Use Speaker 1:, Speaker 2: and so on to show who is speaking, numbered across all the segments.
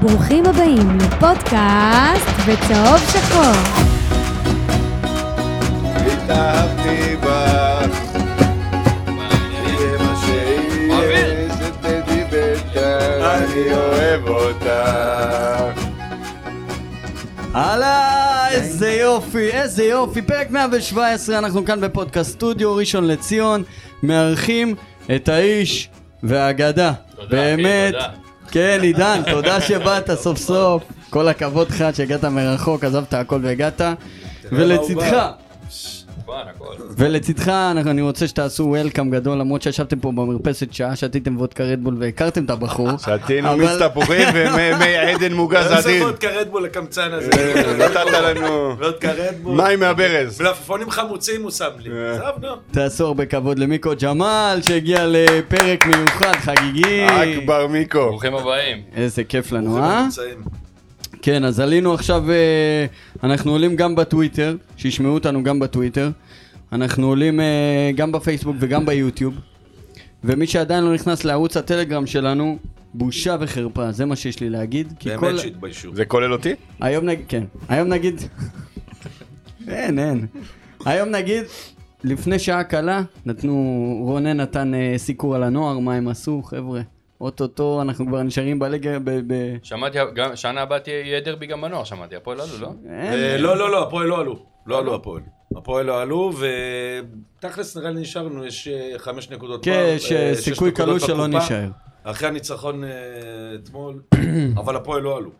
Speaker 1: ברוכים הבאים לפודקאסט בצהוב שחור.
Speaker 2: התאהבתי בך, יהיה מה שיהיה, זה טדי בטר, אני אוהב אותך.
Speaker 3: הלאה, איזה יופי, איזה יופי. פרק 117, אנחנו כאן בפודקאסט סטודיו ראשון לציון, מארחים את האיש והאגדה.
Speaker 4: אחי,
Speaker 3: באמת.
Speaker 4: תודה.
Speaker 3: כן, עידן, תודה שבאת סוף סוף. כל הכבוד לך שהגעת מרחוק, עזבת הכל והגעת. ולצידך,
Speaker 4: כמובן, הכל.
Speaker 3: ולצידך אנחנו- אני רוצה שתעשו וולקאם גדול, למרות שישבתם פה במרפסת שעה, שתיתם וודקה רדבול והכרתם את הבחור.
Speaker 2: שתינו
Speaker 3: אבל-
Speaker 2: מיץ תפוחים ומי עדן מוגז
Speaker 4: לא
Speaker 5: איזה
Speaker 2: עדין.
Speaker 5: וודקה רדבול לקמצן הזה.
Speaker 3: אה,
Speaker 2: נתת לנו
Speaker 5: וודקה רדבול.
Speaker 2: מים
Speaker 4: לא
Speaker 2: מהברז.
Speaker 5: מלפפונים חמוצים הוא שם לי.
Speaker 2: אה.
Speaker 5: עזוב, נו.
Speaker 3: תעשו הרבה כבוד למיקו ג'מאל שהגיע לפרק מיוחד חגיגי.
Speaker 2: אכבר מיקו.
Speaker 4: ברוכים הבאים.
Speaker 3: איזה כיף לנו,
Speaker 5: הם
Speaker 3: אה?
Speaker 5: נמצאים.
Speaker 3: כן, אז עלינו עכשיו, אה, אנחנו עולים גם בטוויטר, שישמעו אותנו גם בטוויטר. אנחנו עולים אה, גם בפייסבוק וגם ביוטיוב. ומי שעדיין לא נכנס לערוץ הטלגרם שלנו, בושה וחרפה, זה מה שיש לי להגיד. כי כל...
Speaker 5: באמת שהתביישו.
Speaker 2: זה כולל אותי?
Speaker 3: היום נגיד, כן, היום נגיד, אין, אין. היום נגיד, לפני שעה קלה, נתנו, רונן נתן אה, סיקור על הנוער, מה הם עשו, חבר'ה. אוטוטו, אנחנו כבר נשארים בליגה, ב... ב...
Speaker 4: שמעתי, גם שנה הבאה תהיה יהיה דרבי גם בנוער, שמעתי, הפועל עלו, לא?
Speaker 3: אין,
Speaker 5: אה, לא, לא, לא, הפועל לא עלו. לא עלו הפועל. הפועל לא עלו, ותכלס נראה לי נשארנו, יש אה, חמש נקודות.
Speaker 3: כן,
Speaker 5: פער, אה,
Speaker 3: יש,
Speaker 5: שש
Speaker 3: סיכוי
Speaker 5: נקודות
Speaker 3: קלוש שלא
Speaker 5: בקופה.
Speaker 3: נישאר.
Speaker 5: אחרי הניצחון אה, אתמול, אבל הפועל לא עלו.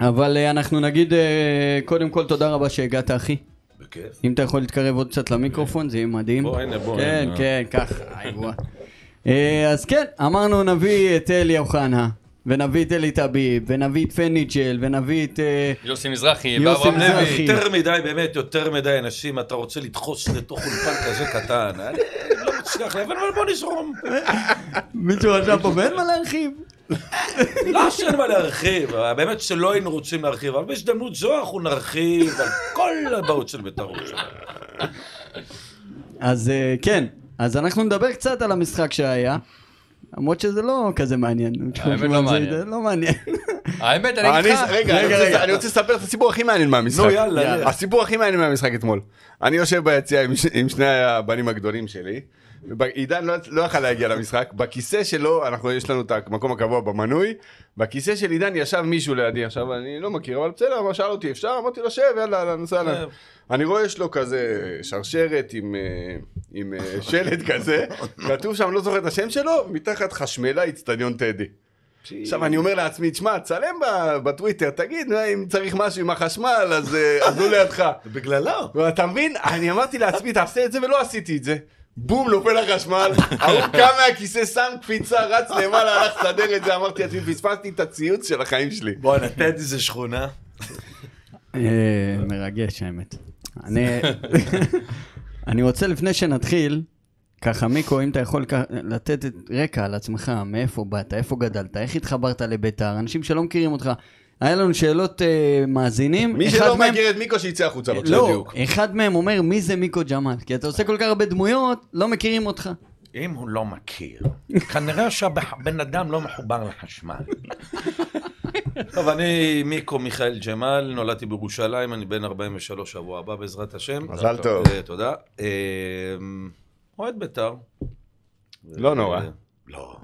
Speaker 3: אבל אה, אנחנו נגיד, אה, קודם כל תודה רבה שהגעת, אחי.
Speaker 5: בכיף.
Speaker 3: אם אתה יכול להתקרב עוד קצת למיקרופון, זה יהיה מדהים.
Speaker 5: בוא, הנה, בוא,
Speaker 3: כן,
Speaker 5: הנה.
Speaker 3: כן, ככה, היי, בוא. אה, אז כן, אמרנו נביא את אלי אוחנה, ונביא את אלי טביב, ונביא את פניג'ל, ונביא את... אה,
Speaker 4: יוסי מזרחי,
Speaker 3: יוסי
Speaker 4: ואברהם
Speaker 3: מזרחי.
Speaker 4: לוי.
Speaker 3: אחי.
Speaker 5: אה, יותר מדי, באמת, יותר מדי אנשים, אתה רוצה לדחוס לתוך אולפן כזה קטן. אני לא מצליח להבין, אבל בוא נזרום.
Speaker 3: אה, מישהו רשם פה ואין מה להרחיב.
Speaker 5: לא שאין מה להרחיב, באמת שלא היינו רוצים להרחיב, אבל בהזדמנות זו אנחנו נרחיב על כל הבעיות של בית"ר ירושלים.
Speaker 3: אז אה, כן, אז אנחנו נדבר קצת על המשחק שהיה. למרות שזה לא כזה מעניין.
Speaker 4: האמת לא
Speaker 3: זה-
Speaker 4: מעניין.
Speaker 3: זה לא מעניין.
Speaker 4: האמת, אני
Speaker 2: אה, אני-
Speaker 4: איתך.
Speaker 2: רגע, אני
Speaker 3: רגע,
Speaker 2: רוצה-
Speaker 3: רגע.
Speaker 2: אני רוצה לספר את הסיפור הכי מעניין מהמשחק.
Speaker 5: נו, יאללה, יאללה.
Speaker 2: הסיפור הכי מעניין מהמשחק אתמול. אני יושב ביציע עם, ש... עם שני הבנים הגדולים שלי. וב- עידן לא, לא יכל להגיע למשחק, בכיסא שלו, אנחנו, יש לנו את המקום הקבוע במנוי, בכיסא של עידן ישב מישהו לידי, עכשיו אני לא מכיר, אבל בסדר, הוא שאל אותי, אפשר? אמרתי לו, שב, יאללה, יאללה, נוסע אליו. אני רואה יש לו כזה שרשרת עם, אה, עם אה, שלט כזה, כתוב שם, לא זוכר את השם שלו, מתחת חשמלה, אצטדיון טדי. עכשיו אני אומר לעצמי, תשמע, תצלם ב- בטוויטר, תגיד, אה, אם צריך משהו עם החשמל, אז אה, אז הוא לידך.
Speaker 5: בגללו.
Speaker 2: ואתה מבין? אני אמרתי לעצמי, תעשה את זה ולא עשיתי את זה. בום, נופל החשמל, ההוא קם מהכיסא, שם קפיצה, רץ למעלה, הלך לסדר את זה, אמרתי לעצמי, פספסתי את הציוץ של החיים שלי.
Speaker 5: בואנה, טדי זה שכונה.
Speaker 3: אה, מרגש האמת. אני, אני רוצה לפני שנתחיל, ככה מיקו, אם אתה יכול כ- לתת את רקע על עצמך, מאיפה באת, איפה גדלת, איך התחברת לביתר, אנשים שלא מכירים אותך. היה לנו שאלות אה, מאזינים.
Speaker 2: מי
Speaker 3: אחד
Speaker 2: שלא
Speaker 3: מהם-
Speaker 2: מכיר את מיקו, שיצא החוצה, בבקשה.
Speaker 3: לא,
Speaker 2: בדיוק.
Speaker 3: אחד מהם אומר מי זה מיקו ג'מאל, כי אתה עושה כל כך הרבה דמויות, לא מכירים אותך.
Speaker 5: אם הוא לא מכיר, כנראה שהבן אדם לא מחובר לחשמל. טוב, אני מיקו מיכאל ג'מאל, נולדתי בירושלים, אני בן 43 שבוע הבא בעזרת השם.
Speaker 2: מזל טוב.
Speaker 5: אה, תודה. אה, אוהד בית"ר.
Speaker 2: לא נורא.
Speaker 5: אה, לא.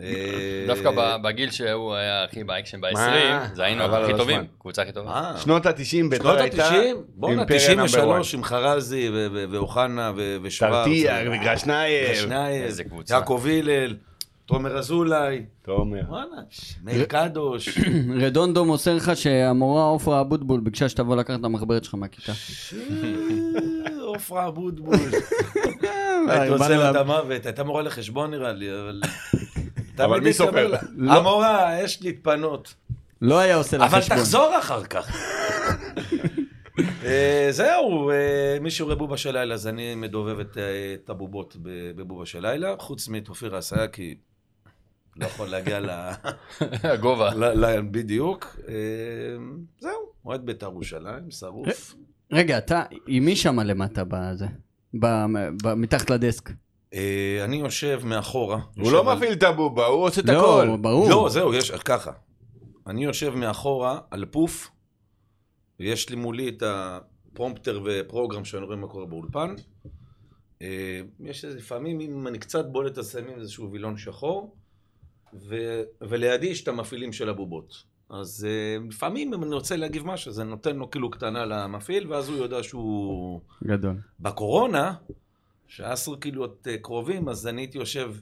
Speaker 5: אה,
Speaker 4: דווקא ב- בגיל שהוא היה הכי באקשן
Speaker 2: מה?
Speaker 4: ב-20, זה היינו
Speaker 2: אבל
Speaker 4: הכי
Speaker 2: לא
Speaker 4: טובים,
Speaker 2: זמן.
Speaker 4: קבוצה הכי טובה.
Speaker 5: אה,
Speaker 2: שנות ה-90 בית"ר
Speaker 5: שנות
Speaker 2: הייתה
Speaker 5: ה-90? בואנה,
Speaker 2: אימפריה נאמבר
Speaker 5: 93 עם חרזי ו- ו- ואוחנה ו-
Speaker 2: וואן.
Speaker 5: ושוורץ.
Speaker 2: תרטיח, וגרשנייב,
Speaker 5: ושנייב,
Speaker 4: איזה קבוצה.
Speaker 5: יעקב הלל, תומר אזולאי,
Speaker 2: תומר.
Speaker 5: וואלה, מאיר קדוש.
Speaker 3: רדונדו מוסר לך שהמורה עופרה אבוטבול ביקשה שתבוא לקחת את המחברת שלך מהכיתה.
Speaker 5: אה, עופרה אבוטבול.
Speaker 3: אה,
Speaker 5: הייתי עושה
Speaker 3: באנו
Speaker 5: לה
Speaker 3: לה-
Speaker 5: את המוות, הייתה מורה לחשבון נראה לי, אבל...
Speaker 2: אבל מי
Speaker 5: תמיד
Speaker 2: סופר
Speaker 5: מסתבר
Speaker 2: לה?
Speaker 5: לה. המורה, יש להתפנות.
Speaker 3: לא היה עושה לה
Speaker 5: אבל
Speaker 3: חשבון.
Speaker 5: תחזור אחר כך. אה, זהו, אה, מי שהוא בובה של לילה, אז אני מדובב את, אה, את הבובות ב- בבובה של לילה, חוץ מאת אופיר אסיה, כי לא יכול להגיע ל...
Speaker 4: הגובה.
Speaker 5: ל... ל... בדיוק. אה, זהו, אוהד בית"ר ירושלים, שרוף.
Speaker 3: רגע, אתה, עם מי שמה למטה בזה? ב- ב- מתחת לדסק.
Speaker 5: אה, אני יושב מאחורה.
Speaker 2: הוא
Speaker 5: יושב
Speaker 2: לא
Speaker 5: על-
Speaker 2: מפעיל את הבובה, הוא עושה את הכל.
Speaker 3: לא, ברור.
Speaker 5: לא, זהו, יש, ככה. אני יושב מאחורה על פוף, ויש לי מולי את הפרומפטר ופרוגרם שאני רואה מה קורה באולפן. אה, יש איזה, לפעמים, אם אני קצת בולט, אז שמים איזשהו וילון שחור, ו, ולידי יש את המפעילים של הבובות. אז אה, לפעמים, אם אני רוצה להגיב משהו, אז אני נותן לו כאילו קטנה למפעיל, ואז הוא יודע שהוא...
Speaker 3: גדול.
Speaker 5: בקורונה, שהיה עשרה קילויות אה, קרובים, אז אני הייתי יושב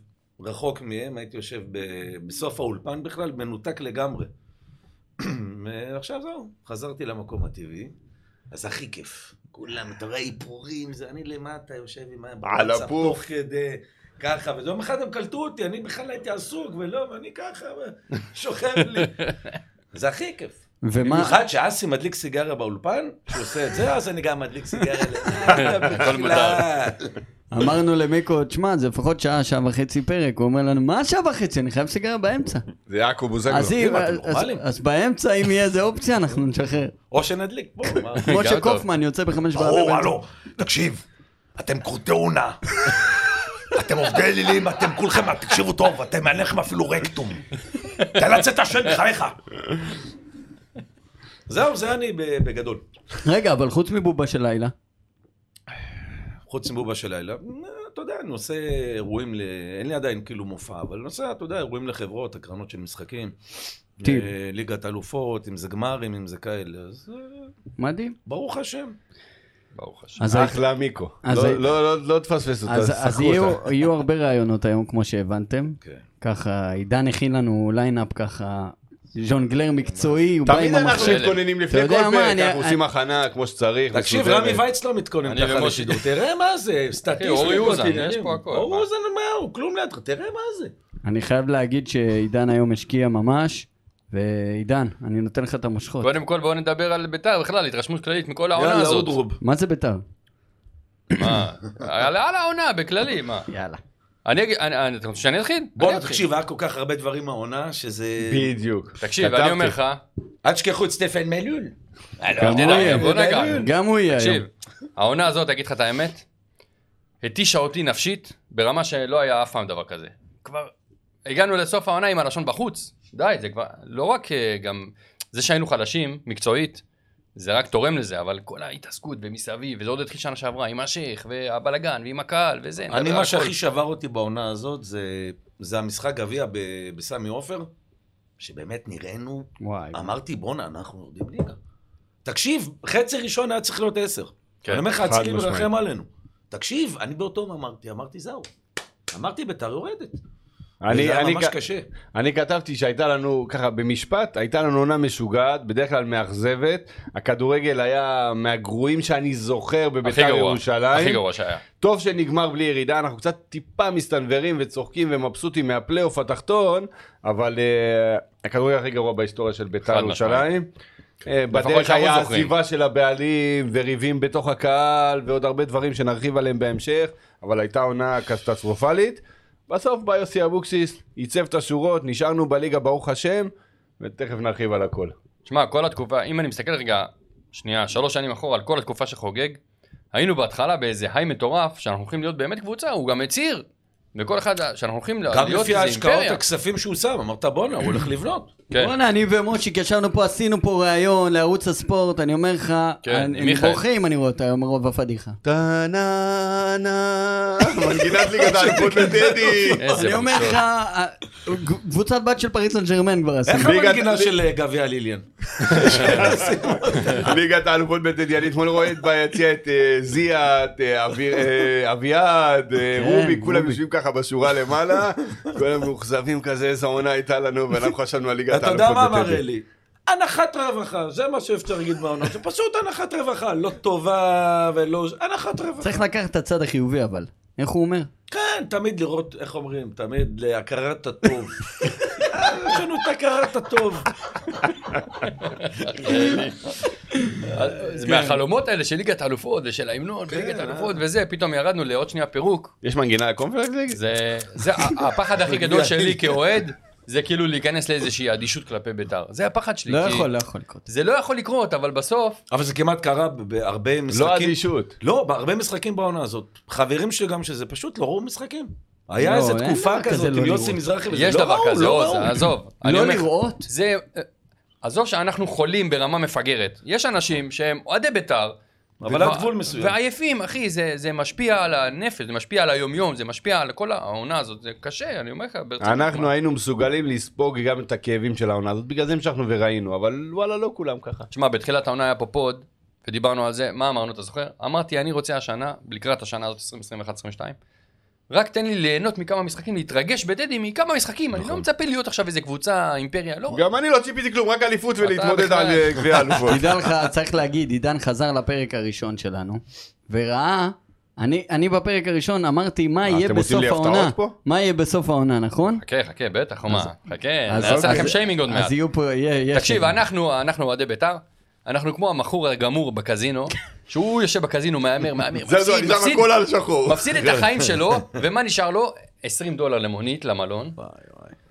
Speaker 5: רחוק מהם, הייתי יושב ב... בסוף האולפן בכלל, מנותק לגמרי. ועכשיו זהו, חזרתי למקום הטבעי, אז הכי כיף. כולם, אתה רואה איפורים, זה אני למטה יושב עם ה...
Speaker 2: על
Speaker 5: בוואטסאפ
Speaker 2: הפוף.
Speaker 5: תוך כדי, ככה, ויום אחד הם קלטו אותי, אני בכלל הייתי עסוק, ולא, ואני ככה, ו- שוכב לי. זה הכי כיף.
Speaker 3: ומה...
Speaker 5: במיוחד שאסי מדליק סיגריה באולפן, כשהוא עושה את זה, אז אני גם מדליק סיגריה.
Speaker 4: הכל מותר.
Speaker 3: אמרנו למיקו, תשמע, זה לפחות שעה, שעה וחצי פרק. הוא אומר לנו, מה שעה וחצי? אני חייב סיגריה באמצע.
Speaker 2: זה יעקב בוזגלו.
Speaker 3: אז אם-
Speaker 5: לא, אתם
Speaker 3: אז-
Speaker 5: נורמלים.
Speaker 3: אז באמצע, אם יהיה איזה אופציה, אנחנו נשחרר.
Speaker 5: או שנדליק, בואו. מה-
Speaker 3: כמו
Speaker 4: גם טוב.
Speaker 3: שקופמן יוצא בחמש בערב.
Speaker 6: ברור, הלו, תקשיב, אתם קורטונה. אתם עובדי אלילים, אתם כולכם, תקשיבו טוב, אתם אין לכם אפילו רקטום. תלץ את השם בחייך.
Speaker 5: זהו, זה אני ב- בגדול.
Speaker 3: רגע, אבל חוץ מבובה של לילה.
Speaker 5: חוץ מבובה של לילה, אה, אתה יודע, אני עושה אירועים, ל... אין לי עדיין כאילו מופע, אבל אני עושה, אתה יודע, אירועים לחברות, הקרנות של משחקים.
Speaker 3: טיל.
Speaker 5: אה, ליגת אלופות, אם זה גמרים, אם זה כאלה, אז אה,
Speaker 3: מדהים.
Speaker 5: ברוך השם.
Speaker 4: ברוך השם.
Speaker 3: אז
Speaker 2: אחלה מיקו.
Speaker 3: אז
Speaker 2: לא-
Speaker 3: הי-
Speaker 2: לא לא- לא תפספס אותה,
Speaker 3: אז- אז
Speaker 2: שחקו
Speaker 3: יהיו-
Speaker 2: אותה.
Speaker 3: יהיו הרבה ראיונות היום, כמו שהבנתם.
Speaker 5: כן.
Speaker 3: ככה, עידן הכין לנו ליינאפ ככה, ז'ונגלר מקצועי, הוא בא
Speaker 2: תמיד
Speaker 3: עם
Speaker 2: אנחנו
Speaker 3: המחשב.
Speaker 2: מתכוננים
Speaker 3: אתה
Speaker 2: לפני כל
Speaker 3: יודע מה,
Speaker 2: פרק,
Speaker 3: אני-
Speaker 2: אנחנו עושים הכנה כמו שצריך.
Speaker 5: תקשיב,
Speaker 2: מסודרת.
Speaker 5: רמי וייץ לא מתכונן
Speaker 4: אני
Speaker 5: ככה
Speaker 4: ומשה.
Speaker 5: לשידור, תראה מה זה, סטטיסטיקות.
Speaker 4: אורי אוזן,
Speaker 5: עניינים.
Speaker 4: יש פה הכל.
Speaker 5: אורי
Speaker 4: מה?
Speaker 5: אוזן, מה, הוא כלום לידך, תראה מה זה.
Speaker 3: אני חייב להגיד שעידן היום השקיע ממש, ועידן, אני נותן לך את
Speaker 2: לא.
Speaker 3: המושכות.
Speaker 4: קודם כל בואו נדבר על ביתר בכלל, התרשמות כללית מכל העונה
Speaker 5: יאללה,
Speaker 4: הזאת.
Speaker 5: אודרוב.
Speaker 3: מה זה ביתר?
Speaker 4: מה? על על העונה בכללי, מה?
Speaker 3: יאללה.
Speaker 4: אני אגיד, אני- אני- אתה רוצה שאני אתחיל? אני
Speaker 5: בואנה,
Speaker 4: אתחיל.
Speaker 5: תקשיב, היה כל כך הרבה דברים העונה, שזה...
Speaker 2: בדיוק.
Speaker 4: תקשיב,
Speaker 2: כתבתי.
Speaker 4: אני אומר לך,
Speaker 5: אל תשכחו את סטפן מלול.
Speaker 3: גם הוא יהיה.
Speaker 4: בוא נגע.
Speaker 3: גם הוא יהיה היום.
Speaker 4: תקשיב, העונה הזאת, אגיד לך את האמת, התישה אותי נפשית ברמה שלא היה אף פעם דבר כזה. כבר הגענו לסוף העונה עם הלשון בחוץ. די, זה כבר, לא רק אה, גם, זה שהיינו חלשים, מקצועית, זה רק תורם לזה, אבל כל ההתעסקות ומסביב, וזה עוד התחיל שנה שעברה, עם השייח, והבלגן, ועם הקהל, וזה. נדבר
Speaker 5: אני,
Speaker 4: על
Speaker 5: מה
Speaker 4: הכל.
Speaker 5: שהכי שבר אותי בעונה הזאת, זה- זה המשחק גביע ב- בסמי עופר, שבאמת נראינו,
Speaker 3: וואי.
Speaker 5: אמרתי, בואנה, אנחנו יורדים ליגה. תקשיב, חצי ראשון היה צריך להיות עשר.
Speaker 4: כן,
Speaker 5: אני אומר לך,
Speaker 2: חד
Speaker 5: הצליל
Speaker 2: משמעית.
Speaker 5: מרחם עלינו. תקשיב, אני באותו יום אמרתי, אמרתי, זהו. אמרתי, ביתר יורדת.
Speaker 2: אני-
Speaker 5: זה היה
Speaker 2: אני
Speaker 5: ממש
Speaker 2: כ-
Speaker 5: קשה.
Speaker 4: אה,
Speaker 2: אני כתבתי שהייתה לנו, ככה במשפט, הייתה לנו עונה משוגעת, בדרך כלל מאכזבת. הכדורגל היה מהגרועים שאני זוכר
Speaker 4: הכי
Speaker 2: בבית"ר
Speaker 4: גרוע, הכי
Speaker 2: ירושלים.
Speaker 4: גרוע שהיה.
Speaker 2: טוב שנגמר בלי ירידה, אנחנו קצת טיפה מסתנוורים וצוחקים ומבסוטים מהפלייאוף התחתון, אבל uh, הכדורגל הכי גרוע בהיסטוריה של בית"ר
Speaker 4: חד
Speaker 2: ירושלים. אה,
Speaker 4: לפחות
Speaker 2: בדרך
Speaker 4: שאנחנו
Speaker 2: היה
Speaker 4: זוכרים.
Speaker 2: עזיבה של הבעלים וריבים בתוך הקהל ועוד הרבה דברים שנרחיב עליהם בהמשך, אבל הייתה עונה קטסטרופלית. בסוף בא יוסי אבוקסיס, עיצב את השורות, נשארנו בליגה ברוך השם, ותכף נרחיב על הכל.
Speaker 4: תשמע, כל התקופה, אם אני מסתכל רגע, שנייה, שלוש שנים אחורה, על כל התקופה שחוגג, היינו בהתחלה באיזה היי מטורף, שאנחנו הולכים להיות באמת קבוצה, הוא גם הצהיר. וכל אחד, שאנחנו הולכים להיות
Speaker 5: גם
Speaker 4: איזה
Speaker 5: לפי
Speaker 4: אימפריה.
Speaker 5: ההשקעות, הכספים שהוא שם, אמרת, בואנה, הוא הולך לבנות.
Speaker 4: כן.
Speaker 3: בואנה, אני ומושיק ישבנו פה, עשינו פה ראיון לערוץ הספורט, אני אומר לך,
Speaker 4: כן,
Speaker 3: אני- הם
Speaker 4: מיכאל.
Speaker 3: בורחים, אני רואה אותה, הם רוב הפדיחה.
Speaker 2: טה נה נה, מנגינת ליגת האלפות לטדי.
Speaker 4: איזה
Speaker 3: אני אומר
Speaker 4: בושות.
Speaker 3: לך, אה, קבוצת בת של פריס סן ג'רמן כבר עשו.
Speaker 5: איך
Speaker 2: ליגת-
Speaker 5: המנגינה של אה, גביע ליליאן?
Speaker 2: ליגת האלופות בטדי, אני אתמול רואה את ביציע את אה, זיאת, אה, אביר- אה, אביעד, אה,
Speaker 3: כן,
Speaker 2: רובי, כולם
Speaker 3: רובי.
Speaker 2: יושבים ככה בשורה למעלה, כולם מאוכזבים כזה, איזה עונה הייתה לנו, ואנחנו חשבנו על ליגת
Speaker 5: אתה יודע מה
Speaker 2: האלופות
Speaker 5: אמר
Speaker 2: בטדי.
Speaker 5: אלי? הנחת רווחה, זה מה שאפשר להגיד מהעונה, זה פשוט הנחת רווחה, לא טובה ולא... הנחת רווחה.
Speaker 3: צריך לקחת את הצד החיובי אבל. איך הוא אומר?
Speaker 5: כן, תמיד לראות, איך אומרים, תמיד להכרת הטוב. יש לנו את הכרת הטוב.
Speaker 3: אה,
Speaker 4: זה מהחלומות
Speaker 3: כן.
Speaker 4: האלה של ליגת האלופות ושל ההמנון, וליגת האלופות וזה, פתאום ירדנו לעוד שנייה פירוק.
Speaker 2: יש מנגינה לקונפרנס ליג?
Speaker 4: זה זה ה- הפחד הכי גדול שלי כאוהד, זה כאילו להיכנס לאיזושהי אדישות כלפי ביתר. זה הפחד שלי.
Speaker 3: לא
Speaker 4: כי-
Speaker 3: יכול, לא יכול לקרות.
Speaker 4: זה לא יכול לקרות, אבל בסוף,
Speaker 5: אבל זה כמעט קרה ב- בהרבה משחקים.
Speaker 2: לא אדישות.
Speaker 5: לא, בהרבה משחקים בעונה הזאת. חברים שלי גם שזה פשוט לא ראו משחקים. היה
Speaker 3: לא,
Speaker 5: איזו
Speaker 3: אין דבר
Speaker 5: תקופה
Speaker 3: כזה
Speaker 5: כזאת
Speaker 3: לא
Speaker 5: עם יוסי
Speaker 3: לראות.
Speaker 5: מזרחי, וזה
Speaker 4: יש
Speaker 5: לא
Speaker 4: דבר
Speaker 5: ראו,
Speaker 4: כזה,
Speaker 5: לא
Speaker 4: עוז, אה,
Speaker 5: ראו.
Speaker 4: עזוב. אני
Speaker 3: לא
Speaker 4: אומר לך,
Speaker 3: לראות?
Speaker 4: זה... עזוב שאנחנו חולים ברמה מפגרת. יש אנשים שהם אוהדי בית"ר.
Speaker 5: אבל
Speaker 4: וכבר-
Speaker 5: עד גבול מסוים.
Speaker 4: ועייפים, אחי, זה, זה משפיע על הנפש, זה משפיע על היומיום, זה משפיע על כל העונה הזאת, זה קשה, אני אומר לך, ברצינות.
Speaker 2: אנחנו היינו מסוגלים לספוג גם את הכאבים של העונה הזאת, בגלל זה המשכנו וראינו, אבל וואלה, לא כולם ככה.
Speaker 4: תשמע, בתחילת העונה היה פה פוד, ודיברנו על זה, מה אמרנו, אתה זוכר? אמרתי, אני רוצה השנה, לקראת השנה הזאת, 2021-2022, רק תן לי ליהנות מכמה משחקים, להתרגש בדדי מכמה משחקים, אני לא מצפה להיות עכשיו איזה קבוצה, אימפריה, לא.
Speaker 2: גם אני לא ציפיתי כלום, רק אליפות ולהתמודד
Speaker 4: בכלל.
Speaker 2: על אה, גביע אלופות.
Speaker 3: תדע לך, צריך להגיד, עידן חזר לפרק הראשון שלנו, וראה, אני, אני בפרק הראשון אמרתי
Speaker 4: אה,
Speaker 3: מה יהיה
Speaker 2: אתם עושים
Speaker 3: בסוף
Speaker 2: לי הפתעות
Speaker 3: העונה,
Speaker 2: פה?
Speaker 3: מה יהיה בסוף העונה, נכון?
Speaker 4: חכה, חכה, בטח, או מה? חכה,
Speaker 3: אז- אוקיי,
Speaker 4: נעשה
Speaker 3: אז-
Speaker 4: כן, לא, לכם שיימינג עוד מעט.
Speaker 3: אז יהיו פה, יהיה... יהיה
Speaker 4: תקשיב,
Speaker 3: שם.
Speaker 4: אנחנו אנחנו אוהדי בית"ר, אנחנו כמו המכור הגמור בקזינו, שהוא יושב בקזינו, מהמר, מהמר,
Speaker 2: זהו, זהו, אני
Speaker 4: מפסיד,
Speaker 2: שם
Speaker 4: מפסיד,
Speaker 2: הכל על שחור. כן.
Speaker 4: מפסיד את החיים שלו, ומה נשאר לו? 20 דולר למונית, למלון.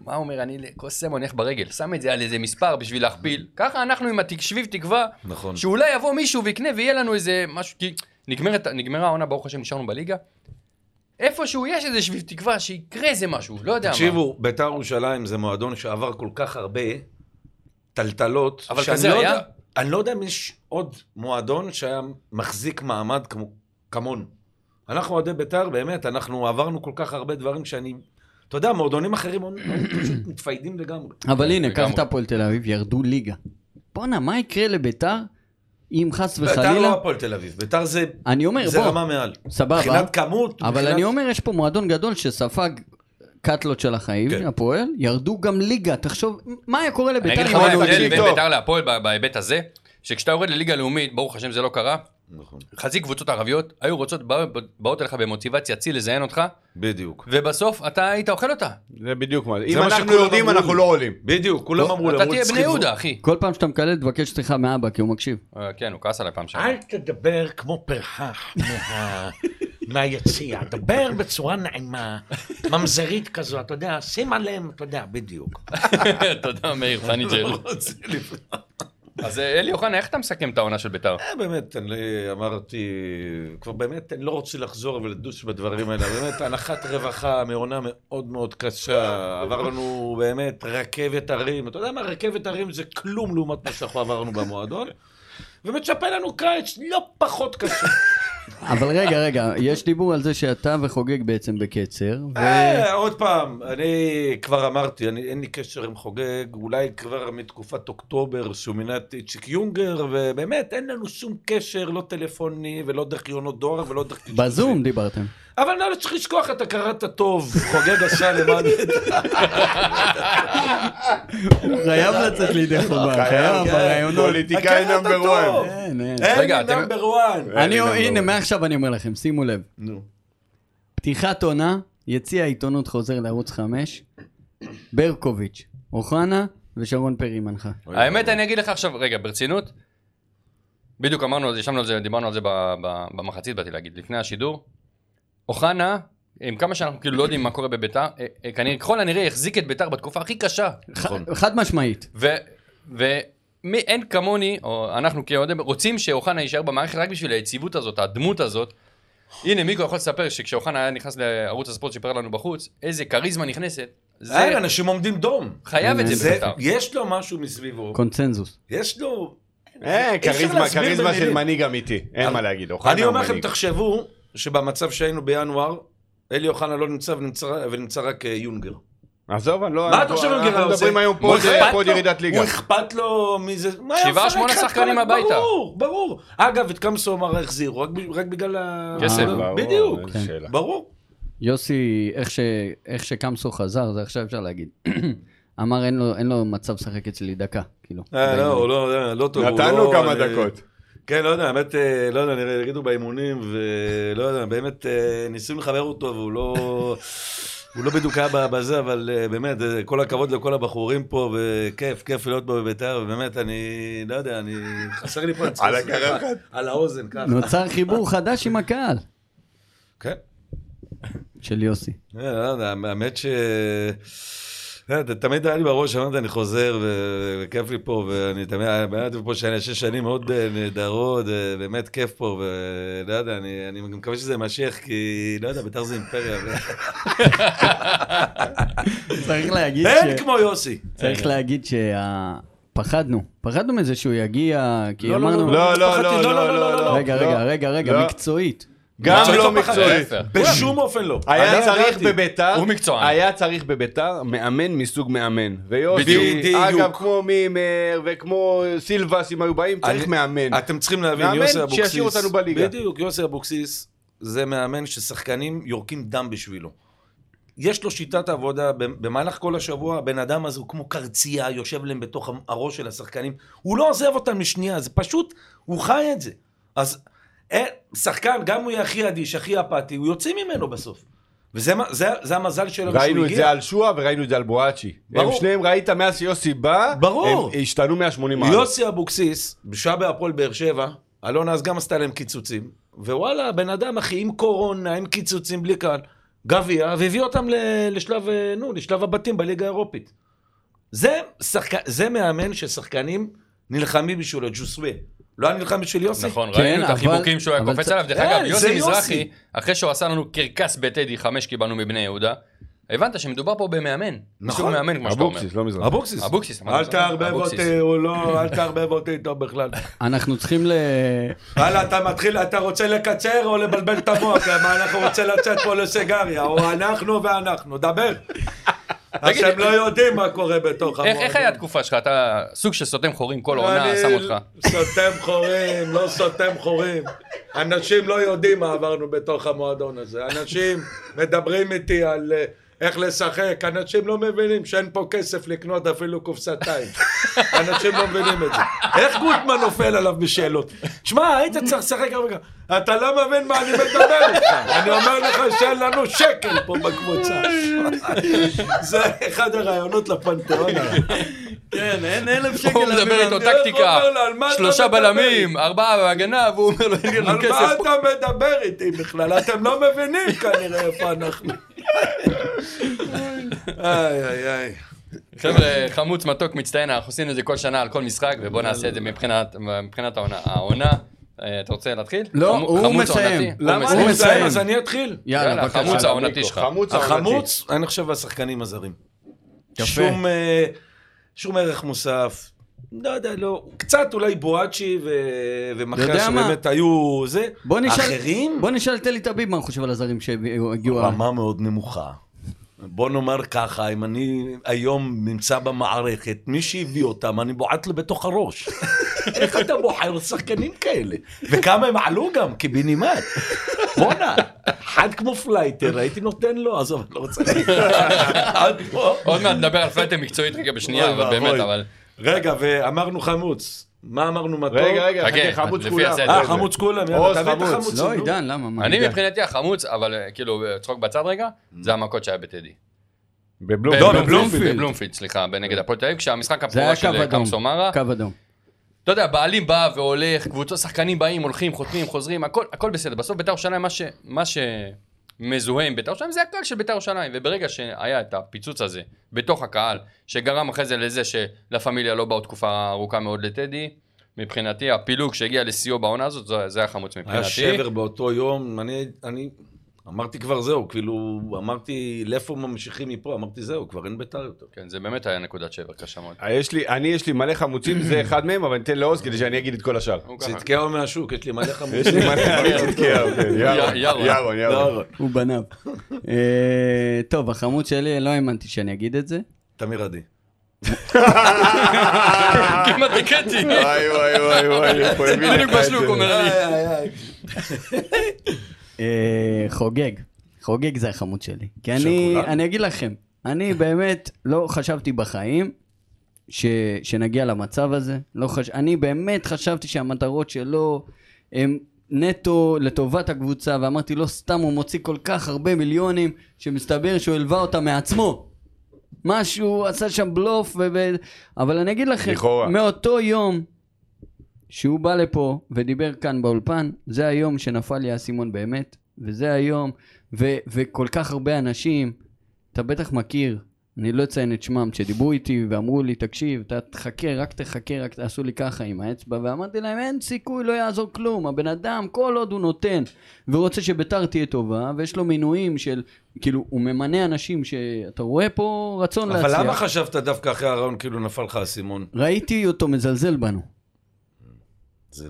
Speaker 4: מה הוא אומר, אני לכוס סמון הולך ברגל, שם את זה על איזה מספר בשביל להכפיל. ככה אנחנו עם התקשביב תקווה,
Speaker 5: נכון.
Speaker 4: שאולי יבוא מישהו ויקנה ויהיה לנו איזה משהו, כי נגמרת, נגמרה העונה, ברוך השם, נשארנו בליגה. איפשהו יש איזה שביב תקווה שיקרה איזה משהו, לא יודע מה.
Speaker 5: תקשיבו, ביתר ירושלים זה מועדון שעבר כל כך הרבה טלטלות.
Speaker 4: אבל
Speaker 5: שאני
Speaker 4: כזה
Speaker 5: לא
Speaker 4: היה?
Speaker 5: יודע- אני לא יודע אם יש עוד מועדון שהיה מחזיק מעמד כמו- כמונו. אנחנו אוהדי ביתר, באמת, אנחנו עברנו כל כך הרבה דברים שאני... אתה יודע, מועדונים אחרים פשוט מתפיידים לגמרי.
Speaker 3: אבל הנה,
Speaker 4: כן, לגמרי.
Speaker 3: קח את הפועל תל אביב, ירדו ליגה. בואנה, מה יקרה לביתר אם חס
Speaker 5: ביתר
Speaker 3: וחלילה...
Speaker 5: לא הפועל תל אביב, ביתר זה
Speaker 3: אני אומר,
Speaker 5: זה
Speaker 3: בוא,
Speaker 5: רמה מעל.
Speaker 3: סבבה,
Speaker 5: מבחינת כמות,
Speaker 3: אבל
Speaker 5: מבחינת-
Speaker 3: אני אומר, יש פה מועדון גדול שספג קאטלות של החיים,
Speaker 5: כן.
Speaker 3: הפועל, ירדו גם ליגה, תחשוב, מה היה קורה
Speaker 4: אני אגיד
Speaker 3: לביתר
Speaker 4: לך
Speaker 3: אם
Speaker 4: מה
Speaker 3: היינו
Speaker 4: ההבדל
Speaker 3: עולים?
Speaker 4: בין
Speaker 2: טוב.
Speaker 4: בית"ר להפועל ב- בהיבט הזה, שכשאתה יורד לליגה לאומית, ברוך השם זה לא קרה,
Speaker 5: נכון,
Speaker 4: חצי קבוצות ערביות היו רוצות, בא- באות אליך במוטיבציה צי לזיין אותך,
Speaker 5: בדיוק.
Speaker 4: ובסוף אתה היית אוכל אותה.
Speaker 2: זה בדיוק מה זה. אם
Speaker 5: מה
Speaker 2: אנחנו
Speaker 5: שכולם
Speaker 2: יורדים,
Speaker 5: אמרו
Speaker 2: אנחנו
Speaker 5: לי.
Speaker 2: לא עולים.
Speaker 5: בדיוק, כולם לא אמרו
Speaker 4: אתה
Speaker 5: למרות
Speaker 4: תהיה בני
Speaker 5: צחיבו-
Speaker 4: יהודה, אחי.
Speaker 3: כל פעם שאתה מקלל, תבקש סליחה מאבא, כי הוא מקשיב.
Speaker 4: אה, כן, הוא כעס עליי פעם שעברה.
Speaker 6: אל תדבר כמו פרחח מה... מהיציע, דבר בצורה נעימה, ממזרית כזו, אתה יודע, שים עליהם, אתה יודע, בדיוק.
Speaker 5: אה.
Speaker 4: תודה, מאיר פניג'ר. אז אה, אלי אוחנה, איך אתה מסכם את העונה של בית"ר?
Speaker 5: אה, באמת, אני אמרתי, כבר באמת, אני לא רוצה לחזור ולדוש בדברים האלה, באמת, הנחת רווחה מעונה מאוד מאוד קשה, עברנו באמת רכבת הרים, אתה יודע מה, רכבת הרים זה כלום לעומת מה שאנחנו עברנו במועדון, ומצפה לנו קיץ לא פחות קשה.
Speaker 3: אבל רגע, רגע, יש דיבור על זה שאתה וחוגג בעצם בקצר, ו...
Speaker 5: אה, עוד פעם, אני כבר אמרתי, אני, אין לי קשר עם חוגג, אולי כבר מתקופת אוקטובר שהוא מינה את איציק יונגר, ובאמת, אין לנו שום קשר, לא טלפוני ולא דרך יונות דואר ולא דרך... קישורים.
Speaker 3: בזום דיברתם.
Speaker 5: אבל לא צריך לשכוח את הכרת הטוב, חוגג עשה למען...
Speaker 3: הוא חייב לצאת לידי חובה, כן,
Speaker 2: חייב, כן. פוליטיקאי
Speaker 5: הכרת
Speaker 2: נאמבר
Speaker 5: הטוב.
Speaker 2: 1.
Speaker 3: אין, אין.
Speaker 5: אין
Speaker 4: רגע,
Speaker 5: לי
Speaker 4: אתם-
Speaker 5: נאמבר וואן.
Speaker 3: אה, אני,
Speaker 2: אין לי number
Speaker 3: הנה,
Speaker 2: one.
Speaker 3: מעכשיו אני אומר לכם, שימו לב.
Speaker 5: נו.
Speaker 3: פתיחת עונה, יציע העיתונות חוזר לערוץ 5, ברקוביץ', אוחנה ושרון פרי מנחה.
Speaker 4: האמת, אני אגיד לך עכשיו, רגע, ברצינות, בדיוק אמרנו על זה, ישבנו על זה, דיברנו על זה ב- ב- במחצית, באתי להגיד, לפני השידור. אוחנה, עם כמה שאנחנו כאילו לא יודעים מה קורה בביתר, אה, אה, כנראה, ככל הנראה החזיק את ביתר בתקופה הכי קשה.
Speaker 5: נכון.
Speaker 3: ח- חד משמעית.
Speaker 4: ואין כמוני, או אנחנו כאוהדים, רוצים שאוחנה יישאר במערכת רק בשביל היציבות הזאת, הדמות הזאת. הנה, מיקו יכול לספר שכשאוחנה היה נכנס לערוץ הספורט שפר לנו בחוץ, איזה כריזמה נכנסת. זה
Speaker 5: אין, אנשים עומדים דום.
Speaker 4: חייב את זה
Speaker 5: זה-
Speaker 4: בביתר.
Speaker 5: יש לו משהו מסביבו,
Speaker 3: קונצנזוס.
Speaker 5: יש לו...
Speaker 2: אה,
Speaker 5: אפשר
Speaker 2: כריזמה,
Speaker 5: להסביר
Speaker 2: כריזמה של
Speaker 5: במילים.
Speaker 2: מנהיג אמיתי. אין מה להגיד, אוחנה
Speaker 5: אני
Speaker 2: הוא
Speaker 5: אומר לכם,
Speaker 2: מנהיג.
Speaker 5: תחשבו שבמצב שהיינו בינואר, אלי אוחנה לא נמצא ונמצא- ונמצא רק אה, יונגר.
Speaker 2: עזוב, אני לא...
Speaker 5: מה אתה
Speaker 2: אנחנו-
Speaker 5: חושב על גרר?
Speaker 2: אנחנו מדברים היום פה, זה פה עוד ירידת ליגה.
Speaker 5: הוא אכפת לו מזה. מה
Speaker 4: שבעה,
Speaker 5: היה
Speaker 4: שמונה
Speaker 5: מפרק לך את
Speaker 4: שחקנים
Speaker 5: כל-
Speaker 4: הביתה.
Speaker 5: ברור, ברור. אגב, את קמסו אמר החזירו, רק ב- רק בגלל ה...
Speaker 4: כסף.
Speaker 2: ברור,
Speaker 5: בדיוק.
Speaker 2: איזה
Speaker 3: כן.
Speaker 2: שאלה.
Speaker 5: ברור.
Speaker 3: יוסי, איך, ש... איך שקמסו חזר, זה עכשיו אפשר להגיד. אמר אין לו, אין לו מצב לשחק אצלי דקה, כאילו.
Speaker 5: אה, לא, הוא לא, לא טוב. הוא
Speaker 2: נתנו
Speaker 5: לא-
Speaker 2: כמה
Speaker 5: אני-
Speaker 2: דקות.
Speaker 5: כן, לא יודע, האמת, אה, לא יודע, נראה, יגידו באימונים, ולא יודע, באמת אה, ניסו לחבר אותו, והוא לא... הוא לא בדיוק היה ב- בזה, אבל אה, באמת, אה, כל הכבוד לכל הבחורים פה, וכיף, כיף להיות פה בביתר, ובאמת, אני לא יודע, אני... חסר לי פה... אני צריך-
Speaker 2: על הקרחת.
Speaker 5: על האוזן, ככה.
Speaker 3: נוצר חיבור חדש עם הקהל
Speaker 5: כן.
Speaker 3: של יוסי.
Speaker 5: לא, אה, לא יודע, האמת ש... אתה יודע, תמיד היה לי בראש, אמרתי, אני חוזר, ו- וכיף לי פה, ואני תמיד, באמת פה שאני שש שנים מאוד אה, נהדרות, אה, באמת כיף פה, ולא יודע, אני, אני גם מקווה שזה יימשך, כי לא יודע, בית"ר זה אימפריה. ו-
Speaker 3: צריך להגיד
Speaker 5: אין
Speaker 3: ש...
Speaker 5: כמו יוסי.
Speaker 3: צריך להגיד שה... פחדנו, פחדנו מזה שהוא יגיע, כי
Speaker 5: לא, לא,
Speaker 3: אמרנו...
Speaker 2: לא, לא, לא, לא, לא, לא.
Speaker 3: רגע, רגע, רגע, רגע,
Speaker 2: לא.
Speaker 3: מקצועית.
Speaker 2: גם לא
Speaker 5: פחד,
Speaker 2: מקצועי.
Speaker 4: להפך.
Speaker 5: בשום אופן לא.
Speaker 2: היה
Speaker 5: אני
Speaker 2: צריך
Speaker 5: ידעתי.
Speaker 2: בביתר,
Speaker 4: הוא מקצוען.
Speaker 2: היה צריך בביתר מאמן מסוג מאמן. ויוסי,
Speaker 5: בדיוק.
Speaker 2: אגב,
Speaker 5: בדיוק.
Speaker 2: כמו מימר וכמו סילבס, אם היו באים, צריך
Speaker 5: אני-
Speaker 2: מאמן.
Speaker 5: אתם צריכים להבין,
Speaker 2: מאמן
Speaker 5: יוסי אבוקסיס...
Speaker 2: שישאיר אותנו בליגה.
Speaker 5: בדיוק, יוסי אבוקסיס זה מאמן ששחקנים יורקים דם בשבילו. יש לו שיטת עבודה, במהלך כל השבוע הבן אדם הזה הוא כמו קרצייה, יושב להם בתוך הראש של השחקנים. הוא לא עוזב אותם לשנייה, זה פשוט, הוא חי את זה. אז אין, שחקן, גם הוא יהיה הכי אדיש, הכי אפאתי, הוא יוצא ממנו בסוף. וזה מה- זה- זה המזל שלו שהוא הגיע.
Speaker 2: ראינו את זה על שועה וראינו את זה על בואצ'י. הם
Speaker 5: לא ברור.
Speaker 2: שניהם ראית מאז שיוסי בא,
Speaker 5: ברור.
Speaker 2: הם השתנו 180 מעלות.
Speaker 5: יוסי אבוקסיס, בשעה בהפועל באר שבע, אלונה אז גם עשתה להם קיצוצים, ווואלה, הבן אדם, אחי, עם קורונה, עם קיצוצים, בלי קהל, גביע, והביא אותם ל- לשלב, אה, נו, לשלב הבתים בליגה האירופית. זה, שחק... זה מאמן ששחקנים נלחמים בשבילו, ג'וסווה. לא היה נלחם בשביל יוסי?
Speaker 4: נכון,
Speaker 3: כן,
Speaker 4: ראינו את
Speaker 3: אבל-
Speaker 4: החיבוקים שהוא היה
Speaker 3: אבל
Speaker 4: קופץ
Speaker 3: צ- כן,
Speaker 4: עליו. דרך
Speaker 5: אין,
Speaker 4: אגב,
Speaker 5: זה
Speaker 4: יוסי
Speaker 5: יוסי.
Speaker 4: מזרחי, אחרי שהוא עשה לנו קרקס בטדי, חמש קיבלנו מבני יהודה, הבנת שמדובר פה במאמן. מישהו
Speaker 5: נכון.
Speaker 4: מאמן, כמו שאתה אומר.
Speaker 2: אבוקסיס, לא מזרח.
Speaker 5: אבוקסיס.
Speaker 4: אבוקסיס, אמרנו.
Speaker 5: אל תערבב
Speaker 4: אבוקסיס.
Speaker 5: אותי, הוא לא, אל תערבב אותי איתו בכלל.
Speaker 3: אנחנו צריכים ל...
Speaker 5: הלאה, אתה מתחיל, אתה רוצה לקצר או לבלבל את המוח? מה, אנחנו רוצים לצאת פה לסיגריה, או אנחנו ואנחנו, דבר. אז
Speaker 4: תגיד,
Speaker 5: הם לא יודעים מה קורה בתוך
Speaker 4: איך- איך היה התקופה שלך? אתה סוג של סותם חורים, כל עונה
Speaker 5: אני
Speaker 4: שם אותך.
Speaker 3: כן,
Speaker 5: סותם חורים, לא סותם חורים. אנשים לא יודעים מה עברנו בתוך המועדון הזה. אנשים מדברים איתי על אה, איך לשחק, אנשים לא מבינים שאין פה כסף לקנות אפילו קופסתיים. אנשים לא מבינים את זה. איך גוטמן נופל עליו בשאלות? שמע, היית צריך לשחק הרבה גם. אתה לא מבין מה אני מדבר איתך. אני אומר לך שאין לנו שקל פה בקבוצה. זה אחד הרעיונות לפנתיאון.
Speaker 3: כן, אין אלף
Speaker 4: הוא מדבר איתו טקטיקה,
Speaker 5: איך הוא אומר לו, "על מה אתה
Speaker 4: שלושה
Speaker 5: מדבר?"
Speaker 4: בלמים, ארבעה בהגנה, והוא אומר לו, אין לי
Speaker 5: על
Speaker 4: לנו
Speaker 5: מה
Speaker 4: כסף.
Speaker 5: אתה מדבר איתי בכלל? אתם לא מבינים כנראה איפה אנחנו. איי, איי, איי.
Speaker 4: חבר'ה, חמוץ מתוק מצטיין, אנחנו עושים את זה כל שנה על כל משחק, ובוא נעשה את זה מבחינת מבחינת העונה. העונה, אה, אתה רוצה להתחיל?
Speaker 3: לא,
Speaker 4: חמו-
Speaker 3: הוא
Speaker 4: חמוץ
Speaker 3: מסיים.
Speaker 4: העונתי? הוא
Speaker 3: למה
Speaker 4: מסיים.
Speaker 3: אני-
Speaker 5: הוא
Speaker 3: מסיים.
Speaker 5: מסיים, אז אני אתחיל.
Speaker 3: יאללה,
Speaker 4: יאללה, חמוץ
Speaker 3: בבקשה.
Speaker 4: העונתי שלך.
Speaker 2: חמוץ, העונתי.
Speaker 5: החמוץ, אני חושב, השחקנים הזרים.
Speaker 3: יפה.
Speaker 5: שום, אה, שום ערך מוסף. לא יודע, לא. קצת אולי בואצ'י ו...
Speaker 3: אתה יודע
Speaker 5: ומחקר
Speaker 3: מה?
Speaker 5: שבאמת היו זה.
Speaker 3: בוא נשאל...
Speaker 5: אחרים?
Speaker 3: בוא נשאל את אלי טביב מה הוא חושב על הזרים שהגיעו...
Speaker 5: רמה מאוד נמוכה. בוא נאמר ככה, אם אני היום נמצא במערכת, מי שהביא אותם, אני בועט לו בתוך הראש. איך אתה בוחר שחקנים כאלה? וכמה הם עלו גם, קיבינימט. בואנה, אחד כמו פלייטר, הייתי נותן לו, עזוב, אני לא רוצה להגיד. עד פה.
Speaker 4: עוד מעט נדבר על פלייטר מקצועית רגע בשנייה,
Speaker 5: אוי
Speaker 4: אבל
Speaker 5: ואבוי.
Speaker 4: באמת, אבל...
Speaker 5: רגע, ואמרנו חמוץ. מה אמרנו מתוק?
Speaker 2: רגע, רגע,
Speaker 4: חכה,
Speaker 2: חכה, חמוץ
Speaker 4: לפי
Speaker 2: כולם.
Speaker 4: הסדר.
Speaker 5: אה, חמוץ כולם,
Speaker 2: עוז,
Speaker 5: יאללה, תביא את
Speaker 2: חמוץ.
Speaker 5: החמוצים.
Speaker 3: לא,
Speaker 5: נו.
Speaker 3: עידן, למה? מה,
Speaker 4: אני
Speaker 3: עידן?
Speaker 4: מבחינתי החמוץ, אבל אה, כאילו, אה, צחוק בצד רגע, זה המכות שהיה בטדי.
Speaker 2: בבלומפילד.
Speaker 3: לא, בבלומפילד.
Speaker 4: בבלומפילד, סליחה, נגד הפועל תל אביב, כשהמשחק
Speaker 3: זה היה
Speaker 4: הבכורה של
Speaker 3: קו
Speaker 4: אה,
Speaker 3: אדום.
Speaker 4: קמסומרה,
Speaker 3: קו אדום.
Speaker 4: אתה יודע, בעלים בא והולך, קבוצות, שחקנים באים, הולכים, חותמים, חוזרים, הכל, הכל בסדר. בסוף ביתר ירושלים, מה, ש, מה שמזוהה עם ביתר ירושלים זה הקהל של ביתר ירושלים. וברגע שהיה את הפיצוץ הזה בתוך הקהל, שגרם אחרי זה לזה שלה פמיליה לא באו תקופה ארוכה מאוד לטדי, מבחינתי הפילוג שהגיע לשיאו בעונה הזאת, זה, זה היה חמוץ מבחינתי.
Speaker 5: היה שבר באותו יום, אני, אני אמרתי כבר זהו, כאילו, אמרתי, לאיפה ממשיכים מפה? אמרתי זהו, כבר אין ביתר יותר.
Speaker 4: כן, זה באמת היה נקודת שבר קשה מאוד.
Speaker 2: אה, יש לי, אני יש לי מלא חמוצים, זה אחד מהם, אבל ניתן לעוז כדי שאני אגיד את כל השאר.
Speaker 4: הוא ככה.
Speaker 5: צדקיהו מהשוק, יש לי מלא
Speaker 2: אה. יש לי
Speaker 5: חמוצים.
Speaker 2: מלא חמוצים, כן, אוקיי, ירון,
Speaker 4: ירון.
Speaker 2: ירון,
Speaker 5: לא,
Speaker 2: ירון.
Speaker 3: הוא בניו. אה, טוב, החמוד שלי, לא האמנתי שאני אגיד את זה.
Speaker 5: תמיר עדי.
Speaker 3: לא
Speaker 4: כמעט הקראתי.
Speaker 2: וואי וואי וואי וואי, אה. הוא הביא לך
Speaker 4: בדיוק
Speaker 2: את זה.
Speaker 4: בשלוק אומר אני.
Speaker 3: אה, חוגג. חוגג זה החמוד שלי. כי אני,
Speaker 5: כולנו.
Speaker 3: אני אגיד לכם, אני באמת לא חשבתי בחיים ש, שנגיע למצב הזה. לא חש... אני באמת חשבתי שהמטרות שלו הן נטו לטובת הקבוצה, ואמרתי, לא סתם הוא מוציא כל כך הרבה מיליונים, שמסתבר שהוא הלווה אותם מעצמו. משהו, עשה שם בלוף, ו... ו- אבל אני אגיד לכם,
Speaker 2: לכאורה.
Speaker 3: מאותו יום שהוא בא לפה ודיבר כאן באולפן, זה היום שנפל לי האסימון באמת, וזה היום, ו- וכל כך הרבה אנשים, אתה בטח מכיר, אני לא אציין את שמם, שדיברו איתי ואמרו לי, תקשיב, אתה תחכה, רק תחכה, רק תעשו לי ככה עם האצבע, ואמרתי להם, אין סיכוי, לא יעזור כלום, הבן אדם, כל עוד הוא נותן, ורוצה שביתר תהיה טובה, ויש לו מינויים של, כאילו, הוא ממנה אנשים שאתה רואה פה רצון להצליח.
Speaker 5: אבל למה חשבת דווקא אחרי הרעיון כאילו נפל לך האסימון?
Speaker 3: ראיתי אותו מזלזל בנו.
Speaker 5: זה-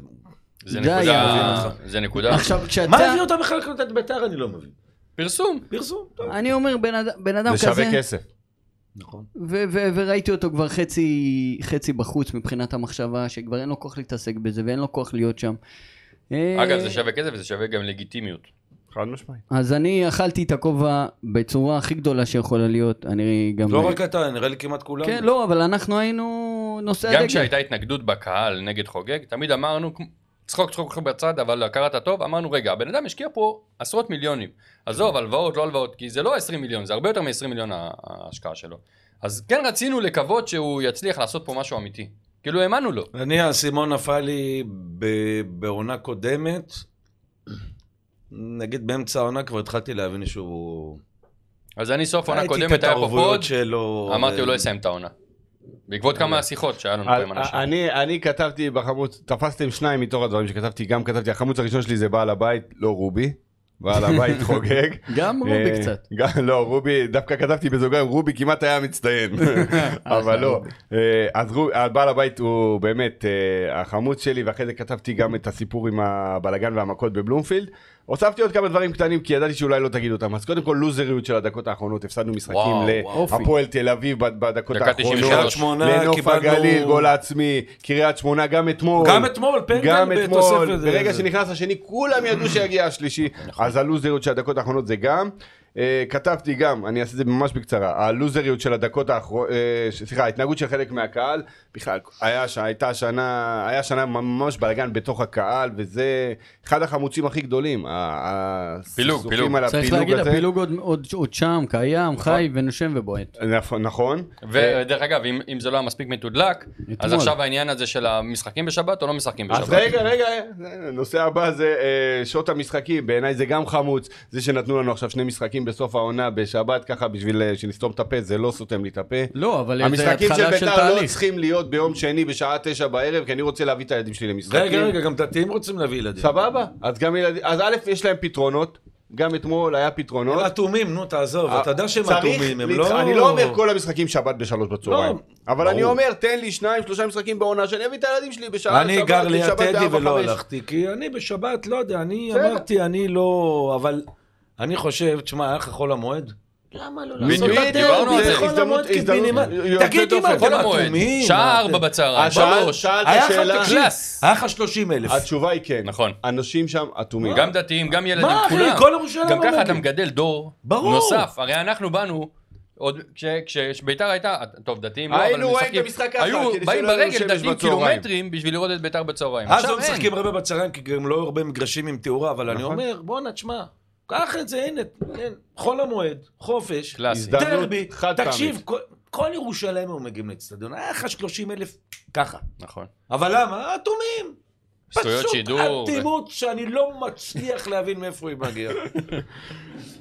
Speaker 4: זה
Speaker 3: די,
Speaker 4: נקודה,
Speaker 3: אה.
Speaker 4: זה נקודה.
Speaker 3: עכשיו, כשאתה...
Speaker 5: מה הביא אותם בכלל לקנות את ביתר? אני לא מבין.
Speaker 4: פרסום.
Speaker 5: פרסום, טוב.
Speaker 3: אני אומר, בן אדם- בן אדם
Speaker 2: זה
Speaker 3: כזה...
Speaker 2: שווה כסף.
Speaker 5: נכון.
Speaker 3: ו- ו- וראיתי אותו כבר חצי, חצי בחוץ מבחינת המחשבה, שכבר אין לו כוח להתעסק בזה ואין לו כוח להיות שם. אה,
Speaker 4: אגב, זה שווה כסף וזה שווה גם לגיטימיות.
Speaker 2: חד משמעית.
Speaker 3: אז אני אכלתי את הכובע בצורה הכי גדולה שיכולה להיות, אני גם...
Speaker 5: לא רק אתה, נראה לי כמעט כולם.
Speaker 3: כן, לא, אבל אנחנו היינו נושא הדגל.
Speaker 4: גם כשהייתה התנגדות בקהל נגד חוגג, תמיד אמרנו, כמו- צחוק צחוק צחוק בצד, אבל הכרת טוב, אמרנו, רגע, הבן אדם השקיע פה עשרות מיליונים. עזוב, הלוואות, לא הלוואות, כי זה לא 20 מיליון, זה הרבה יותר מ-20 מיליון ה- ההשקעה שלו. אז כן רצינו לקוות שהוא יצליח לעשות פה משהו אמיתי. כאילו, האמנו לו.
Speaker 5: אני, האסימון נפל לי ב- בעונה קודמת. נגיד באמצע העונה כבר התחלתי להבין שהוא...
Speaker 4: אז אני סוף עונה
Speaker 5: ראיתי את
Speaker 4: קודמת היה פה
Speaker 5: ההתערבויות
Speaker 4: פוד,
Speaker 5: שלו.
Speaker 4: אמרתי, הוא לא יסיים את העונה. בעקבות כמה שיחות שהיה לנו פה עם אנשים.
Speaker 2: אה, אני אני כתבתי בחמוץ, תפסתם שניים מתוך הדברים שכתבתי, גם כתבתי, החמוץ הראשון שלי זה בעל הבית, לא רובי. בעל הבית חוגג.
Speaker 3: גם רובי
Speaker 2: אה,
Speaker 3: קצת.
Speaker 2: גם, לא, רובי, דווקא כתבתי בזוגריים, רובי כמעט היה מצטיין, אבל לא. אה, אז רובי, בעל הבית הוא באמת אה, החמוץ שלי, ואחרי זה כתבתי גם את הסיפור עם הבלגן והמכות בבלומפילד. הוספתי עוד כמה דברים קטנים, כי ידעתי שאולי לא תגיד אותם. אז קודם כל, לוזריות של הדקות האחרונות, הפסדנו משחקים
Speaker 4: וואו,
Speaker 3: וואו.
Speaker 2: להפועל תל אביב בד- בדקות
Speaker 4: דקה
Speaker 2: האחרונות.
Speaker 4: 93.
Speaker 5: נכון. קריית שמונה,
Speaker 2: לנוף
Speaker 5: קיבלנו-
Speaker 2: הגליל, גול עצמי, קריית שמונה, גם אתמול.
Speaker 5: גם אתמול, פנדל
Speaker 2: גם
Speaker 5: בתוספת
Speaker 2: אתמול,
Speaker 5: זה- נכון.
Speaker 2: ברגע
Speaker 5: זה-
Speaker 2: שנכנס השני, כולם ידעו שיגיע השלישי. אז הלוזריות של הדקות האחרונות זה גם. אה, כתבתי גם, אני אעשה את זה ממש בקצרה, הלוזריות של הדקות האחרונות, סליחה, ההתנהגות של חלק מהקהל, בכלל, היה ש- הייתה שנה, היה שנה ממש בלאגן בתוך הקהל, וזה אחד החמוצים הכי גדולים. ה- ה-
Speaker 4: פילוג,
Speaker 2: הסכסוכים
Speaker 4: פילוג.
Speaker 2: על
Speaker 3: צריך
Speaker 2: הפילוג
Speaker 3: להגיד,
Speaker 2: הזה.
Speaker 3: הפילוג עוד- עוד- עוד שם, קיים,
Speaker 4: נכון.
Speaker 3: חי ונושם ובועט.
Speaker 2: נכון, נכון.
Speaker 4: ודרך אגב, אם, אם זה לא היה מספיק מתודלק, אז
Speaker 3: אתמול.
Speaker 4: עכשיו העניין הזה של המשחקים בשבת או לא משחקים בשבת.
Speaker 2: אז רגע, רגע, הנושא הבא זה אה, שעות המשחקים, בעיניי זה גם חמוץ, זה שנתנו לנו עכשיו שני משחקים בסוף העונה בשבת, ככה בשביל אה, שנסתום את הפה, זה לא סותם לי את הפה.
Speaker 3: לא, אבל זה
Speaker 2: המשחקים של
Speaker 3: התחלה של
Speaker 2: בית"ר לא
Speaker 3: תהליך.
Speaker 2: צריכים להיות ביום שני בשעה תשע בערב, כי אני רוצה להביא את הילדים שלי למשחקים.
Speaker 5: רגע, רגע, גם דתיים רוצים להביא ילדים.
Speaker 2: סבבה? אז גם ילדים, אז א', יש להם פתרונות, גם אתמול היה
Speaker 5: הם
Speaker 2: פתרונות.
Speaker 5: אטומים, נו, תעזוב, אתה יודע שהם
Speaker 2: אה, צריך
Speaker 5: אטומים, הם
Speaker 2: להתח-
Speaker 5: לא...
Speaker 2: אני לא אומר כל המשחקים שבת בשלוש בצהריים,
Speaker 5: לא,
Speaker 2: אבל אני
Speaker 5: ברור.
Speaker 2: אומר, תן לי שניים, שלושה משחקים בעונה, שאני אביא את הילדים שלי בשעה
Speaker 5: אני
Speaker 2: שבת,
Speaker 5: גר
Speaker 2: כי
Speaker 5: ליד
Speaker 2: שבת
Speaker 5: טדי
Speaker 2: בארבע,
Speaker 5: ולא
Speaker 2: חמש.
Speaker 5: הלכתי, כי אני בשבת, לא יודע, אני
Speaker 2: בסדר.
Speaker 5: אמרתי, אני לא... אבל אני חושב, תשמע, היה לך חול המועד? למה לא לעשות
Speaker 4: בדיוק,
Speaker 5: את
Speaker 4: דיברנו על זה.
Speaker 5: הדרבי בחול
Speaker 2: הזדמנות-
Speaker 5: המועד
Speaker 2: הזדמנות
Speaker 5: כמינימלי?
Speaker 2: יוצאת
Speaker 5: תגיד, אם
Speaker 2: דופן.
Speaker 5: אתם
Speaker 4: כל המועד,
Speaker 5: אטומים...
Speaker 4: שעה
Speaker 5: אתם-
Speaker 4: ארבע בצהריים,
Speaker 2: אה, שאל-
Speaker 4: שלוש.
Speaker 2: שאלת
Speaker 5: היה לך
Speaker 2: שאלה,
Speaker 5: תקשיב,
Speaker 4: קלאס.
Speaker 5: היה לך 30 אלף.
Speaker 2: התשובה היא כן.
Speaker 4: נכון.
Speaker 2: אנשים שם אטומים.
Speaker 4: גם דתיים, גם ילדים,
Speaker 5: מה, אחי,
Speaker 4: כולם.
Speaker 5: כל ירושלים
Speaker 4: גם ככה
Speaker 5: עומדת.
Speaker 4: אתה מגדל דור
Speaker 5: ברור.
Speaker 4: נוסף. הרי אנחנו באנו, עוד כש- כשביתר הייתה, טוב, דתיים לא, אבל
Speaker 2: היינו רואים את
Speaker 4: משחקים.
Speaker 2: המשחק ככה,
Speaker 4: היו
Speaker 2: כדי
Speaker 4: באים
Speaker 2: שלא יהיה לנו
Speaker 4: ברגל
Speaker 2: שמש
Speaker 4: דתיים
Speaker 2: בצהריים.
Speaker 4: קילומטרים בשביל לראות את ביתר בצהריים.
Speaker 5: אז
Speaker 4: עכשיו
Speaker 5: לא משחקים
Speaker 4: אין.
Speaker 5: הרבה בצהריים, כי גם לא היו הרבה מגרשים עם תאורה, אבל אני אומר, בואנה, תשמע, קח את זה, הנה, כן, חול המועד, חופש,
Speaker 4: קלאסי.
Speaker 2: הזדמנות
Speaker 5: דרבי,
Speaker 2: חד-פעמית.
Speaker 5: תקשיב, כל- כל ירושלים היו מגיעים לאצטדיון, היה לך 30 אלף ככה.
Speaker 4: נכון.
Speaker 5: אבל למה? אטומים.
Speaker 4: שטויות שידור.
Speaker 5: פשוט אטימות שאני לא מצליח להבין מאיפה היא מגיעה.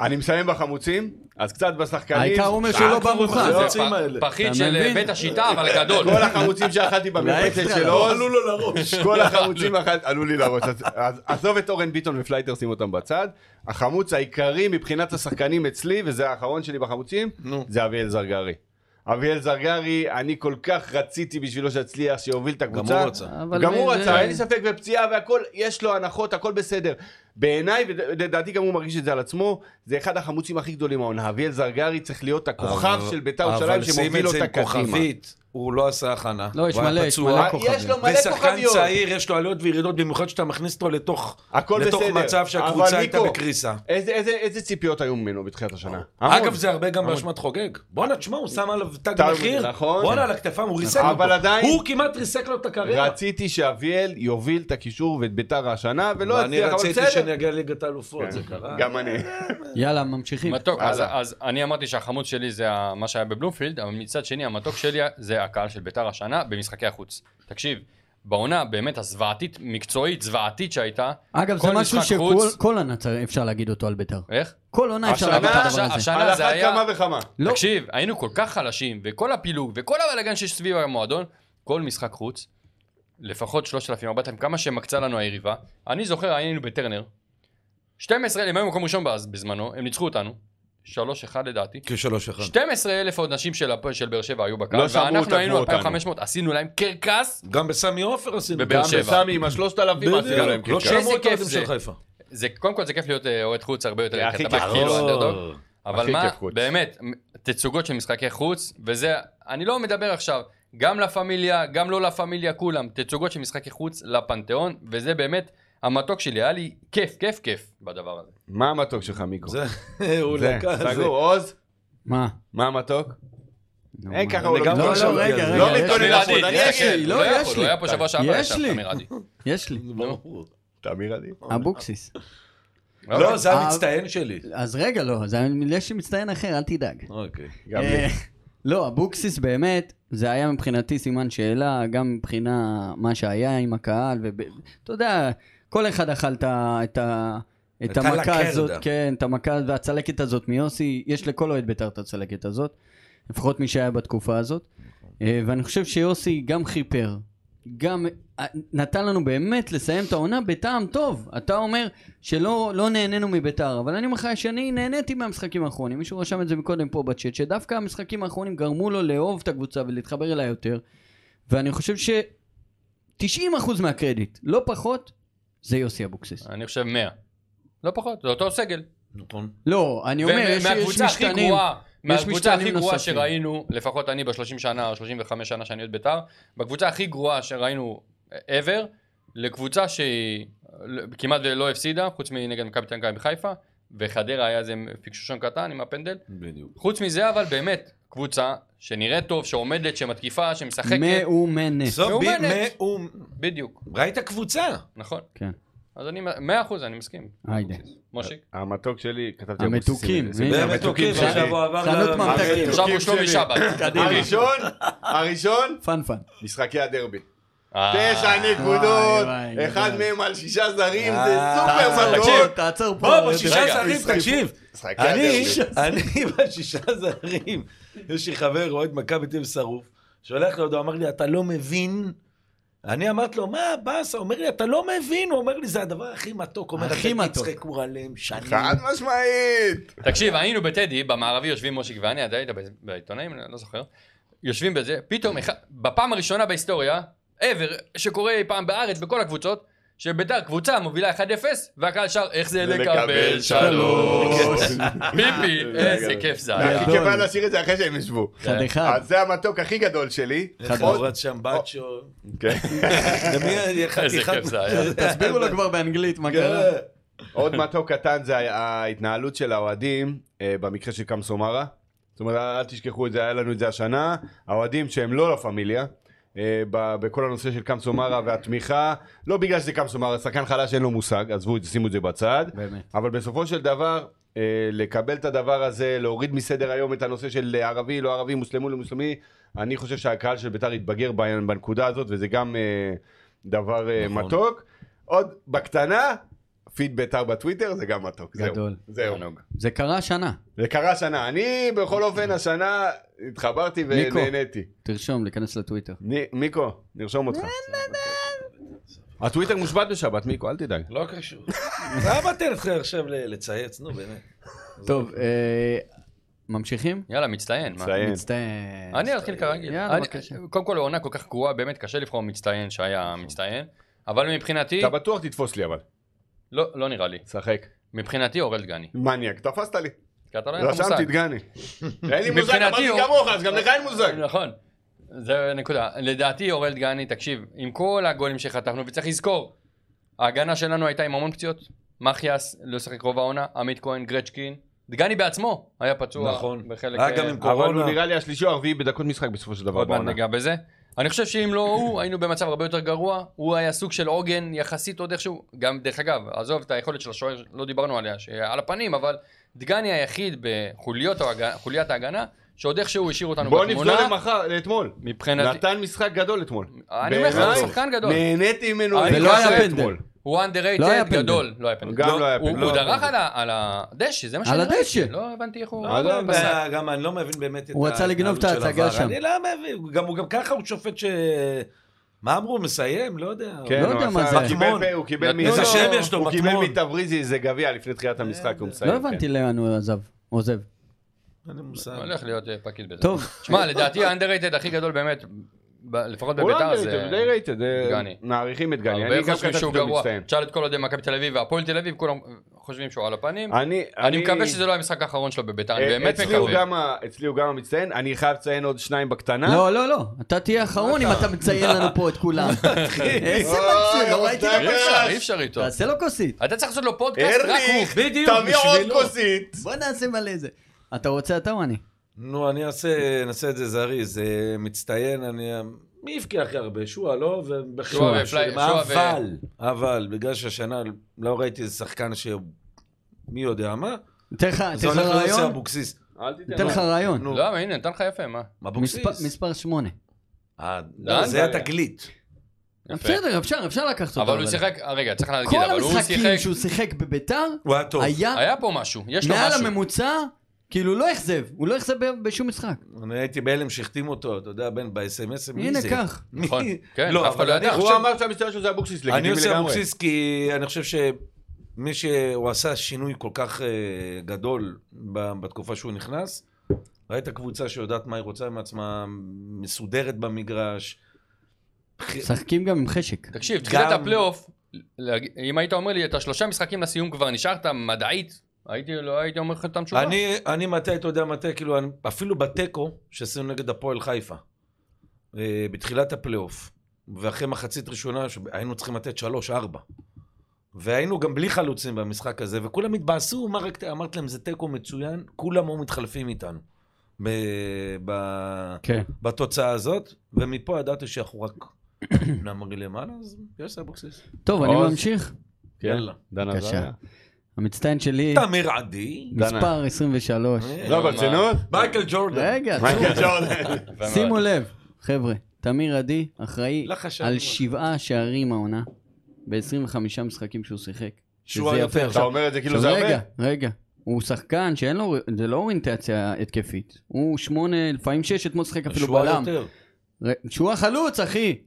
Speaker 2: אני מסיים בחמוצים, אז קצת בשחקנים.
Speaker 3: העיקר אומר שהוא לא בארוחה.
Speaker 5: זה
Speaker 4: זה
Speaker 5: החמוצים
Speaker 4: פ-
Speaker 5: האלה. אה,
Speaker 4: פחית
Speaker 3: אתה
Speaker 4: של אה,
Speaker 3: מבין?
Speaker 4: בית השיטה, אבל גדול.
Speaker 2: כל החמוצים שאכלתי במרפסת
Speaker 3: אקסטרה,
Speaker 2: של
Speaker 3: לא
Speaker 2: עוז, כל החמוצים אכלתי, עלו לי לראש. אז- אז עזוב את אורן ביטון ופלייטר, שים אותם בצד. החמוץ העיקרי מבחינת השחקנים אצלי, וזה האחרון שלי בחמוצים,
Speaker 5: נו.
Speaker 2: זה אביאל זרגרי. אביאל זרגרי, אני כל כך רציתי בשבילו שיצליח, שיוביל את הקבוצה.
Speaker 5: הוא רצה.
Speaker 3: אבל
Speaker 2: גם הוא
Speaker 3: זה-
Speaker 2: רצה, אין לי ספק, ופציעה והכל, יש לו הנחות, הכל בסדר. בעיניי, ולדעתי גם הוא מרגיש את זה על עצמו, זה אחד החמוצים הכי גדולים העונה. אביאל זרגרי צריך להיות הכוכב של בית"ר ירושלים שמוביל אותה
Speaker 5: אבל שים את זה עם
Speaker 2: קדימה.
Speaker 5: כוכבית, הוא לא עשה הכנה.
Speaker 3: לא, יש
Speaker 5: הוא היה
Speaker 3: מלא, יש
Speaker 5: פצוע.
Speaker 3: מלא
Speaker 2: אה,
Speaker 3: כוכבים.
Speaker 2: יש לו מלא
Speaker 5: זה שחקן
Speaker 2: כוכביות.
Speaker 5: צעיר, יש לו עליות וירידות, במיוחד שאתה מכניס אותו לתוך
Speaker 2: הכל
Speaker 5: לתוך
Speaker 2: בסדר.
Speaker 5: מצב
Speaker 2: אבל
Speaker 5: שהקבוצה הייתה
Speaker 2: ניקו,
Speaker 5: בקריסה.
Speaker 2: איזה- איזה- איזה ציפיות היו ממנו בתחילת השנה? המון.
Speaker 5: אגב, זה הרבה גם באשמת חוגג. בואנה, תשמע, הוא שם עליו תג
Speaker 2: תג,
Speaker 5: מחיר,
Speaker 2: נכון.
Speaker 5: בואנה, על הכתפיים, הוא ריסק
Speaker 2: נכון.
Speaker 5: אותו.
Speaker 2: אבל עדיין-
Speaker 5: הוא כמעט ריסק לו את הקריירה.
Speaker 2: רציתי שאביאל יוביל את הקישור ואת בית"ר השנה, ולא
Speaker 5: ואני
Speaker 2: לא הצליח, אבל
Speaker 5: רציתי
Speaker 2: בסדר. כן.
Speaker 5: שאני אגיע לליגת האלופות, זה קרה.
Speaker 2: גם אני.
Speaker 3: יאללה, ממשיכים.
Speaker 4: מתוק, אז,
Speaker 2: הלאה.
Speaker 4: אז אני אמרתי שהחמוץ שלי זה ה- מה שהיה בבלומפילד, אבל מצד שני המתוק שלי זה הקהל של ביתר השנה במשחקי החוץ. תקשיב, בעונה באמת הזוועתית, מקצועית, זוועתית שהייתה.
Speaker 3: אגב, זה
Speaker 4: כל
Speaker 3: משהו
Speaker 4: משחק
Speaker 3: שכל
Speaker 4: חוץ-
Speaker 3: כל עונה צריך- אפשר להגיד אותו על ביתר.
Speaker 4: איך?
Speaker 3: כל עונה אפשר להגיד את
Speaker 2: השנה-
Speaker 3: הדבר הזה.
Speaker 4: השנה-
Speaker 2: על
Speaker 4: זה
Speaker 2: אחת
Speaker 4: היה-
Speaker 2: כמה וכמה.
Speaker 3: לא.
Speaker 4: תקשיב, היינו כל כך חלשים, וכל הפילוג, וכל הבלאגן שיש סביב המועדון, כל משחק חוץ, לפחות 3,000, 4,000, כמה שמקצה לנו היריבה. אני זוכר, היינו בטרנר, 12,000, הם היו במקום ראשון בז- בזמנו, הם ניצחו אותנו, 3-1 לדעתי.
Speaker 5: כשלוש אחד.
Speaker 4: 12,000 עונשים של הפועל של באר שבע היו בקהל,
Speaker 2: כן. לא שמעו,
Speaker 4: ואנחנו
Speaker 2: תקפו
Speaker 4: היינו
Speaker 2: אותנו.
Speaker 4: 2,500, עשינו להם קרקס,
Speaker 5: גם בסמי עופר עשינו.
Speaker 4: בבאר
Speaker 2: גם
Speaker 4: שבע.
Speaker 2: בסמי עם השלושת אלפים עשינו להם
Speaker 5: לא
Speaker 2: קרקס.
Speaker 4: איזה
Speaker 5: שמעו את
Speaker 4: כיף
Speaker 5: האוהדים
Speaker 4: זה.
Speaker 5: של חיפה.
Speaker 4: זה, קודם כל זה כיף להיות אה, אוהד חוץ הרבה יותר,
Speaker 2: הכי
Speaker 4: כי אתה
Speaker 2: כיף.
Speaker 4: בא כאילו אנדרדוג. אבל
Speaker 2: הכי
Speaker 4: מה,
Speaker 2: כיף חוץ.
Speaker 4: באמת, תצוגות של משחקי חוץ, וזה, אני לא מדבר עכשיו, גם לה פמיליה, גם לא לה פמיליה, כולם, תצוגות של משחקי חוץ לפנתיאון, וזה באמת המתוק שלי, היה לי כיף, כיף, כיף בדבר הזה.
Speaker 2: מה המתוק שלך, מיקו?
Speaker 5: זה, הוא
Speaker 2: זה,
Speaker 5: לקח, זה.
Speaker 2: סגור, עוז,
Speaker 3: מה?
Speaker 2: מה המתוק?
Speaker 3: נו,
Speaker 2: אין
Speaker 3: מה?
Speaker 2: ככה, הוא לא
Speaker 5: לגמרי
Speaker 3: לא,
Speaker 2: מתכונן.
Speaker 3: לא,
Speaker 5: חשבתי על
Speaker 3: רגע,
Speaker 5: זה.
Speaker 2: לא
Speaker 3: רגע. יש
Speaker 2: מתכונן
Speaker 3: לי-
Speaker 4: תמיר
Speaker 2: לעבוד,
Speaker 4: עדי,
Speaker 2: אני
Speaker 4: יש לי,
Speaker 2: אגיד.
Speaker 3: לא,
Speaker 4: הוא
Speaker 3: יש
Speaker 4: יכול,
Speaker 3: לי.
Speaker 4: הוא היה פה שבוע שעבר,
Speaker 3: יש
Speaker 4: ישב,
Speaker 3: לי.
Speaker 4: תמיר עדי.
Speaker 3: יש לי.
Speaker 5: ברור.
Speaker 2: תמיר עדי.
Speaker 3: אבוקסיס.
Speaker 5: לא, זה
Speaker 3: אה,
Speaker 5: המצטיין שלי.
Speaker 3: אז רגע, לא, זה יש מצטיין אחר, אל תדאג.
Speaker 5: אוקיי.
Speaker 2: גם
Speaker 3: אה, לא, אבוקסיס באמת, זה היה מבחינתי סימן שאלה, גם מבחינה מה שהיה עם הקהל, ואתה יודע, כל אחד אכל את ה- את ה... את
Speaker 5: את
Speaker 3: המכה
Speaker 5: הלקרדה.
Speaker 3: הזאת, כן, את המכה והצלקת הזאת מיוסי, יש לכל אוהד בית"ר את הצלקת הזאת, לפחות מי שהיה בתקופה הזאת. אה, ואני חושב שיוסי גם חיפר, גם אה, נתן לנו באמת לסיים את העונה בטעם טוב. אתה אומר שלא לא נהנינו מביתר, אבל אני אומר לך שאני נהניתי מהמשחקים האחרונים. מישהו רשם את זה מקודם פה בצ'אט, שדווקא המשחקים האחרונים גרמו לו לאהוב את הקבוצה ולהתחבר אליה יותר. ואני חושב ש-90% מהקרדיט, לא פחות, זה יוסי אבוקסיס.
Speaker 4: אני חושב 100. לא פחות, זה אותו סגל.
Speaker 5: נכון.
Speaker 3: לא, אני אומר, יש, יש
Speaker 4: ומהקבוצה הכי
Speaker 3: משתנים.
Speaker 4: גרועה, מהקבוצה
Speaker 3: משתנים
Speaker 4: הכי גרועה
Speaker 3: נוספים.
Speaker 4: שראינו, לפחות אני בשלושים שנה או שלושים וחמש שנה שאני עוד בית"ר, בקבוצה הכי גרועה שראינו ever, לקבוצה שהיא לא- כמעט ולא הפסידה, חוץ מנגד מכבי תל אביב חיפה, וחדרה היה איזה פקשושון קטן עם הפנדל.
Speaker 5: בדיוק.
Speaker 4: חוץ מזה אבל באמת, קבוצה שנראית טוב, שעומדת, שמתקיפה, שמשחקת,
Speaker 3: מאומנת.
Speaker 5: זו בי-
Speaker 4: מאומנת.
Speaker 5: מאום-
Speaker 4: בדיוק,
Speaker 5: ראית קבוצה.
Speaker 4: נכון.
Speaker 3: כן.
Speaker 4: אז אני, מאה אחוז, אני מסכים.
Speaker 3: היידה.
Speaker 4: מושיק.
Speaker 2: המתוק שלי, כתבתי
Speaker 3: המתוקים,
Speaker 2: אבוקסיסים.
Speaker 3: הנה.
Speaker 2: זה המתוקים
Speaker 5: בשבוע
Speaker 2: שלי.
Speaker 5: אוקיי, עבר
Speaker 3: חנות
Speaker 5: ל- אוקיי.
Speaker 3: ממתקים.
Speaker 4: עכשיו הוא
Speaker 2: המתוקים
Speaker 4: שלומי
Speaker 2: שלי.
Speaker 4: שבת.
Speaker 2: הראשון, הראשון,
Speaker 3: פאן פאן.
Speaker 2: משחקי הדרבי.
Speaker 4: אה,
Speaker 2: תשע נקודות,
Speaker 3: וואי, וואי,
Speaker 2: אחד
Speaker 3: גדול.
Speaker 2: מהם על שישה זרים, זה
Speaker 5: אה,
Speaker 2: סופר
Speaker 4: תקשיב,
Speaker 2: מתוק.
Speaker 3: תעצור פה.
Speaker 5: בוא, בשישה
Speaker 4: רגע,
Speaker 5: זרים, תקשיב.
Speaker 2: משחקי
Speaker 5: אני,
Speaker 2: הדרבי.
Speaker 5: אני בשישה זרים. יש לי חבר, אוהד מכבי תל אביב שרוף, שולח לי הודעה, אמר לי, אתה לא מבין? אני אמרתי לו, מה באסה? אומר לי, אתה לא מבין. הוא אומר לי, זה הדבר הכי מתוק. אומר,
Speaker 3: הכי
Speaker 5: "אתם
Speaker 3: מתוק."
Speaker 5: תצחקו עליהם שנים.
Speaker 2: חד משמעית.
Speaker 4: תקשיב, היינו בטדי, במערבי יושבים מושיק ואני, אתה היית בעיתונאים? אני לא זוכר. יושבים בזה, פתאום, אחד- בפעם הראשונה בהיסטוריה, ever, שקורה אי פעם בארץ, בכל הקבוצות, שביתר קבוצה מובילה 1-0, והקהל שר, איך זה לקבל שלוש. ביבי, איזה כיף זה היה.
Speaker 2: הכי כיף היה לשיר את זה אחרי שהם ישבו.
Speaker 3: אחד אחד.
Speaker 2: אז זה המתוק הכי גדול שלי. עוד-
Speaker 5: חברת שמבצ'ו.
Speaker 2: כן.
Speaker 5: למי-
Speaker 3: כן.
Speaker 4: איזה כיף זה היה.
Speaker 3: אה, תסבירו לו כבר באנגלית מה קרה.
Speaker 5: כן.
Speaker 2: עוד מתוק קטן זה ההתנהלות של האוהדים אה, במקרה של קאם סומרה. זאת אומרת, אל תשכחו את זה, היה לנו את זה השנה. האוהדים שהם לא לה פמיליה, אה, ב- בכל הנושא של קאם סומרה והתמיכה, לא בגלל שזה קאם סומרה, שחקן חלש אין לו מושג, עזבו את זה, שימו את זה בצד.
Speaker 3: באמת.
Speaker 2: אבל בסופו של דבר, אה, לקבל את הדבר הזה, להוריד מסדר היום את הנושא של ערבי, לא ערבי, מוסלמי, לא מוסלמי, אני חושב שהקהל של בית"ר יתבגר בעניין- בנקודה הזאת, וזה גם אה, דבר אה,
Speaker 5: נכון.
Speaker 2: מתוק. עוד בקטנה, פיד בית"ר בטוויטר, זה גם מתוק. זהו.
Speaker 3: גדול.
Speaker 2: זהו.
Speaker 4: תענוג.
Speaker 3: זה קרה השנה.
Speaker 2: זה קרה השנה. אני, בכל אופן, השנה התחברתי
Speaker 3: מיקו.
Speaker 2: ונהניתי.
Speaker 3: תרשום, להיכנס לטוויטר.
Speaker 2: ני- מיקו, נרשום אותך. הטוויטר מושבת בשבת, מיקו, אל תדאג.
Speaker 5: לא קשור. למה אתה נתחיל עכשיו ל- לצייץ? נו, באמת.
Speaker 3: טוב, אה, ממשיכים?
Speaker 4: יאללה, מצטיין. מה?
Speaker 2: מצטיין.
Speaker 3: מצטער.
Speaker 4: אני אתחיל כרגיל.
Speaker 3: יאללה,
Speaker 4: אני-
Speaker 3: בבקשה.
Speaker 4: קודם כל, העונה כל כך גרועה, באמת קשה לבחור מצטיין שהיה מצטיין, אבל מבחינתי,
Speaker 2: אתה בטוח תתפוס לי אבל.
Speaker 4: לא לא נראה לי.
Speaker 2: שחק.
Speaker 4: מבחינתי, אורל דגני.
Speaker 2: מניאק, תפסת לי.
Speaker 4: כי אתה לא אין לך מושג.
Speaker 2: רשמתי את גני. אין לי מושג,
Speaker 4: מבחינתי
Speaker 2: אמרתי
Speaker 4: הוא-
Speaker 2: כמוך, אז גם לך אין מושג.
Speaker 4: נכון. זה נקודה. לדעתי אורל דגני, תקשיב, עם כל הגולים שחטפנו, וצריך לזכור, ההגנה שלנו הייתה עם המון פציעות. מחיאס לא שיחק רוב העונה, עמית כהן, גרצ'קין. דגני בעצמו היה פצוע.
Speaker 5: נכון.
Speaker 4: בחלק... אה,
Speaker 5: היה גם עם
Speaker 2: אבל
Speaker 5: קורונה.
Speaker 2: הוא נראה לי השלישי או הרביעי בדקות משחק בסופו של דבר
Speaker 4: עוד מעט
Speaker 2: בעונה.
Speaker 4: ניגע בזה. אני חושב שאם לא הוא, היינו במצב הרבה יותר גרוע. הוא היה סוג של עוגן יחסית עוד איכשהו. גם, דרך אגב, עזוב את היכולת של השוער, לא דיברנו עליה, שעל הפנים, אבל דגני היחיד בחוליית ההגנה, שעוד איכשהו השאיר אותנו
Speaker 2: בוא
Speaker 4: בתמונה.
Speaker 2: נפנה למחר, לאתמול.
Speaker 4: מבחינתי,
Speaker 2: נתן משחק גדול אתמול.
Speaker 4: אני אומר לך, הוא
Speaker 2: בעיניי,
Speaker 4: שחקן גדול. אה,
Speaker 2: נהניתי ממנו.
Speaker 4: ולא
Speaker 2: אני חושב
Speaker 3: היה פנדל.
Speaker 2: אתמול.
Speaker 4: הוא
Speaker 3: לא היה
Speaker 4: underrated
Speaker 3: פנדל.
Speaker 4: גדול. לא היה פנדל.
Speaker 2: גם לא היה
Speaker 4: הוא-
Speaker 2: פנדל.
Speaker 4: הוא דרך על ה- על הדשא, זה מה
Speaker 3: על
Speaker 4: שאני ראיתי.
Speaker 3: הדשא.
Speaker 4: לא הבנתי איך הוא...
Speaker 2: לא, לא,
Speaker 4: פסק.
Speaker 5: אה, גם אני לא מבין באמת את
Speaker 3: הוא רצה לגנוב את
Speaker 5: ההתנהלות של
Speaker 3: ההצגה
Speaker 5: הוואר.
Speaker 3: שם.
Speaker 5: אני לא מבין, גם- הוא גם ככה הוא שופט ש... מה אמרו? מסיים? לא יודע.
Speaker 2: כן,
Speaker 3: לא
Speaker 2: הוא
Speaker 3: יודע מה
Speaker 2: עשה-
Speaker 3: זה.
Speaker 2: הוא קיבל
Speaker 5: מטמון.
Speaker 2: פ- הוא קיבל מ...
Speaker 5: איזה
Speaker 2: לא,
Speaker 5: שם
Speaker 2: לא,
Speaker 5: יש לו,
Speaker 2: הוא קיבל
Speaker 5: מטמון.
Speaker 2: מתבריזי איזה גביע לפני תחילת המשחק, הוא מסיים. כן.
Speaker 3: לא
Speaker 4: כן.
Speaker 3: הבנתי לאן הוא עזב, עוזב.
Speaker 5: אין לי מושג.
Speaker 4: הולך להיות אה, פקיד בזה.
Speaker 3: טוב.
Speaker 4: שמע, לדעתי ה-underrated הכי גדול באמת, ב- לפחות
Speaker 2: הוא
Speaker 4: בביתר
Speaker 2: underrated,
Speaker 4: זה...
Speaker 2: הוא די רייטד,
Speaker 4: גני.
Speaker 2: מעריכים את גני, אני
Speaker 4: הרבה
Speaker 2: גם
Speaker 4: חושבים
Speaker 2: כתבתי
Speaker 4: שהוא
Speaker 2: אותו
Speaker 4: גרוע.
Speaker 2: מצטיין.
Speaker 4: תשאל את כל אוהדי מכבי תל אביב והפועל תל אביב, כולם חושבים שהוא על הפנים.
Speaker 2: אני,
Speaker 4: אני מקווה שזה לא המשחק האחרון שלו בביתר, אני
Speaker 2: אה,
Speaker 4: באמת
Speaker 2: אצלי הוא
Speaker 4: מקווה.
Speaker 2: גם ה- אצלי הוא גם המצטיין, אני חייב לציין עוד שניים בקטנה.
Speaker 3: לא, לא, לא, אתה תהיה האחרון אם אתה מציין לנו פה את כולם. איזה מגזים, לא ראיתי
Speaker 4: אה,
Speaker 2: אוי,
Speaker 3: דבר
Speaker 2: אוי,
Speaker 3: כזה.
Speaker 4: אי אפשר איתו.
Speaker 3: תעשה לו כוסית.
Speaker 4: אתה צריך לעשות לו פודקאסט רק הוא.
Speaker 2: ארליך,
Speaker 5: בדיוק,
Speaker 2: תביא עוד
Speaker 5: בשבילו.
Speaker 2: כוסית.
Speaker 3: בוא נעשה מלא זה. אתה רוצה אתה או אני?
Speaker 5: נו, אני אעשה, נעשה את זה זריז. אה, מצטיין, אני... מי הבקיע הכי הרבה? שועה, לא? ובכלל,
Speaker 4: שועה
Speaker 5: שועה,
Speaker 4: ופליי- שועה ו-
Speaker 5: אבל, אבל, בגלל שהשנה לא ראיתי איזה שחקן ש... מי יודע מה?
Speaker 3: אתן לך אתן
Speaker 5: זה
Speaker 3: לך
Speaker 5: הולך ליוסי
Speaker 3: רעיון?
Speaker 5: אבוקסיס.
Speaker 3: אתן לך רעיון.
Speaker 5: נו,
Speaker 4: לא, אבל הנה, נתן לך יפה, מה?
Speaker 5: אבוקסיס.
Speaker 3: מספר- מספר שמונה.
Speaker 5: אה,
Speaker 4: דן?
Speaker 5: לא, זה התגלית.
Speaker 3: בסדר, אפשר, אפשר לקחת אותו.
Speaker 4: אבל הוא שיחק, רגע, צריך להגיד,
Speaker 3: כל
Speaker 4: אבל הוא
Speaker 3: המשחקים
Speaker 4: שיחק,
Speaker 3: שהוא שיחק בביתר,
Speaker 5: הוא היה טוב.
Speaker 3: היה
Speaker 4: היה פה משהו, יש לו
Speaker 3: מעל
Speaker 4: משהו.
Speaker 3: הממוצע, כאילו לא אכזב, הוא לא אכזב ב- בשום משחק.
Speaker 5: אני הייתי בהלם שהחתימו אותו, אתה יודע, בן, בסמסים, מי זה?
Speaker 3: הנה, קח.
Speaker 5: מי?
Speaker 4: נכון, כן,
Speaker 5: לא,
Speaker 4: אף אחד
Speaker 5: אבל
Speaker 4: לא
Speaker 5: אני
Speaker 4: ידע.
Speaker 2: הוא
Speaker 5: חושב-
Speaker 2: אמר שהמצטיין שלו זה אבוקסיס,
Speaker 5: אני
Speaker 2: לגיטימי
Speaker 5: עושה
Speaker 2: לגמרי.
Speaker 5: אבוקסיס כי אני חושב שמי שהוא עשה שינוי כל כך אה, גדול ב- בתקופה שהוא נכנס, ראית קבוצה שיודעת מה היא רוצה עם עצמה, מסודרת במגרש.
Speaker 3: משחקים גם עם חשק.
Speaker 4: תקשיב, תחילת
Speaker 5: גם-
Speaker 4: הפלייאוף, להג- אם היית אומר לי, את השלושה משחקים לסיום כבר נשארת מדעית, הייתי, לא הייתי אומר לך את התשובה.
Speaker 5: אני, אני מתי, אתה יודע מתי, כאילו, אני, אפילו בתיקו שעשינו נגד הפועל חיפה, אה, בתחילת הפלייאוף, ואחרי מחצית ראשונה, היינו צריכים לתת שלוש, ארבע. והיינו גם בלי חלוצים במשחק הזה, וכולם התבאסו, מה רק, אמרת להם, זה תיקו מצוין, כולם היו מתחלפים איתנו. ב, ב,
Speaker 3: כן.
Speaker 5: בתוצאה הזאת, ומפה ידעתי שאנחנו רק נאמרי למעלה, אז יש אבוקסיס.
Speaker 3: טוב, אני
Speaker 2: עוז.
Speaker 3: ממשיך.
Speaker 2: כן,
Speaker 5: יאללה.
Speaker 2: דן
Speaker 3: בבקשה.
Speaker 2: עזריה.
Speaker 3: המצטיין שלי,
Speaker 5: תמיר עדי, אה,
Speaker 3: מספר 23.
Speaker 2: לא, ברצינות?
Speaker 5: מייקל
Speaker 2: לא
Speaker 5: ג'ורדן.
Speaker 3: רגע,
Speaker 2: מייקל
Speaker 3: תראו,
Speaker 2: ג'ורדן.
Speaker 3: שימו לב, חבר'ה, תמיר עדי אחראי
Speaker 5: לחשן.
Speaker 3: על שבעה שערים העונה, ב-25 משחקים שהוא שיחק.
Speaker 5: שהוא
Speaker 3: שזה
Speaker 5: היותר.
Speaker 3: יפה.
Speaker 2: אתה
Speaker 3: עכשיו,
Speaker 2: אומר את זה כאילו
Speaker 3: עכשיו
Speaker 2: זה הרבה?
Speaker 3: רגע, רגע. הוא שחקן שאין לו, זה לא אוריינטציה התקפית. הוא שמונה, לפעמים שש, אתמול שיחק אפילו
Speaker 5: שהוא
Speaker 3: בלם.
Speaker 5: היותר.
Speaker 3: ר- שהוא החלוץ, אחי!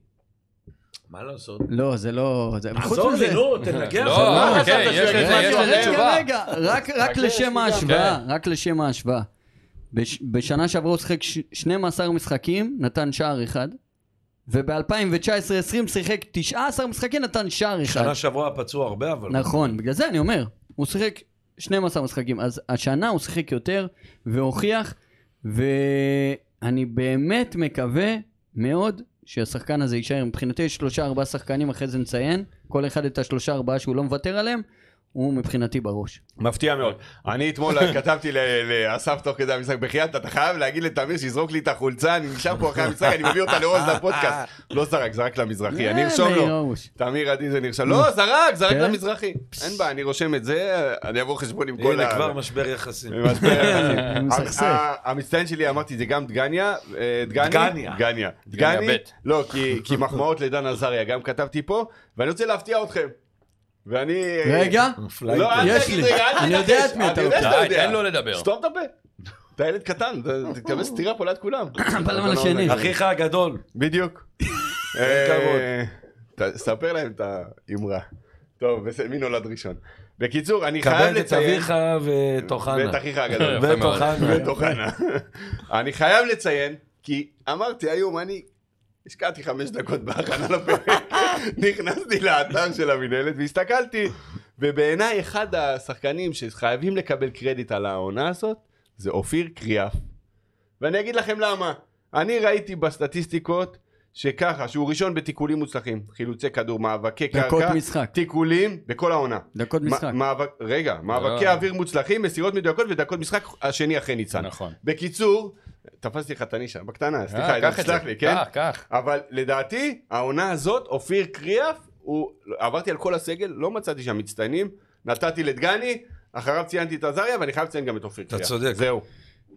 Speaker 5: מה לעשות?
Speaker 3: לא, זה לא... זה- וחוץ
Speaker 5: עזור לי,
Speaker 3: מזה-
Speaker 5: נו, תנגח.
Speaker 4: לא,
Speaker 2: מה
Speaker 4: אוקיי,
Speaker 2: חשבת
Speaker 4: יש
Speaker 2: שהוא
Speaker 4: לזה
Speaker 2: יגיד
Speaker 4: יש
Speaker 2: משהו
Speaker 4: לזה
Speaker 3: רגע,
Speaker 2: אחר?
Speaker 4: תשובה.
Speaker 3: רגע, רק, רק לשם ההשוואה, רק לשם ההשוואה. בש, בשנה שעברה הוא שיחק ש- 12 משחקים, נתן שער אחד, וב-2019-2020 שיחק 19 משחקים, נתן שער אחד.
Speaker 5: שנה שעברה פצעו הרבה, אבל...
Speaker 3: נכון, בגלל זה אני אומר, הוא שיחק 12 משחקים, אז השנה הוא שיחק יותר והוכיח, ואני באמת מקווה מאוד שהשחקן הזה יישאר. מבחינתי יש שלושה ארבעה שחקנים, אחרי זה נציין, כל אחד את השלושה ארבעה שהוא לא מוותר עליהם, הוא מבחינתי בראש.
Speaker 2: מפתיע מאוד. אני אתמול כתבתי ל- לאסף תוך כדי המשחק, בחייאת, אתה חייב להגיד לתמיר שיזרוק לי את החולצה, אני נשאר פה אחרי המשחק, אני מביא אותה לעוז לפודקאסט. לא זרק, זרק למזרחי, אני ארשום
Speaker 3: אה, מאיר
Speaker 2: לו.
Speaker 3: הרוש.
Speaker 2: תמיר עדי זה נרשם. לא, זרק, זרק
Speaker 3: כן?
Speaker 2: למזרחי. אין בעיה, אני רושם את זה, אני אעבור חשבון עם כל
Speaker 5: הנה,
Speaker 2: ה...
Speaker 5: כבר משבר יחסים.
Speaker 2: ממש בערך.
Speaker 3: הוא כן, מסכסך.
Speaker 2: ה- המצטיין אה, שלי אמרתי זה גם דגניה, אה, דגני,
Speaker 5: דגניה.
Speaker 2: דגניה,
Speaker 4: דגניה
Speaker 2: דגני,
Speaker 4: ב'.
Speaker 2: לא כי- כי מחמאות לדן עזריה גם כתבתי פה, ואני רוצה להפתיע אתכם, ואני, אה,
Speaker 3: רגע,
Speaker 2: לא, אל
Speaker 3: יש
Speaker 2: תגיד
Speaker 3: לי.
Speaker 2: רגע, אל
Speaker 3: אני
Speaker 2: תנחש.
Speaker 3: יודע את מי
Speaker 2: אני
Speaker 3: אתה
Speaker 2: יודע
Speaker 3: לוקח.
Speaker 2: שאתה
Speaker 4: די,
Speaker 2: יודע.
Speaker 4: אה, תן לו לדבר.
Speaker 2: סתום את הפה, אתה ילד קטן, אתה תקבל סטירה פה ליד כולם, לא
Speaker 3: בלם על לא השני.
Speaker 5: אחיך הגדול.
Speaker 2: בדיוק, אה, ת- ספר להם את האמרה, טוב, בסדר, מי נולד ראשון, בקיצור, אני חייב
Speaker 5: כבד את
Speaker 2: לציין,
Speaker 5: אביך וטוחנה.
Speaker 2: ואת אחיך הגדול,
Speaker 4: יפה מאוד.
Speaker 5: וטוחנה.
Speaker 2: וטוחנה. אני חייב לציין, כי אמרתי היום, אני השקעתי חמש דקות בהכנה לפרק, נכנסתי לאתר של המינהלת והסתכלתי, ובעיניי אחד השחקנים שחייבים לקבל קרדיט על העונה הזאת, זה אופיר קריאף. ואני אגיד לכם למה. אני ראיתי בסטטיסטיקות שככה, שהוא ראשון בתיקולים מוצלחים, חילוצי כדור, מאבקי
Speaker 3: דקות
Speaker 2: קרקע,
Speaker 3: משחק.
Speaker 2: תיקולים בכל העונה.
Speaker 3: דקות
Speaker 2: מה-
Speaker 3: משחק.
Speaker 2: מאבק, רגע, מאבקי
Speaker 4: לא.
Speaker 2: אוויר מוצלחים, מסירות מדויקות ודקות משחק השני אחרי ניצן.
Speaker 4: נכון.
Speaker 2: בקיצור, תפסתי לך את הנישה, בקטנה, סליחה,
Speaker 4: אה,
Speaker 2: עידן,
Speaker 4: קח את זה.
Speaker 2: סלח לי, כן?
Speaker 4: קח, קח.
Speaker 2: אבל לדעתי, העונה הזאת, אופיר קריאף, הוא... עברתי על כל הסגל, לא מצאתי שם מצטיינים, נתתי לדגני, אחריו ציינתי את עזריה, ואני חייב לציין גם את אופיר
Speaker 5: אתה
Speaker 2: קריאף.
Speaker 5: צודק.
Speaker 2: זהו.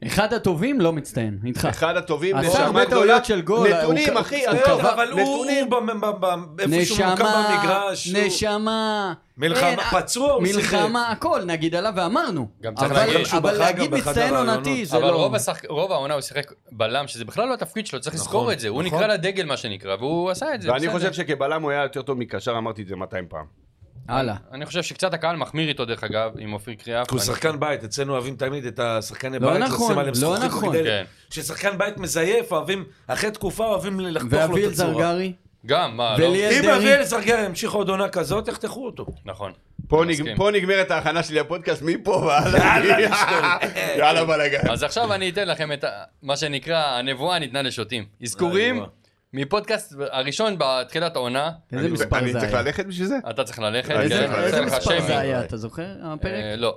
Speaker 3: אחד הטובים לא מצטיין, איתך.
Speaker 2: אחד הטובים,
Speaker 3: עשה
Speaker 2: נשמה
Speaker 3: הרבה
Speaker 2: גדולה.
Speaker 3: טעויות של גול,
Speaker 2: נתונים,
Speaker 3: הוא-
Speaker 2: אחי,
Speaker 3: הוא
Speaker 2: אתה
Speaker 3: קבע-
Speaker 2: יודע,
Speaker 5: לא, אבל הוא,
Speaker 2: נתונים.
Speaker 5: במ- במ- במ- איפה שהוא מוקם
Speaker 3: נשמה,
Speaker 5: במגרש, הוא-
Speaker 3: נשמה.
Speaker 5: מלחמה,
Speaker 3: אין, אה,
Speaker 5: פצוע, הוא
Speaker 3: מלחמה, הכל, נגיד עליו ואמרנו.
Speaker 4: גם צריך
Speaker 3: אבל-
Speaker 4: להגיד
Speaker 5: שהוא
Speaker 3: אבל
Speaker 5: בחר
Speaker 3: להגיד
Speaker 5: גם באחד
Speaker 3: מצטיין
Speaker 5: הרעיונות.
Speaker 3: עונתי זה
Speaker 4: אבל
Speaker 3: לא...
Speaker 4: רוב, השחק... רוב העונה הוא שיחק בלם, שזה בכלל לא התפקיד שלו, צריך לזכור את זה. הוא
Speaker 5: נכון.
Speaker 4: נקרא לדגל, מה שנקרא, והוא עשה את זה.
Speaker 2: ואני
Speaker 4: בסדר.
Speaker 2: חושב שקבלם הוא היה יותר טוב מקשר, אמרתי את זה 200 פעם.
Speaker 3: הלאה.
Speaker 4: אני חושב שקצת הקהל מחמיר איתו, דרך אגב, עם אופיר קריאף.
Speaker 5: כי הוא
Speaker 4: אני-
Speaker 5: שחקן בית, אצלנו אוהבים תמיד את השחקני
Speaker 3: לא
Speaker 5: בית,
Speaker 3: נכון,
Speaker 5: לשים עליהם
Speaker 3: לא
Speaker 5: זכוכית
Speaker 3: נכון.
Speaker 5: מגדלת.
Speaker 4: כן.
Speaker 5: כששחקן בית מזייף, אוהבים, אחרי תקופה אוהבים לחתוך לו את
Speaker 3: ואביל
Speaker 5: הצורה.
Speaker 3: זרגרי,
Speaker 4: גם, מה, לא?
Speaker 3: וליאל
Speaker 5: אם אביאל
Speaker 3: דרעי,
Speaker 5: זרגר ימשיך עוד עונה כזאת, יחתכו אותו.
Speaker 4: נכון.
Speaker 2: פה
Speaker 4: אני מסכים.
Speaker 2: נג- פה נגמרת ההכנה שלי לפודקאסט, מפה והלאה. יאללה בלאגן.
Speaker 4: אז עכשיו אני אתן לכם את ה- מה שנקרא, הנבואה ניתנה לשוטים. אזכורים
Speaker 5: הנבואה.
Speaker 4: מפודקאסט הראשון בתחילת העונה,
Speaker 3: איזה מספר
Speaker 2: אני
Speaker 3: זה
Speaker 2: צריך
Speaker 3: היה?
Speaker 2: ללכת בשביל זה?
Speaker 4: אתה צריך ללכת,
Speaker 2: איזה-
Speaker 4: כן,
Speaker 2: איזה
Speaker 4: אני עושה
Speaker 3: איזה
Speaker 4: לך
Speaker 3: מספר
Speaker 4: שיימינג.
Speaker 3: זה היה, אתה זוכר? הפרק?
Speaker 4: אה, לא.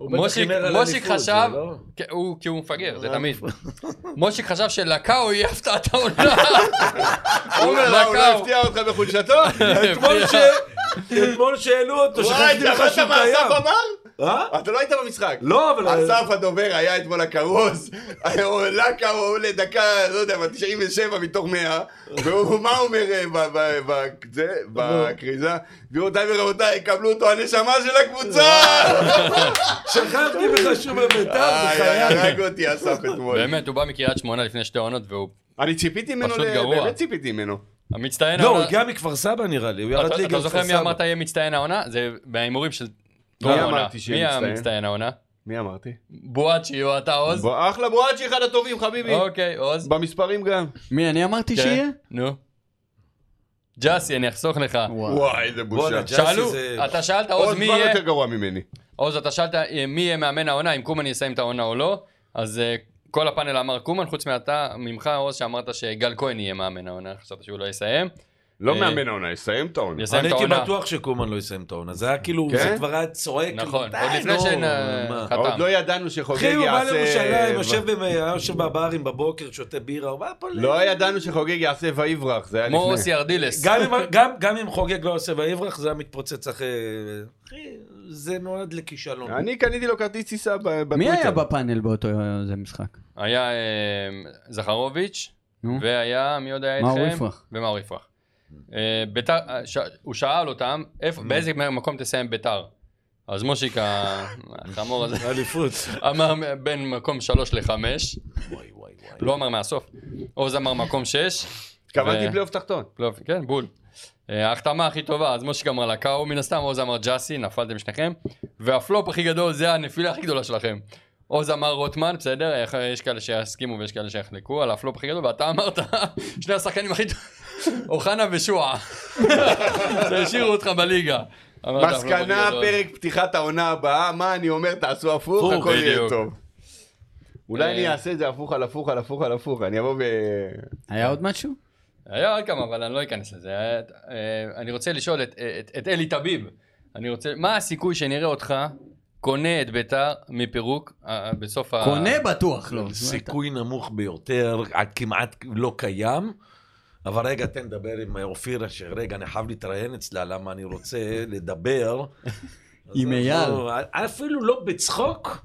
Speaker 5: בטח
Speaker 4: מושיק
Speaker 5: הימר על
Speaker 4: מושיק
Speaker 5: אליפות,
Speaker 4: חשב,
Speaker 5: זה לא?
Speaker 4: כן, הוא- כי הוא מפגר, זה תמיד. מושיק חשב שלקאו יהיה הפתעת העונה. אה,
Speaker 2: עומר, מה, הוא לא
Speaker 4: לקאו.
Speaker 2: הפתיע אותך בחולשתו?
Speaker 5: אתמול ש- אתמול שהעלו אותו,
Speaker 2: וואי,
Speaker 5: שכחתי
Speaker 2: אתה
Speaker 5: לך
Speaker 2: יכולת
Speaker 5: לא שהוא
Speaker 2: מאסף
Speaker 5: קיים.
Speaker 2: אמר?
Speaker 5: אה?
Speaker 2: אתה לא היית במשחק.
Speaker 5: לא, אבל...
Speaker 2: אסף הדובר היה אתמול הכרוז, הוא לקה, הוא עולה דקה, לא יודע, מה, 97 מתוך 100, והוא, מה הוא אומר אה, ב- ב- ב- זה, בכריזה? גבירותיי ורבותיי, קבלו אותו הנשמה של הקבוצה!
Speaker 5: שכחתי בכלל שהוא בביתר,
Speaker 2: איי,
Speaker 5: בחיי.
Speaker 2: איי, הרג אותי אסף אתמול.
Speaker 4: באמת, הוא בא מקריית שמונה לפני שתי עונות, והוא
Speaker 2: אני ציפיתי ממנו,
Speaker 4: פשוט
Speaker 2: ל-
Speaker 4: גרוע.
Speaker 2: באמת ציפיתי ממנו.
Speaker 4: המצטיין
Speaker 5: לא, הוא
Speaker 4: העונה.
Speaker 5: הגיע מכפר סבא נראה לי, הוא ירד
Speaker 4: אתה-
Speaker 5: ליגה
Speaker 4: אתה
Speaker 5: מכפר סבא.
Speaker 4: זוכר מי אמרת יהיה מצטיין העונה? זה מההימורים של...
Speaker 2: לא
Speaker 4: טרום העונה.
Speaker 2: אמרתי שיהיה
Speaker 4: מי
Speaker 2: מצטיין.
Speaker 4: המצטיין העונה?
Speaker 2: מי אמרתי?
Speaker 4: בואצ'י או אתה עוז?
Speaker 2: בוא, אחלה בואצ'י, אחד הטובים, חביבי.
Speaker 4: אוקיי, עוז.
Speaker 2: במספרים גם.
Speaker 3: מי אני אמרתי
Speaker 4: כן.
Speaker 3: שיהיה?
Speaker 4: נו. ג'אסי, אני אחסוך לך.
Speaker 3: וואו.
Speaker 2: וואי, איזה בושה.
Speaker 5: בואנה, ג'אסי
Speaker 4: שאלו,
Speaker 5: זה-
Speaker 4: אתה שאלת
Speaker 2: עוד
Speaker 4: עוז מי
Speaker 2: זמן
Speaker 4: יהיה,
Speaker 2: יותר גרוע ממני.
Speaker 4: עוז אתה שאלת אה, מי יהיה מאמן העונה, אם קומן יסיים את העונה או לא, אז אה, כל הפאנל אמר קומן, חוץ מאתה, ממך עוז שאמרת שגל כהן יהיה מאמן העונה, חשבת שהוא לא יסיים,
Speaker 2: לא
Speaker 4: אה,
Speaker 2: מאמן העונה, יסיים את העונה.
Speaker 4: יסיים
Speaker 5: אני
Speaker 4: את
Speaker 5: הייתי
Speaker 4: העונה.
Speaker 5: בטוח שקומן לא יסיים את העונה, זה היה כאילו,
Speaker 2: כן?
Speaker 5: זה כבר היה צועק.
Speaker 4: נכון,
Speaker 5: כאילו,
Speaker 4: עוד
Speaker 5: די,
Speaker 4: לפני אה,
Speaker 5: נו,
Speaker 4: שנה-
Speaker 5: מה.
Speaker 4: חתם.
Speaker 2: עוד לא ידענו שחוגג
Speaker 5: אחי, הוא בא
Speaker 2: יעשה...
Speaker 5: לירושלים, יושב במ- היה יושב בברים בבוקר, שותה בירה, הוא בא פה... ל-
Speaker 2: לא ידענו שחוגג יעשה ויברח, זה היה
Speaker 4: כמו
Speaker 2: לפני.
Speaker 4: אוסי ארדילס.
Speaker 5: גם אם- גם- גם אם חוגג לא עושה ויברח, זה היה מתפוצץ אחרי... אחי, זה נועד לכישלון.
Speaker 2: אני קניתי לו כרטיס טיסה ב- בטוויטר.
Speaker 3: מי היה בפאנל באותו אה, זה משחק?
Speaker 4: היה אה, זכרוביץ',
Speaker 3: נו.
Speaker 4: והיה, מי עוד היה איתכם?
Speaker 3: מאור יפרח.
Speaker 4: ומאור יפרח. אה, ביתר, אה, ש- הוא שאל אותם, "איפה- באיזה מקום תסיים ביתר? אז מושיק ה- החמור הזה
Speaker 5: אליפות.
Speaker 4: אמר בין מקום שלוש לחמש, לא אמר מהסוף, עוז אמר מקום שש,
Speaker 2: התכוונתי
Speaker 4: ו-
Speaker 2: פלייאוף תחתון.
Speaker 4: לא, כן, בול. אה, ההחתמה הכי טובה, אז מושיק אמר לקאו מן הסתם, עוז אמר ג'אסי, נפלתם שניכם, והפלופ הכי גדול זה הנפילה הכי גדולה שלכם. עוז אמר רוטמן, בסדר, איך- יש כאלה שיסכימו ויש כאלה שיחלקו על הפלופ הכי גדול, ואתה אמרת, שני השחקנים הכי טובים, אוחנה ושועה. שהשאירו אותך בליגה. אמרת, "הפלופ הכי
Speaker 2: מסקנה,
Speaker 4: גדול".
Speaker 2: פרק פתיחת העונה הבאה, מה אני אומר, תעשו הפוך,
Speaker 4: לא. הפוך,
Speaker 2: הכל יהיה
Speaker 4: בדיוק.
Speaker 2: טוב. אולי
Speaker 4: אה,
Speaker 2: אני אעשה את זה הפוך על הפוך על הפוך על הפוך, אני אבוא ב...
Speaker 3: היה עוד משהו?
Speaker 4: היה עוד כמה, אבל אני לא אכנס לזה. אה, אה, אני רוצה לשאול את- את את אלי טביב. אני רוצה, מה הסיכוי שנראה אותך קונה את ביתר מפירוק אה, בסוף ה...
Speaker 3: קונה בטוח לא.
Speaker 5: סיכוי נמוך ביותר, עד כמעט לא קיים. אבל רגע, תן לדבר עם אופיר אשר, רגע, אני חייב להתראיין אצלה, למה אני רוצה לדבר.
Speaker 3: עם
Speaker 5: אז
Speaker 3: אייל.
Speaker 5: אנחנו- אפילו לא בצחוק,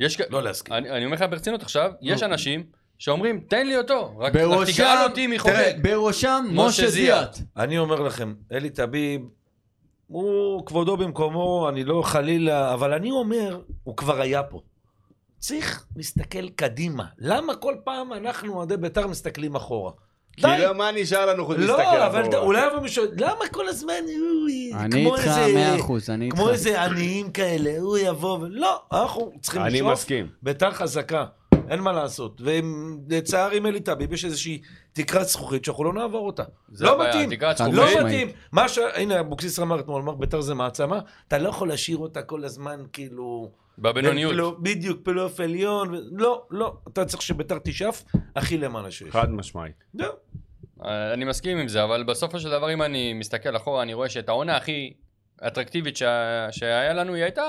Speaker 4: יש כ-
Speaker 5: לא להסכים.
Speaker 4: אני אני אומר לך ברצינות עכשיו, יש אנשים שאומרים, תן לי אותו, רק רק
Speaker 3: בראשם,
Speaker 4: תגאל אותי
Speaker 3: תראה,
Speaker 4: מחוגג.
Speaker 3: בראשם
Speaker 4: משה
Speaker 3: משה
Speaker 4: זיאת.
Speaker 3: זיאת.
Speaker 5: אני אומר לכם, אלי טביב, הוא כבודו במקומו, אני לא חלילה, אבל אני אומר, הוא כבר היה פה. צריך להסתכל קדימה. למה כל פעם אנחנו, אוהדי בית"ר, מסתכלים אחורה? די.
Speaker 2: כאילו, מה נשאר לנו חוץ מלהסתכל
Speaker 5: לא, אבל ד-
Speaker 2: אחורה?
Speaker 5: אולי יבוא מישהו, למה כל הזמן, אוי,
Speaker 3: אני
Speaker 5: כמו
Speaker 3: איתך
Speaker 5: איזה-
Speaker 3: מאה אחוז, אני איתך.
Speaker 5: כמו איזה עניים כאלה, הוא יבוא, ו- לא, אנחנו צריכים
Speaker 2: אני
Speaker 5: לשאוף.
Speaker 2: מסכים.
Speaker 5: ביתר חזקה, אין מה לעשות. ולצער עם אלי טביב יש איזושהי תקרת זכוכית שאנחנו לא נעבור אותה.
Speaker 4: זה
Speaker 5: לא
Speaker 4: הבעיה,
Speaker 5: מתאים,
Speaker 4: תקרת
Speaker 3: לא
Speaker 4: זכוכית.
Speaker 5: לא
Speaker 3: משמעית.
Speaker 5: מתאים. מה ש... הנה, אבוקסיס אמר אתמול, אמר ביתר זה מעצמה, אתה לא יכול להשאיר אותה כל הזמן, כאילו...
Speaker 4: בבינוניות.
Speaker 5: פלו- בדיוק, פלייאוף עליון. ו- לא, לא, אתה צריך שביתר תשאף הכי למעלה שיש.
Speaker 2: חד משמעית.
Speaker 5: זהו.
Speaker 4: אה, אני מסכים עם זה, אבל בסופו של דבר, אם אני מסתכל אחורה, אני רואה שאת העונה הכי... האטרקטיבית שה- שהיה לנו, היא הייתה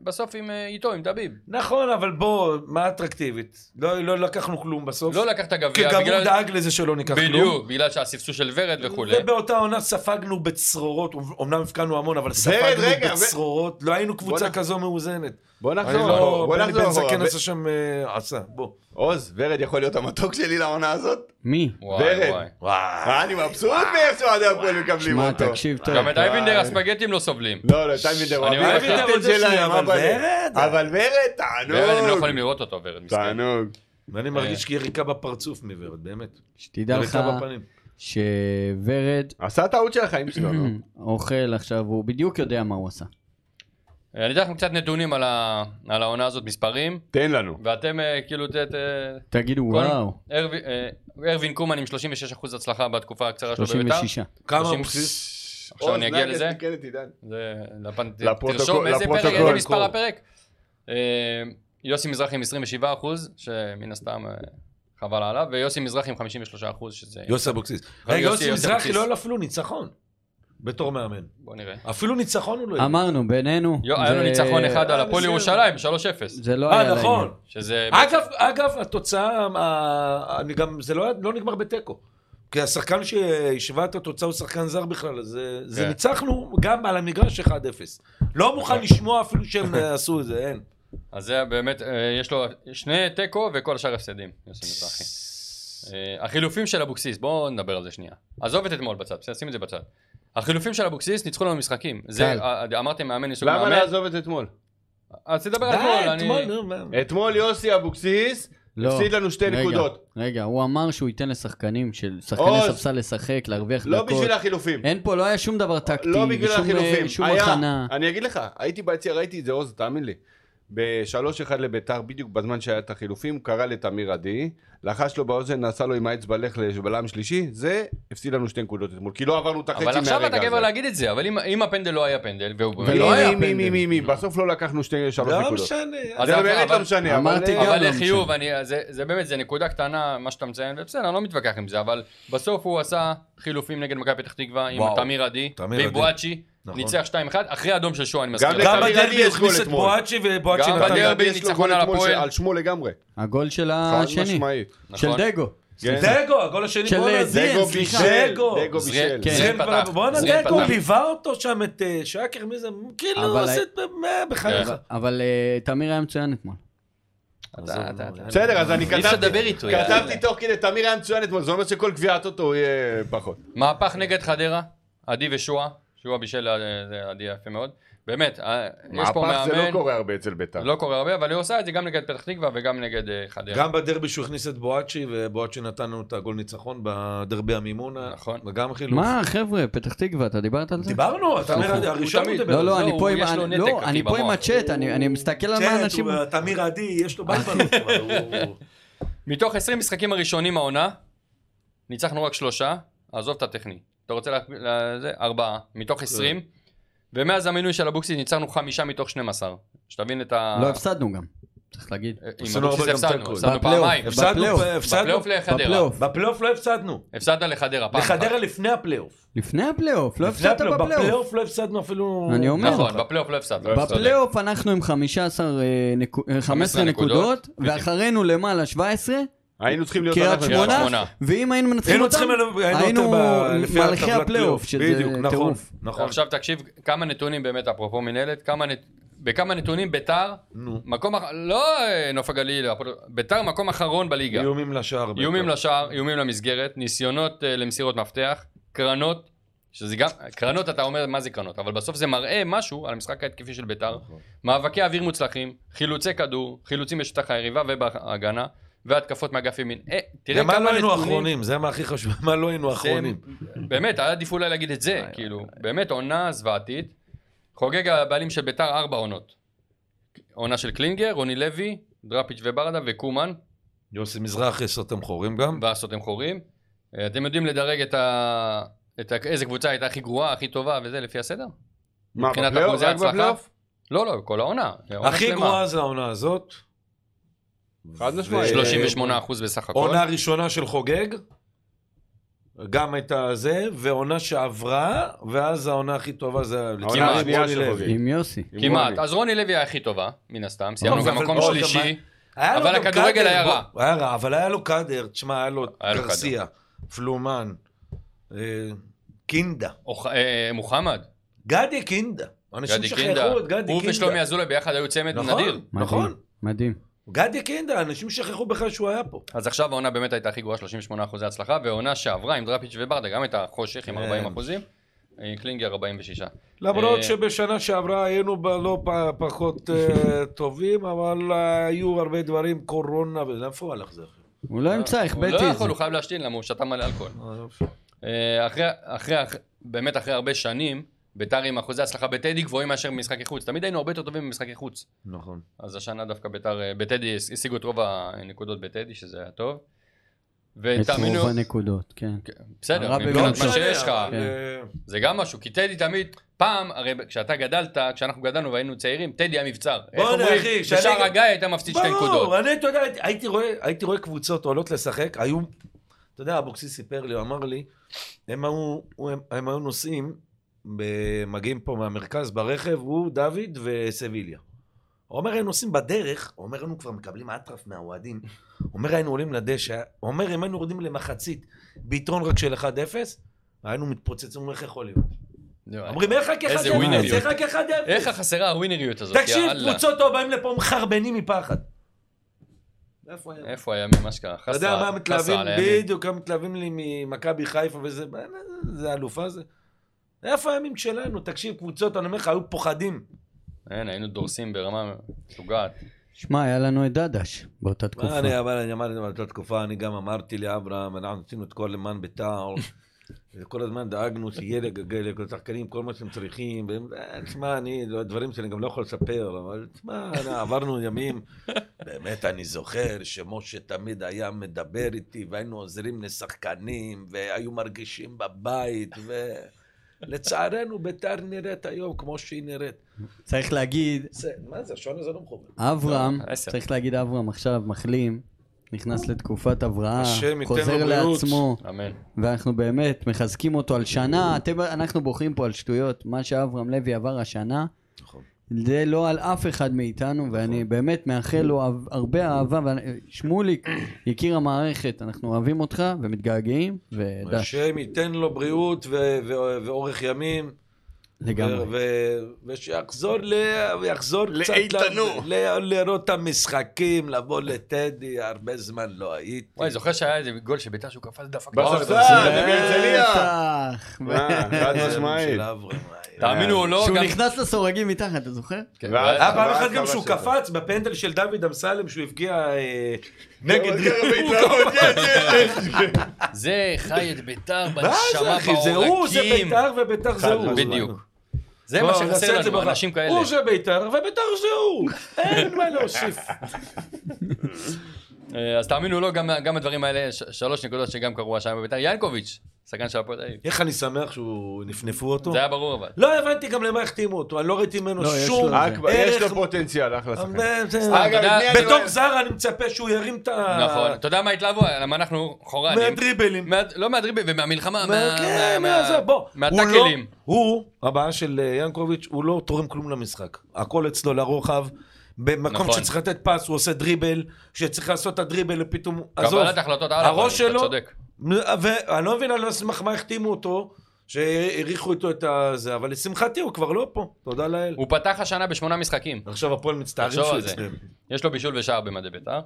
Speaker 4: בסוף עם, אה, איתו, עם דביב.
Speaker 5: נכון, אבל בוא, מה אטרקטיבית? לא לא לקחנו כלום בסוף.
Speaker 4: לא לקח את
Speaker 5: כי
Speaker 4: הגביע,
Speaker 5: גם
Speaker 4: בגלל-
Speaker 5: הוא דאג לזה שלא ניקח כלום.
Speaker 4: בדיוק, בגלל שהספסוס של ורד וכולי.
Speaker 5: ובאותה עונה ספגנו בצרורות, אמנם הבקענו המון, אבל ספגנו
Speaker 2: רגע, ו-
Speaker 5: בצרורות, לא היינו
Speaker 2: בוא'נה.
Speaker 5: קבוצה כזו מאוזנת.
Speaker 2: בוא
Speaker 5: אני
Speaker 2: נחזור, אחורה,
Speaker 5: לא,
Speaker 2: בוא
Speaker 5: בני בן
Speaker 2: נחזור. אחורה.
Speaker 5: זקן עשה שם, אה, עשה, בוא.
Speaker 2: עוז, ורד יכול להיות המתוק שלי לעונה הזאת?
Speaker 3: מי?
Speaker 4: וואי
Speaker 2: ורד.
Speaker 4: וואי.
Speaker 2: אה, אני מבסוט מאיך שאוהדי הפועל מקבלים
Speaker 3: שמע,
Speaker 2: אותו. אה,
Speaker 3: תקשיב טוב.
Speaker 4: גם את אייבינדר הספגטים לא סובלים.
Speaker 2: לא, לא, טיימינדר
Speaker 4: אני
Speaker 2: אוהבים
Speaker 4: אוהב
Speaker 2: את
Speaker 4: את
Speaker 2: הטלטל
Speaker 5: זה שלי,
Speaker 2: שלהם,
Speaker 5: אבל
Speaker 2: אבל
Speaker 5: ורד.
Speaker 2: אבל ורד,
Speaker 4: ורד, הם לא יכולים
Speaker 2: תענוג.
Speaker 4: לראות אותו, ורד, מסכן.
Speaker 2: תענוג.
Speaker 5: ואני מרגיש כי יריקה בפרצוף מוורד, באמת.
Speaker 3: שתדע לך
Speaker 5: יריקה בפנים.
Speaker 3: שוורד
Speaker 2: עשה טעות של החיים שלו, נו.
Speaker 4: Mm.
Speaker 3: אוכל עכשיו, הוא בדיוק יודע מה הוא עשה.
Speaker 4: אה, אני אתן לכם קצת נתונים על ה- על העונה הזאת, מספרים,
Speaker 2: תן לנו.
Speaker 4: ואתם אה, כאילו... ת- ת-
Speaker 3: תגידו וואו,
Speaker 4: ארווין- אה, ארווין קומן עם 36% הצלחה בתקופה הקצרה שלו בביתר.
Speaker 3: 36.
Speaker 5: כמה הוא
Speaker 4: שלושים-
Speaker 5: בסיס?
Speaker 4: עכשיו אני אגיע
Speaker 2: אוז,
Speaker 4: לזה.
Speaker 2: נגד תיקן את עידן.
Speaker 4: זה לפנ-
Speaker 2: לפרוטוקול,
Speaker 4: תרשום איזה פרק,
Speaker 2: לפרוטוקול.
Speaker 4: איזה מספר הפרק. אה, יוסי מזרחי עם 27 אחוז, שמן הסתם אה, חבל עליו, ויוסי מזרחי עם 53 אחוז, שזה...
Speaker 5: יוסי אבוקסיס.
Speaker 4: יוסי,
Speaker 5: רגע, יוסי
Speaker 4: יוסי
Speaker 5: מזרחי
Speaker 4: אבוקסיס.
Speaker 5: לא היה לו אפילו ניצחון. בתור מאמן.
Speaker 4: בוא נראה.
Speaker 5: אפילו ניצחון הוא לא... הביא.
Speaker 3: אמרנו, בינינו.
Speaker 4: יו- היה לו
Speaker 3: זה-
Speaker 4: ניצחון אחד על
Speaker 5: אה,
Speaker 4: הפועל
Speaker 5: בסדר.
Speaker 4: ירושלים, 3-0.
Speaker 3: זה לא היה
Speaker 5: אה,
Speaker 3: לעניין.
Speaker 5: נכון.
Speaker 4: שזה...
Speaker 5: אגב, אגב, התוצאה, ה- אני גם, זה לא, היה- לא נגמר בתיקו. כי השחקן שהשווה את התוצאה הוא שחקן זר בכלל, אז זה, זה
Speaker 4: כן.
Speaker 5: ניצחנו גם על המגרש 1-0. לא מוכן לשמוע אפילו שהם עשו את זה, אין.
Speaker 4: אז זה באמת, אה, יש לו שני תיקו וכל השאר הפסדים, יוסי מזרחי. אה, החילופים של אבוקסיס, בואו נדבר על זה שנייה. עזוב את אתמול בצד, בסדר, שים את זה בצד. החילופים של אבוקסיס ניצחו לנו משחקים. זה,
Speaker 3: קל.
Speaker 4: אה, אמרתם מאמן ניסוג מאמן.
Speaker 2: למה לעזוב את אתמול?
Speaker 4: אז תדבר על
Speaker 5: די,
Speaker 4: אתמול,
Speaker 5: אתמול,
Speaker 4: אני...
Speaker 5: נו, מה.
Speaker 2: אתמול יוסי אבוקסיס
Speaker 3: לא.
Speaker 2: הפסיד לנו שתי
Speaker 3: רגע,
Speaker 2: נקודות.
Speaker 3: רגע, הוא אמר שהוא ייתן לשחקנים, של שחקני
Speaker 2: עוז.
Speaker 3: ספסל לשחק, להרוויח
Speaker 2: לא
Speaker 3: דקות.
Speaker 2: בשביל החילופים.
Speaker 3: אין פה, לא היה שום דבר טקטי,
Speaker 2: לא בגלל
Speaker 3: ושום,
Speaker 2: החילופים.
Speaker 3: אה, שום
Speaker 2: היה,
Speaker 3: הכנה.
Speaker 2: אני אגיד לך, הייתי ביציע, ראיתי את זה, עוז, תאמין לי. בשלוש אחד לביתר, בדיוק בזמן שהיה את החילופים, הוא קרא לתמיר עדי, לחש לו באוזן, נסע לו עם האצבע לך לבלם שלישי, זה הפסיד לנו שתי נקודות אתמול, כי לא עברנו את החצי
Speaker 4: אבל
Speaker 2: מהרגע הזה.
Speaker 4: עכשיו אתה גבר להגיד את זה, אבל אם- אם הפנדל לא היה פנדל, והוא באמת
Speaker 2: מי,
Speaker 4: לא היה,
Speaker 2: מי, מי, מי, מי, מי, בסוף לא לקחנו שתי, שלוש
Speaker 5: לא
Speaker 2: נקודות.
Speaker 5: משנה.
Speaker 4: אז
Speaker 2: זה
Speaker 4: אבל-
Speaker 2: באמת לא
Speaker 4: אבל-
Speaker 2: משנה,
Speaker 3: אמרתי
Speaker 2: אבל...
Speaker 3: גם-
Speaker 4: אבל
Speaker 3: לא
Speaker 4: לחיוב, אני- זה- זה באמת, זה נקודה קטנה, מה שאתה מציין, בסדר, אני לא מתווכח עם זה, אבל בסוף הוא עשה חילופים נגד מכבי פתח תקווה עם
Speaker 5: וואו.
Speaker 4: תמיר עדי,
Speaker 5: תמיר
Speaker 4: ועם
Speaker 5: עדי.
Speaker 4: בואצ'י,
Speaker 5: נכון.
Speaker 4: ניצח 2-1, אחרי האדום של שואה, אני מזכיר.
Speaker 2: גם
Speaker 4: לך.
Speaker 5: גם
Speaker 2: לקבל
Speaker 5: בדרבי
Speaker 2: ידי
Speaker 5: הכניס
Speaker 2: אתמול,
Speaker 5: את
Speaker 2: אתמול.
Speaker 5: בואצ'י ובואצ'י
Speaker 4: גם
Speaker 5: נתן...
Speaker 4: בדרבי.
Speaker 5: לה-
Speaker 2: יש לו
Speaker 4: ניצחון
Speaker 2: גול
Speaker 4: על
Speaker 2: אתמול
Speaker 4: הפועל. אה,
Speaker 2: שעל שמו לגמרי,
Speaker 3: הגול של
Speaker 2: חד
Speaker 3: השני,
Speaker 2: משמעית.
Speaker 3: של
Speaker 4: נכון.
Speaker 3: דגו.
Speaker 2: כן.
Speaker 5: דגו, הגול השני,
Speaker 3: של
Speaker 5: בואנה,
Speaker 3: זיאן,
Speaker 5: דגו
Speaker 3: סליחה.
Speaker 5: בישל.
Speaker 2: דגו, דגו
Speaker 4: זריאן-
Speaker 2: בישל.
Speaker 3: כן.
Speaker 4: זריאן
Speaker 5: זיאן
Speaker 4: פתח,
Speaker 5: פתח. בואנה,
Speaker 4: זריאן
Speaker 5: דגו
Speaker 4: פתח.
Speaker 5: ליווה אותו שם, את אה, שקר, מי זה? כאילו,
Speaker 3: אבל
Speaker 5: עושה
Speaker 3: היה-
Speaker 5: את... מה, בחייך.
Speaker 4: כן.
Speaker 3: אבל אה, תמיר היה מצוין אתמול.
Speaker 4: אתה- אתה- אתה-
Speaker 2: בסדר, אז אני
Speaker 4: אי אפשר לדבר
Speaker 2: כתבתי,
Speaker 4: איתו, יאללה.
Speaker 2: כתבתי תוך כדי, תמיר היה מצוין אתמול, זה אומר שכל גביעת אותו הוא יהיה פחות.
Speaker 4: מהפך נגד חדרה, עדי ושועה, שועה בישל, אה, זה עדי יפה מאוד. באמת, אה, יש פה
Speaker 2: מהפך זה לא
Speaker 4: מאמן,
Speaker 2: קורה הרבה אצל בית"ר.
Speaker 4: לא קורה הרבה, אבל הוא עושה את זה גם נגד פתח תקווה וגם נגד אה, חדרה.
Speaker 5: גם בדרבי שהוא הכניס את בואצ'י, ובואצ'י נתן לנו את הגול ניצחון בדרבי המימונה.
Speaker 4: נכון.
Speaker 5: וגם חילוף.
Speaker 3: מה, חבר'ה, פתח תקווה, אתה דיברת על זה?
Speaker 5: דיברנו, אתה
Speaker 4: הוא-
Speaker 5: אומר,
Speaker 4: הוא
Speaker 5: הראשון
Speaker 4: תמיד-
Speaker 5: מדבר.
Speaker 3: לא,
Speaker 4: לא,
Speaker 3: לא, אני פה
Speaker 4: הוא-
Speaker 3: עם-
Speaker 4: יש לו
Speaker 3: אני-
Speaker 4: נתק,
Speaker 3: לא,
Speaker 4: אחי,
Speaker 3: אני פה עם
Speaker 4: במוח.
Speaker 3: הצ'אט, אני אני מסתכל על מה
Speaker 5: צ'ט,
Speaker 3: אנשים...
Speaker 5: כן,
Speaker 3: אה, כן.
Speaker 5: הוא- תמיר עדי, יש לו בלבלות. כבר, הוא-
Speaker 4: מתוך 20 משחקים הראשונים העונה, ניצחנו רק שלושה, עזוב את הטכני. אתה רוצה להקביל לזה? ארבעה, מתוך 20. ומאז המינוי של אבוקסיס ניצחנו חמישה מתוך 12. שתבין את ה...
Speaker 3: לא הפסדנו גם, צריך להגיד.
Speaker 4: עם
Speaker 5: עשינו
Speaker 4: אבוקסיס
Speaker 5: הרבה גם
Speaker 4: הפסדנו,
Speaker 5: תיקו.
Speaker 4: הפסדנו
Speaker 3: בפלייאוף.
Speaker 4: פעמיים.
Speaker 3: הפסדנו
Speaker 5: הפסדנו,
Speaker 3: בפלייאוף.
Speaker 5: הפסדנו.
Speaker 4: בפלייאוף לחדרה.
Speaker 3: בפלייאוף.
Speaker 5: בפלייאוף לא הפסדנו.
Speaker 4: הפסדת לחדרה פעם אחת.
Speaker 5: לחדרה לפני הפלייאוף.
Speaker 3: לפני הפלייאוף, לא
Speaker 5: לפני
Speaker 3: הפסדת
Speaker 5: הפלייאוף,
Speaker 3: בפלייאוף.
Speaker 5: בפלייאוף לא הפסדנו אפילו...
Speaker 3: אני אומר.
Speaker 4: נכון, בפלייאוף לא הפסדת.
Speaker 3: בפלייאוף אנחנו עם 15 אה, נקו- אה, 15 נקודות,
Speaker 4: נקודות,
Speaker 3: ואחרינו למעלה 17,
Speaker 2: היינו צריכים להיות...
Speaker 3: קריית
Speaker 2: אנחנו-
Speaker 4: קריית
Speaker 3: שמונה,
Speaker 4: שמונה.
Speaker 3: ואם היינו מנצחים
Speaker 5: היינו
Speaker 3: אותם,
Speaker 5: צריכים... היינו
Speaker 3: היינו
Speaker 5: יותר ב- לפי
Speaker 3: מלכי
Speaker 5: הטבלת
Speaker 3: הפלייאוף, שזה
Speaker 5: בדיוק, נכון,
Speaker 3: טירוף.
Speaker 5: נכון.
Speaker 4: עכשיו תקשיב, כמה נתונים באמת, אפרופו מנהלת, כמה נ- בכמה נתונים ביתר,
Speaker 5: נו.
Speaker 4: מקום, אח- לא אה, נוף הגליל, הפועל- ביתר מקום אחרון בליגה.
Speaker 5: איומים לשער.
Speaker 4: איומים
Speaker 5: בעיקר.
Speaker 4: לשער, איומים למסגרת, ניסיונות אה, למסירות מפתח, קרנות, שזה גם, קרנות אתה אומר מה זה קרנות, אבל בסוף זה מראה משהו על המשחק ההתקפי של ביתר, מאבקי אוויר מוצלחים, חילוצי כדור, חילוצים בשטח היריבה ובהגנה, והתקפות מאגף ימין. אה, תראה
Speaker 5: למה לא
Speaker 4: כמה
Speaker 5: היינו
Speaker 4: נתונים,
Speaker 5: אחרונים? זה מה הכי חשוב, מה לא היינו אחרונים?
Speaker 4: באמת, היה עדיף אולי להגיד את זה, כאילו, באמת עונה זוועתית, חוגג הבעלים של ביתר ארבע עונות. עונה של קלינגר, רוני לוי, דראפיץ' וברדה וקומן,
Speaker 5: יוסי מזרחי סותם חורים גם.
Speaker 4: והסותם חורים. אה, אתם יודעים לדרג את ה... את ה... איזה קבוצה הייתה הכי גרועה, הכי טובה וזה, לפי הסדר?
Speaker 2: מה,
Speaker 4: מבחינת
Speaker 2: בפלייאוף?
Speaker 4: אחוזי
Speaker 2: רק
Speaker 4: הצלחה?
Speaker 2: בפלייאוף?
Speaker 4: לא, לא, כל העונה. עונה
Speaker 5: הכי
Speaker 4: שלמה.
Speaker 5: גרועה זה העונה הזאת.
Speaker 2: חד משמעית.
Speaker 5: ו-
Speaker 4: 38 אחוז בסך הכל.
Speaker 5: עונה ראשונה של חוגג. גם הייתה זה, ועונה שעברה, ואז העונה הכי טובה זה... לצערי,
Speaker 2: העונה השנייה
Speaker 5: רוני
Speaker 2: של
Speaker 5: לוי.
Speaker 2: חוגג.
Speaker 3: עם יוסי.
Speaker 4: כמעט.
Speaker 2: רוני.
Speaker 4: אז רוני לוי היה הכי טובה, מן הסתם. סיימנו
Speaker 5: לא, אבל-
Speaker 4: גם מקום
Speaker 5: אבל-
Speaker 4: שלישי.
Speaker 5: היה לו
Speaker 4: אבל
Speaker 5: גם
Speaker 4: הכדורגל
Speaker 5: קאדר,
Speaker 4: היה רע.
Speaker 5: בוא, היה רע, אבל היה לו קאדר, תשמע, היה לו
Speaker 4: היה לו
Speaker 5: גרסיה, פלומן, אה, קינדה.
Speaker 4: אוח- אה, מוחמד,
Speaker 5: גדי קינדה. אנשים
Speaker 4: גדי קינדה.
Speaker 5: שכחו את גדי
Speaker 4: הוא
Speaker 5: קינדה.
Speaker 4: ושלומי אזולאי ביחד היו צמד נדיר.
Speaker 5: נכון, נכון.
Speaker 3: מדהים, מדהים.
Speaker 5: גדי קינדה, אנשים שכחו בכלל שהוא היה פה.
Speaker 4: אז עכשיו העונה באמת הייתה הכי גרועה, 38 אחוזי הצלחה, והעונה שעברה עם דראפיץ' וברדה גם הייתה חושך עם
Speaker 5: כן.
Speaker 4: 40 אחוזים, אה, קלינגר 46.
Speaker 5: למרות
Speaker 4: אה,
Speaker 5: שבשנה שעברה היינו ב- לא פ- פחות אה, טובים, אבל אה, היו הרבה דברים, קורונה, וזה- איפה הוא הלך זה? אחי?
Speaker 3: הוא לא ימצא,
Speaker 4: הוא
Speaker 3: החבאתי
Speaker 4: לא
Speaker 3: את
Speaker 4: יכול, הוא
Speaker 3: זה.
Speaker 4: חייב להשתין למה הוא שתה מלא אלכוהול. אה, אחרי, אחרי, אח- באמת אחרי הרבה שנים, ביתר עם אחוזי הצלחה בטדי גבוהים מאשר במשחקי חוץ. תמיד היינו הרבה יותר טובים במשחקי חוץ.
Speaker 5: נכון.
Speaker 4: אז השנה דווקא ביתר, אה, בטדי, הש- השיגו את רוב הנקודות בטדי, שזה היה טוב.
Speaker 3: את
Speaker 4: ותאמינו,
Speaker 3: רוב הנקודות, כן.
Speaker 4: בסדר,
Speaker 3: הרע
Speaker 4: מבחינת
Speaker 3: במיעוט.
Speaker 4: מה
Speaker 3: לא
Speaker 4: שיש לך,
Speaker 5: אבל,
Speaker 3: כן.
Speaker 5: אה,
Speaker 4: זה גם משהו, כי טדי תמיד, פעם, הרי כשאתה גדלת, כשאנחנו גדלנו והיינו צעירים, טדי היה מבצר. איך
Speaker 5: בואנה,
Speaker 4: אומרים?
Speaker 5: אחי, כשאני-
Speaker 4: בשער הגיא היית מפציץ שתי נקודות.
Speaker 5: ברור, אני, אתה יודע, הייתי- הייתי רואה, הייתי רואה קבוצות עולות לשחק, היו, אתה יודע, אבוקסיס סיפר לי, הוא אמר לי, הם היו, הוא- הם, הם היו נוסעים, ב- מגיעים פה מהמרכז ברכב, הוא, דוד וסביליה. הוא אומר, היינו נוסעים בדרך, הוא אומר, היינו כבר מקבלים אטרף מהאוהדים. הוא אומר, היינו עולים לדשא, הוא אומר, אם היינו יורדים למחצית, ביתרון רק של 1-0, היינו מתפוצצים, אומרים, איך יכול להיות?
Speaker 4: זהו,
Speaker 5: אומרים, איך רק 1-0?
Speaker 4: איזה ווינריות.
Speaker 5: איך רק 1-0?
Speaker 4: איך החסרה הווינריות הזאת?
Speaker 5: תקשיב,
Speaker 4: יאללה.
Speaker 5: קבוצות טוב, באים לפה מחרבנים מפחד. איפה היה?
Speaker 4: איפה הימים, מה שקרה?
Speaker 5: אתה יודע מה מתלהבים,
Speaker 4: חסרה על הימים.
Speaker 5: בדיוק, הם מתלהבים לי ממכבי חיפה וזה, מה, זה אלופה זה. איפה הימים שלנו? תקשיב, קבוצות, אני אומר לך, היו פוחדים.
Speaker 4: אין, היינו דורסים ברמה משוגעת.
Speaker 3: שמע, היה לנו את דדש באותה תקופה.
Speaker 5: מה אני, אבל אני אמרתי באותה תקופה, אני גם אמרתי לאברהם, אנחנו עשינו את כל למען בית"ר, וכל הזמן דאגנו שיהיה לגגל, לשחקנים, כל מה שהם צריכים, והם, אה, תשמע, אני, לא- דברים שאני גם לא יכול לספר, אבל תשמע, אני- עברנו ימים, באמת אני זוכר שמשה תמיד היה מדבר איתי, והיינו עוזרים לשחקנים, והיו מרגישים בבית, ולצערנו בית"ר נראית היום כמו שהיא נראית.
Speaker 3: צריך להגיד,
Speaker 5: זה- מה זה, השעון הזה לא מכוון.
Speaker 3: אברהם,
Speaker 4: טוב, עשר.
Speaker 3: צריך להגיד אברהם עכשיו מחלים, נכנס לתקופת הבראה,
Speaker 5: השם ייתן לו
Speaker 3: חוזר
Speaker 5: בריאות.
Speaker 3: לעצמו,
Speaker 4: אמן.
Speaker 3: ואנחנו באמת מחזקים אותו על שנה, אתם, אנחנו בוכים פה על שטויות, מה שאברהם לוי עבר השנה,
Speaker 5: נכון.
Speaker 3: זה לא על אף אחד מאיתנו, ואני
Speaker 4: נכון.
Speaker 3: באמת מאחל לו אהב- הרבה אהבה, ואני- שמוליק, יקיר המערכת, אנחנו אוהבים אותך ומתגעגעים, ודש,
Speaker 5: השם ייתן לו בריאות ו- ו- ואורך ימים.
Speaker 3: לגמרי.
Speaker 5: ו- ו- ושיחזור ל... ויחזור קצת...
Speaker 2: לאיתנו.
Speaker 5: ל- ל- לראות את המשחקים, לבוא לטדי, הרבה זמן לא הייתי.
Speaker 4: וואי, זוכר שהיה איזה גול שביתר שהוא קפץ
Speaker 2: בספסל,
Speaker 4: דפק. באוזן.
Speaker 2: בהרצליה.
Speaker 3: בטח.
Speaker 2: אה, חד משמעית.
Speaker 5: כן, של אברהם, וואי.
Speaker 4: תאמינו או לא,
Speaker 3: כשהוא
Speaker 4: גם...
Speaker 3: נכנס לסורגים מתחת, אתה זוכר?
Speaker 4: כן,
Speaker 2: ואז-
Speaker 5: היה אה, פעם
Speaker 2: אבל
Speaker 5: אחת גם
Speaker 2: אה, כמה
Speaker 5: שהוא
Speaker 2: שזה.
Speaker 5: קפץ בפנדל של דוד אמסלם, שהוא הפגיע אה, נגד...
Speaker 2: אבל ככה בהתלהבות, כן, כן, כן.
Speaker 4: זה חי את ביתר
Speaker 5: מה זה,
Speaker 4: בנשמה
Speaker 5: אחי? זה הוא, זה
Speaker 4: בעורקים.
Speaker 5: בית"ר ובית"ר זה
Speaker 2: חד
Speaker 5: הוא.
Speaker 4: בדיוק. זה מה
Speaker 5: בוא, נעשה
Speaker 4: שחסר
Speaker 5: את זה
Speaker 4: לנו,
Speaker 5: ברע.
Speaker 4: אנשים כאלה.
Speaker 5: הוא זה בית"ר ובית"ר זה הוא. אין מה להוסיף.
Speaker 4: אה, אז תאמינו או לא, גם- גם הדברים האלה, ש- שלוש נקודות שגם קרו השנה בביתר. ינקוביץ', שחקן של הפועל תל אביב.
Speaker 5: איך אני שמח שהוא נפנפו אותו.
Speaker 4: זה היה ברור אבל.
Speaker 5: לא הבנתי גם למה החתימו אותו, אני לא ראיתי ממנו
Speaker 3: לא, יש
Speaker 5: שום
Speaker 3: לו-
Speaker 2: רק-
Speaker 4: אה,
Speaker 2: יש לו
Speaker 5: ערך
Speaker 2: פוטנציאל, אחלה שחקן.
Speaker 5: אבל זה-
Speaker 4: סתם,
Speaker 2: אגב,
Speaker 4: אתה
Speaker 2: את
Speaker 4: יודע-
Speaker 2: מי אני
Speaker 5: בתור
Speaker 2: אוהב?
Speaker 5: זר אני מצפה שהוא ירים את ה...
Speaker 4: נכון. אתה יודע מה התלהבו? למה אנחנו חורנים.
Speaker 5: אה. מהדריבלים.
Speaker 4: מה- לא מהדריבל,
Speaker 5: מה-
Speaker 4: ומהמלחמה, מה-
Speaker 5: כן,
Speaker 4: מה-
Speaker 5: מה זה, בוא. הוא לא-
Speaker 4: מהטאקלים.
Speaker 5: הוא, הבעיה של אה, ינקוביץ', הוא לא תורם כלום למשחק. הכל אצלו לרוחב. במקום
Speaker 4: נכון.
Speaker 5: שצריך לתת פס, הוא עושה דריבל, שצריך לעשות את הדריבל, פתאום, עזוב,
Speaker 4: קבלת החלטות על
Speaker 5: הראש
Speaker 4: הפנים, אתה
Speaker 5: שלו,
Speaker 4: צודק.
Speaker 5: ואני לא מבין על סמך מה החתימו אותו, שהעריכו איתו את הזה, אבל לשמחתי הוא כבר לא פה, תודה לאל.
Speaker 4: הוא פתח השנה בשמונה משחקים.
Speaker 5: עכשיו הפועל מצטערים
Speaker 4: תחשוב
Speaker 5: שהוא
Speaker 4: על זה.
Speaker 5: אצלם.
Speaker 4: יש לו בישול ושער במדי בית"ר.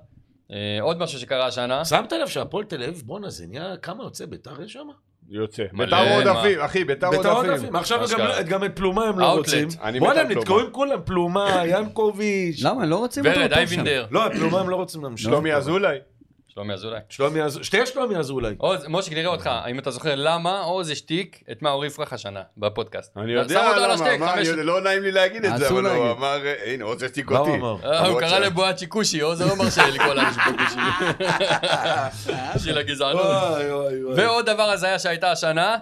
Speaker 4: אה, עוד משהו שקרה השנה,
Speaker 5: שמת לב שהפועל תל אביב, בואנה, זה נהיה, כמה יוצא ביתר יש שם?
Speaker 2: יוצא.
Speaker 4: מלא,
Speaker 2: ביתר עודפים, אחי, ביתר
Speaker 5: ביתר
Speaker 2: עודפים.
Speaker 5: עודפים. עכשיו
Speaker 4: מה
Speaker 5: גם-
Speaker 4: שקרה.
Speaker 5: גם את פלומה הם לא
Speaker 4: Outlet.
Speaker 5: רוצים.
Speaker 2: אני מת
Speaker 5: בואנה,
Speaker 2: על
Speaker 5: הם
Speaker 2: פלומה.
Speaker 5: נתקעו עם כולם, פלומה, ינקוביץ'.
Speaker 3: למה? לא רוצים אותו
Speaker 4: ורד
Speaker 3: יותר שם.
Speaker 4: אייבינדר,
Speaker 5: לא, את פלומה הם לא רוצים להמשיך.
Speaker 2: שלומי אזולאי.
Speaker 4: שלומי אזולאי.
Speaker 2: לא.
Speaker 5: שלומי אזולאי. שתי שלומי אזולאי.
Speaker 4: עוז, מושיק, נראה אותך, אם אתה זוכר למה עוז השתיק את מאור יפרח השנה בפודקאסט.
Speaker 2: אני יודע
Speaker 4: שם אותו על
Speaker 2: למה,
Speaker 4: השתק,
Speaker 2: מה,
Speaker 4: חמש-
Speaker 2: אני יודע, לא נעים לי להגיד את זה,
Speaker 3: אסור
Speaker 2: אבל הוא
Speaker 3: להגיד.
Speaker 2: אמר, אה, הנה, עוד שתיק
Speaker 5: מה
Speaker 2: אותי.
Speaker 5: הוא אמר?
Speaker 4: אה, הוא
Speaker 2: למרות
Speaker 4: קרא
Speaker 2: ש-
Speaker 4: לבואצ'י כושי, עוז לא מרשה לקרוא לאנשים פה כושי. של הגזענות.
Speaker 2: אה,
Speaker 5: אוי אוי אוי.
Speaker 4: ועוד דבר הזיה שהייתה השנה,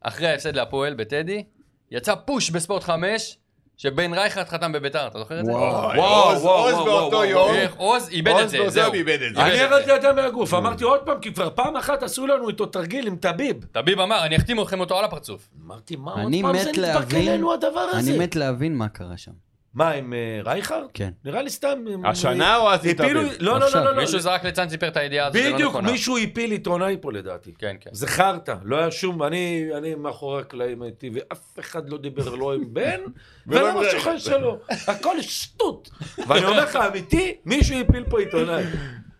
Speaker 4: אחרי ההפסד להפועל בטדי, יצא פוש בספורט 5 שבן רייכרד חתם בביתר, אתה זוכר את זה?
Speaker 3: וואו.
Speaker 2: אוי,
Speaker 5: וואו,
Speaker 2: עוז-
Speaker 5: וואו,
Speaker 2: עוז
Speaker 5: וואו,
Speaker 2: באותו
Speaker 5: וואו,
Speaker 2: יום,
Speaker 4: איך עוז איבד את
Speaker 2: עוז
Speaker 4: זה,
Speaker 2: באותו
Speaker 4: זהו.
Speaker 2: יום איבד את זה.
Speaker 4: איבד
Speaker 5: אני ירדתי ידיים מהגוף, אמרתי עוד פעם, כי כבר פעם אחת עשו לנו איתו תרגיל עם טביב.
Speaker 4: טביב אמר, אני אחתים אתכם אותו על הפרצוף.
Speaker 5: אמרתי, מה עוד
Speaker 3: אני
Speaker 5: פעם זה
Speaker 3: מת
Speaker 5: נדבק
Speaker 3: להבין,
Speaker 5: אלינו הדבר הזה?
Speaker 3: אני מת להבין מה קרה שם.
Speaker 4: כן.
Speaker 5: מה, עם אה, רייכרד?
Speaker 3: כן.
Speaker 5: נראה לי סתם... הם-
Speaker 2: השנה או אז עם
Speaker 5: הפילו-
Speaker 2: טביב?
Speaker 5: לא, לא,
Speaker 3: עכשיו.
Speaker 5: לא, לא, לא.
Speaker 4: מישהו זרק לצאן סיפר את הידיעה הזאת, זה לא
Speaker 5: בדיוק,
Speaker 3: נכון.
Speaker 4: נכונה.
Speaker 5: מישהו הפיל עיתונאי פה לדעתי.
Speaker 4: כן, כן.
Speaker 5: זה חרטא, לא היה שום, אני, אני מאחורי הקלעים הייתי, ואף אחד לא דיבר לא עם בן
Speaker 2: ולא
Speaker 5: ולא
Speaker 2: עם
Speaker 5: עם השכן שלו, הכל שטות. ואני אומר לך, אמיתי, מישהו הפיל פה עיתונאי.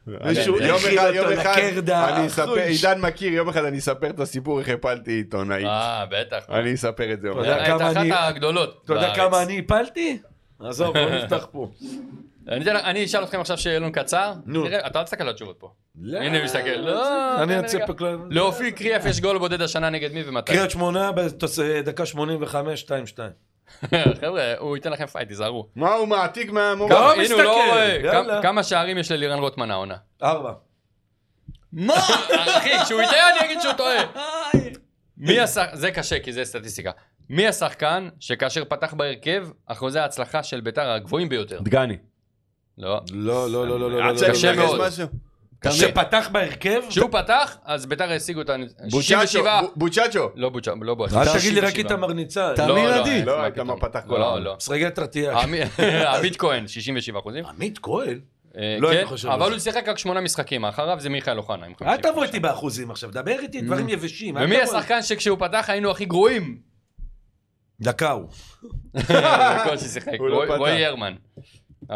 Speaker 2: מישהו-
Speaker 5: אני-
Speaker 2: יום
Speaker 5: הכין
Speaker 2: אחד,
Speaker 5: אותו
Speaker 2: יום אחד,
Speaker 5: לקרדה,
Speaker 2: אני אספר,
Speaker 5: אחוי.
Speaker 2: עידן מכיר, יום אחד אני אספר את הסיפור איך הפלתי עיתונאית.
Speaker 4: אה, בטח. אה,
Speaker 2: אני אספר את זה. יום
Speaker 5: אתה
Speaker 2: אחד.
Speaker 5: יודע
Speaker 4: את
Speaker 5: כמה
Speaker 4: אחת
Speaker 5: אני-
Speaker 4: הגדולות
Speaker 5: אתה יודע
Speaker 4: בארץ.
Speaker 5: כמה אני הפלתי? עזוב, בוא נפתח פה.
Speaker 4: אני אתן- אני אשאל אתכם עכשיו שאלון קצר.
Speaker 5: נו.
Speaker 4: נראה, אתה אל תסתכל על התשובות פה. הנה, מסתכל. לא,
Speaker 5: אני
Speaker 4: תן רגע.
Speaker 5: אצא פה כלל.
Speaker 4: לאופיר קריאף יש גול בודד השנה נגד מי ומתי.
Speaker 5: קריית שמונה, בתוס- דקה 85, 2-2.
Speaker 4: חבר'ה, הוא ייתן לכם פייט, תיזהרו.
Speaker 2: מה הוא מעתיק מהמורה?
Speaker 5: כמה-
Speaker 4: כמה-
Speaker 5: לא
Speaker 4: הנה, הוא לא
Speaker 5: מסתכל,
Speaker 4: רואה.
Speaker 5: יאללה.
Speaker 4: כמה- כמה שערים יש ללירן רוטמן העונה?
Speaker 5: ארבע.
Speaker 4: מה? אחי, כשהוא יטעה אני אגיד שהוא טועה. מי השחקן, זה קשה כי זה סטטיסטיקה. מי השחקן שכאשר פתח בהרכב, אחוזי ההצלחה של ביתר הגבוהים ביותר?
Speaker 2: דגני.
Speaker 4: לא.
Speaker 5: לא, לא, לא, לא, לא.
Speaker 2: עד
Speaker 5: לא,
Speaker 2: שאני
Speaker 5: לא,
Speaker 4: קשה
Speaker 5: לא.
Speaker 2: מנגז
Speaker 4: מאוד.
Speaker 2: משהו.
Speaker 5: שפתח בהרכב?
Speaker 4: כשהוא פתח, אז ביתר השיגו את
Speaker 2: בוצ'צ'ו,
Speaker 4: ה-67.
Speaker 2: בו- בוצ'צ'ו.
Speaker 4: לא בוצ'ה, לא בוצ'ה.
Speaker 5: אל תגיד לי רק איתמר ניצן.
Speaker 3: אתה-
Speaker 4: לא,
Speaker 3: אמיר
Speaker 4: לא,
Speaker 3: עדי.
Speaker 4: אין,
Speaker 2: לא,
Speaker 4: מה
Speaker 2: איתמר
Speaker 4: פתאום.
Speaker 2: פתח כל
Speaker 4: לא,
Speaker 2: העונה.
Speaker 4: לא.
Speaker 5: סרגל טרטיאק.
Speaker 4: עמי- עמית כהן, 67 אחוזים.
Speaker 5: עמית כהן?
Speaker 4: אה,
Speaker 5: לא
Speaker 4: כן,
Speaker 5: הייתי חושב על
Speaker 4: אבל
Speaker 5: זה.
Speaker 4: הוא שיחק רק שמונה משחקים, אחריו זה מיכאל אוחנה
Speaker 2: כן,
Speaker 4: עם
Speaker 5: אל
Speaker 4: 50.
Speaker 5: תבוא איתי באחוזים עכשיו, דבר איתי
Speaker 2: Mm.
Speaker 5: דברים יבשים. אל
Speaker 4: ומי
Speaker 5: תבוא-
Speaker 4: השחקן שכשהוא פתח היינו הכי גרועים?
Speaker 5: דקה הוא.
Speaker 2: אה,
Speaker 4: בכל ששיחק,
Speaker 2: הוא לא
Speaker 4: רועי-
Speaker 2: פתח.
Speaker 4: רועי הרמן.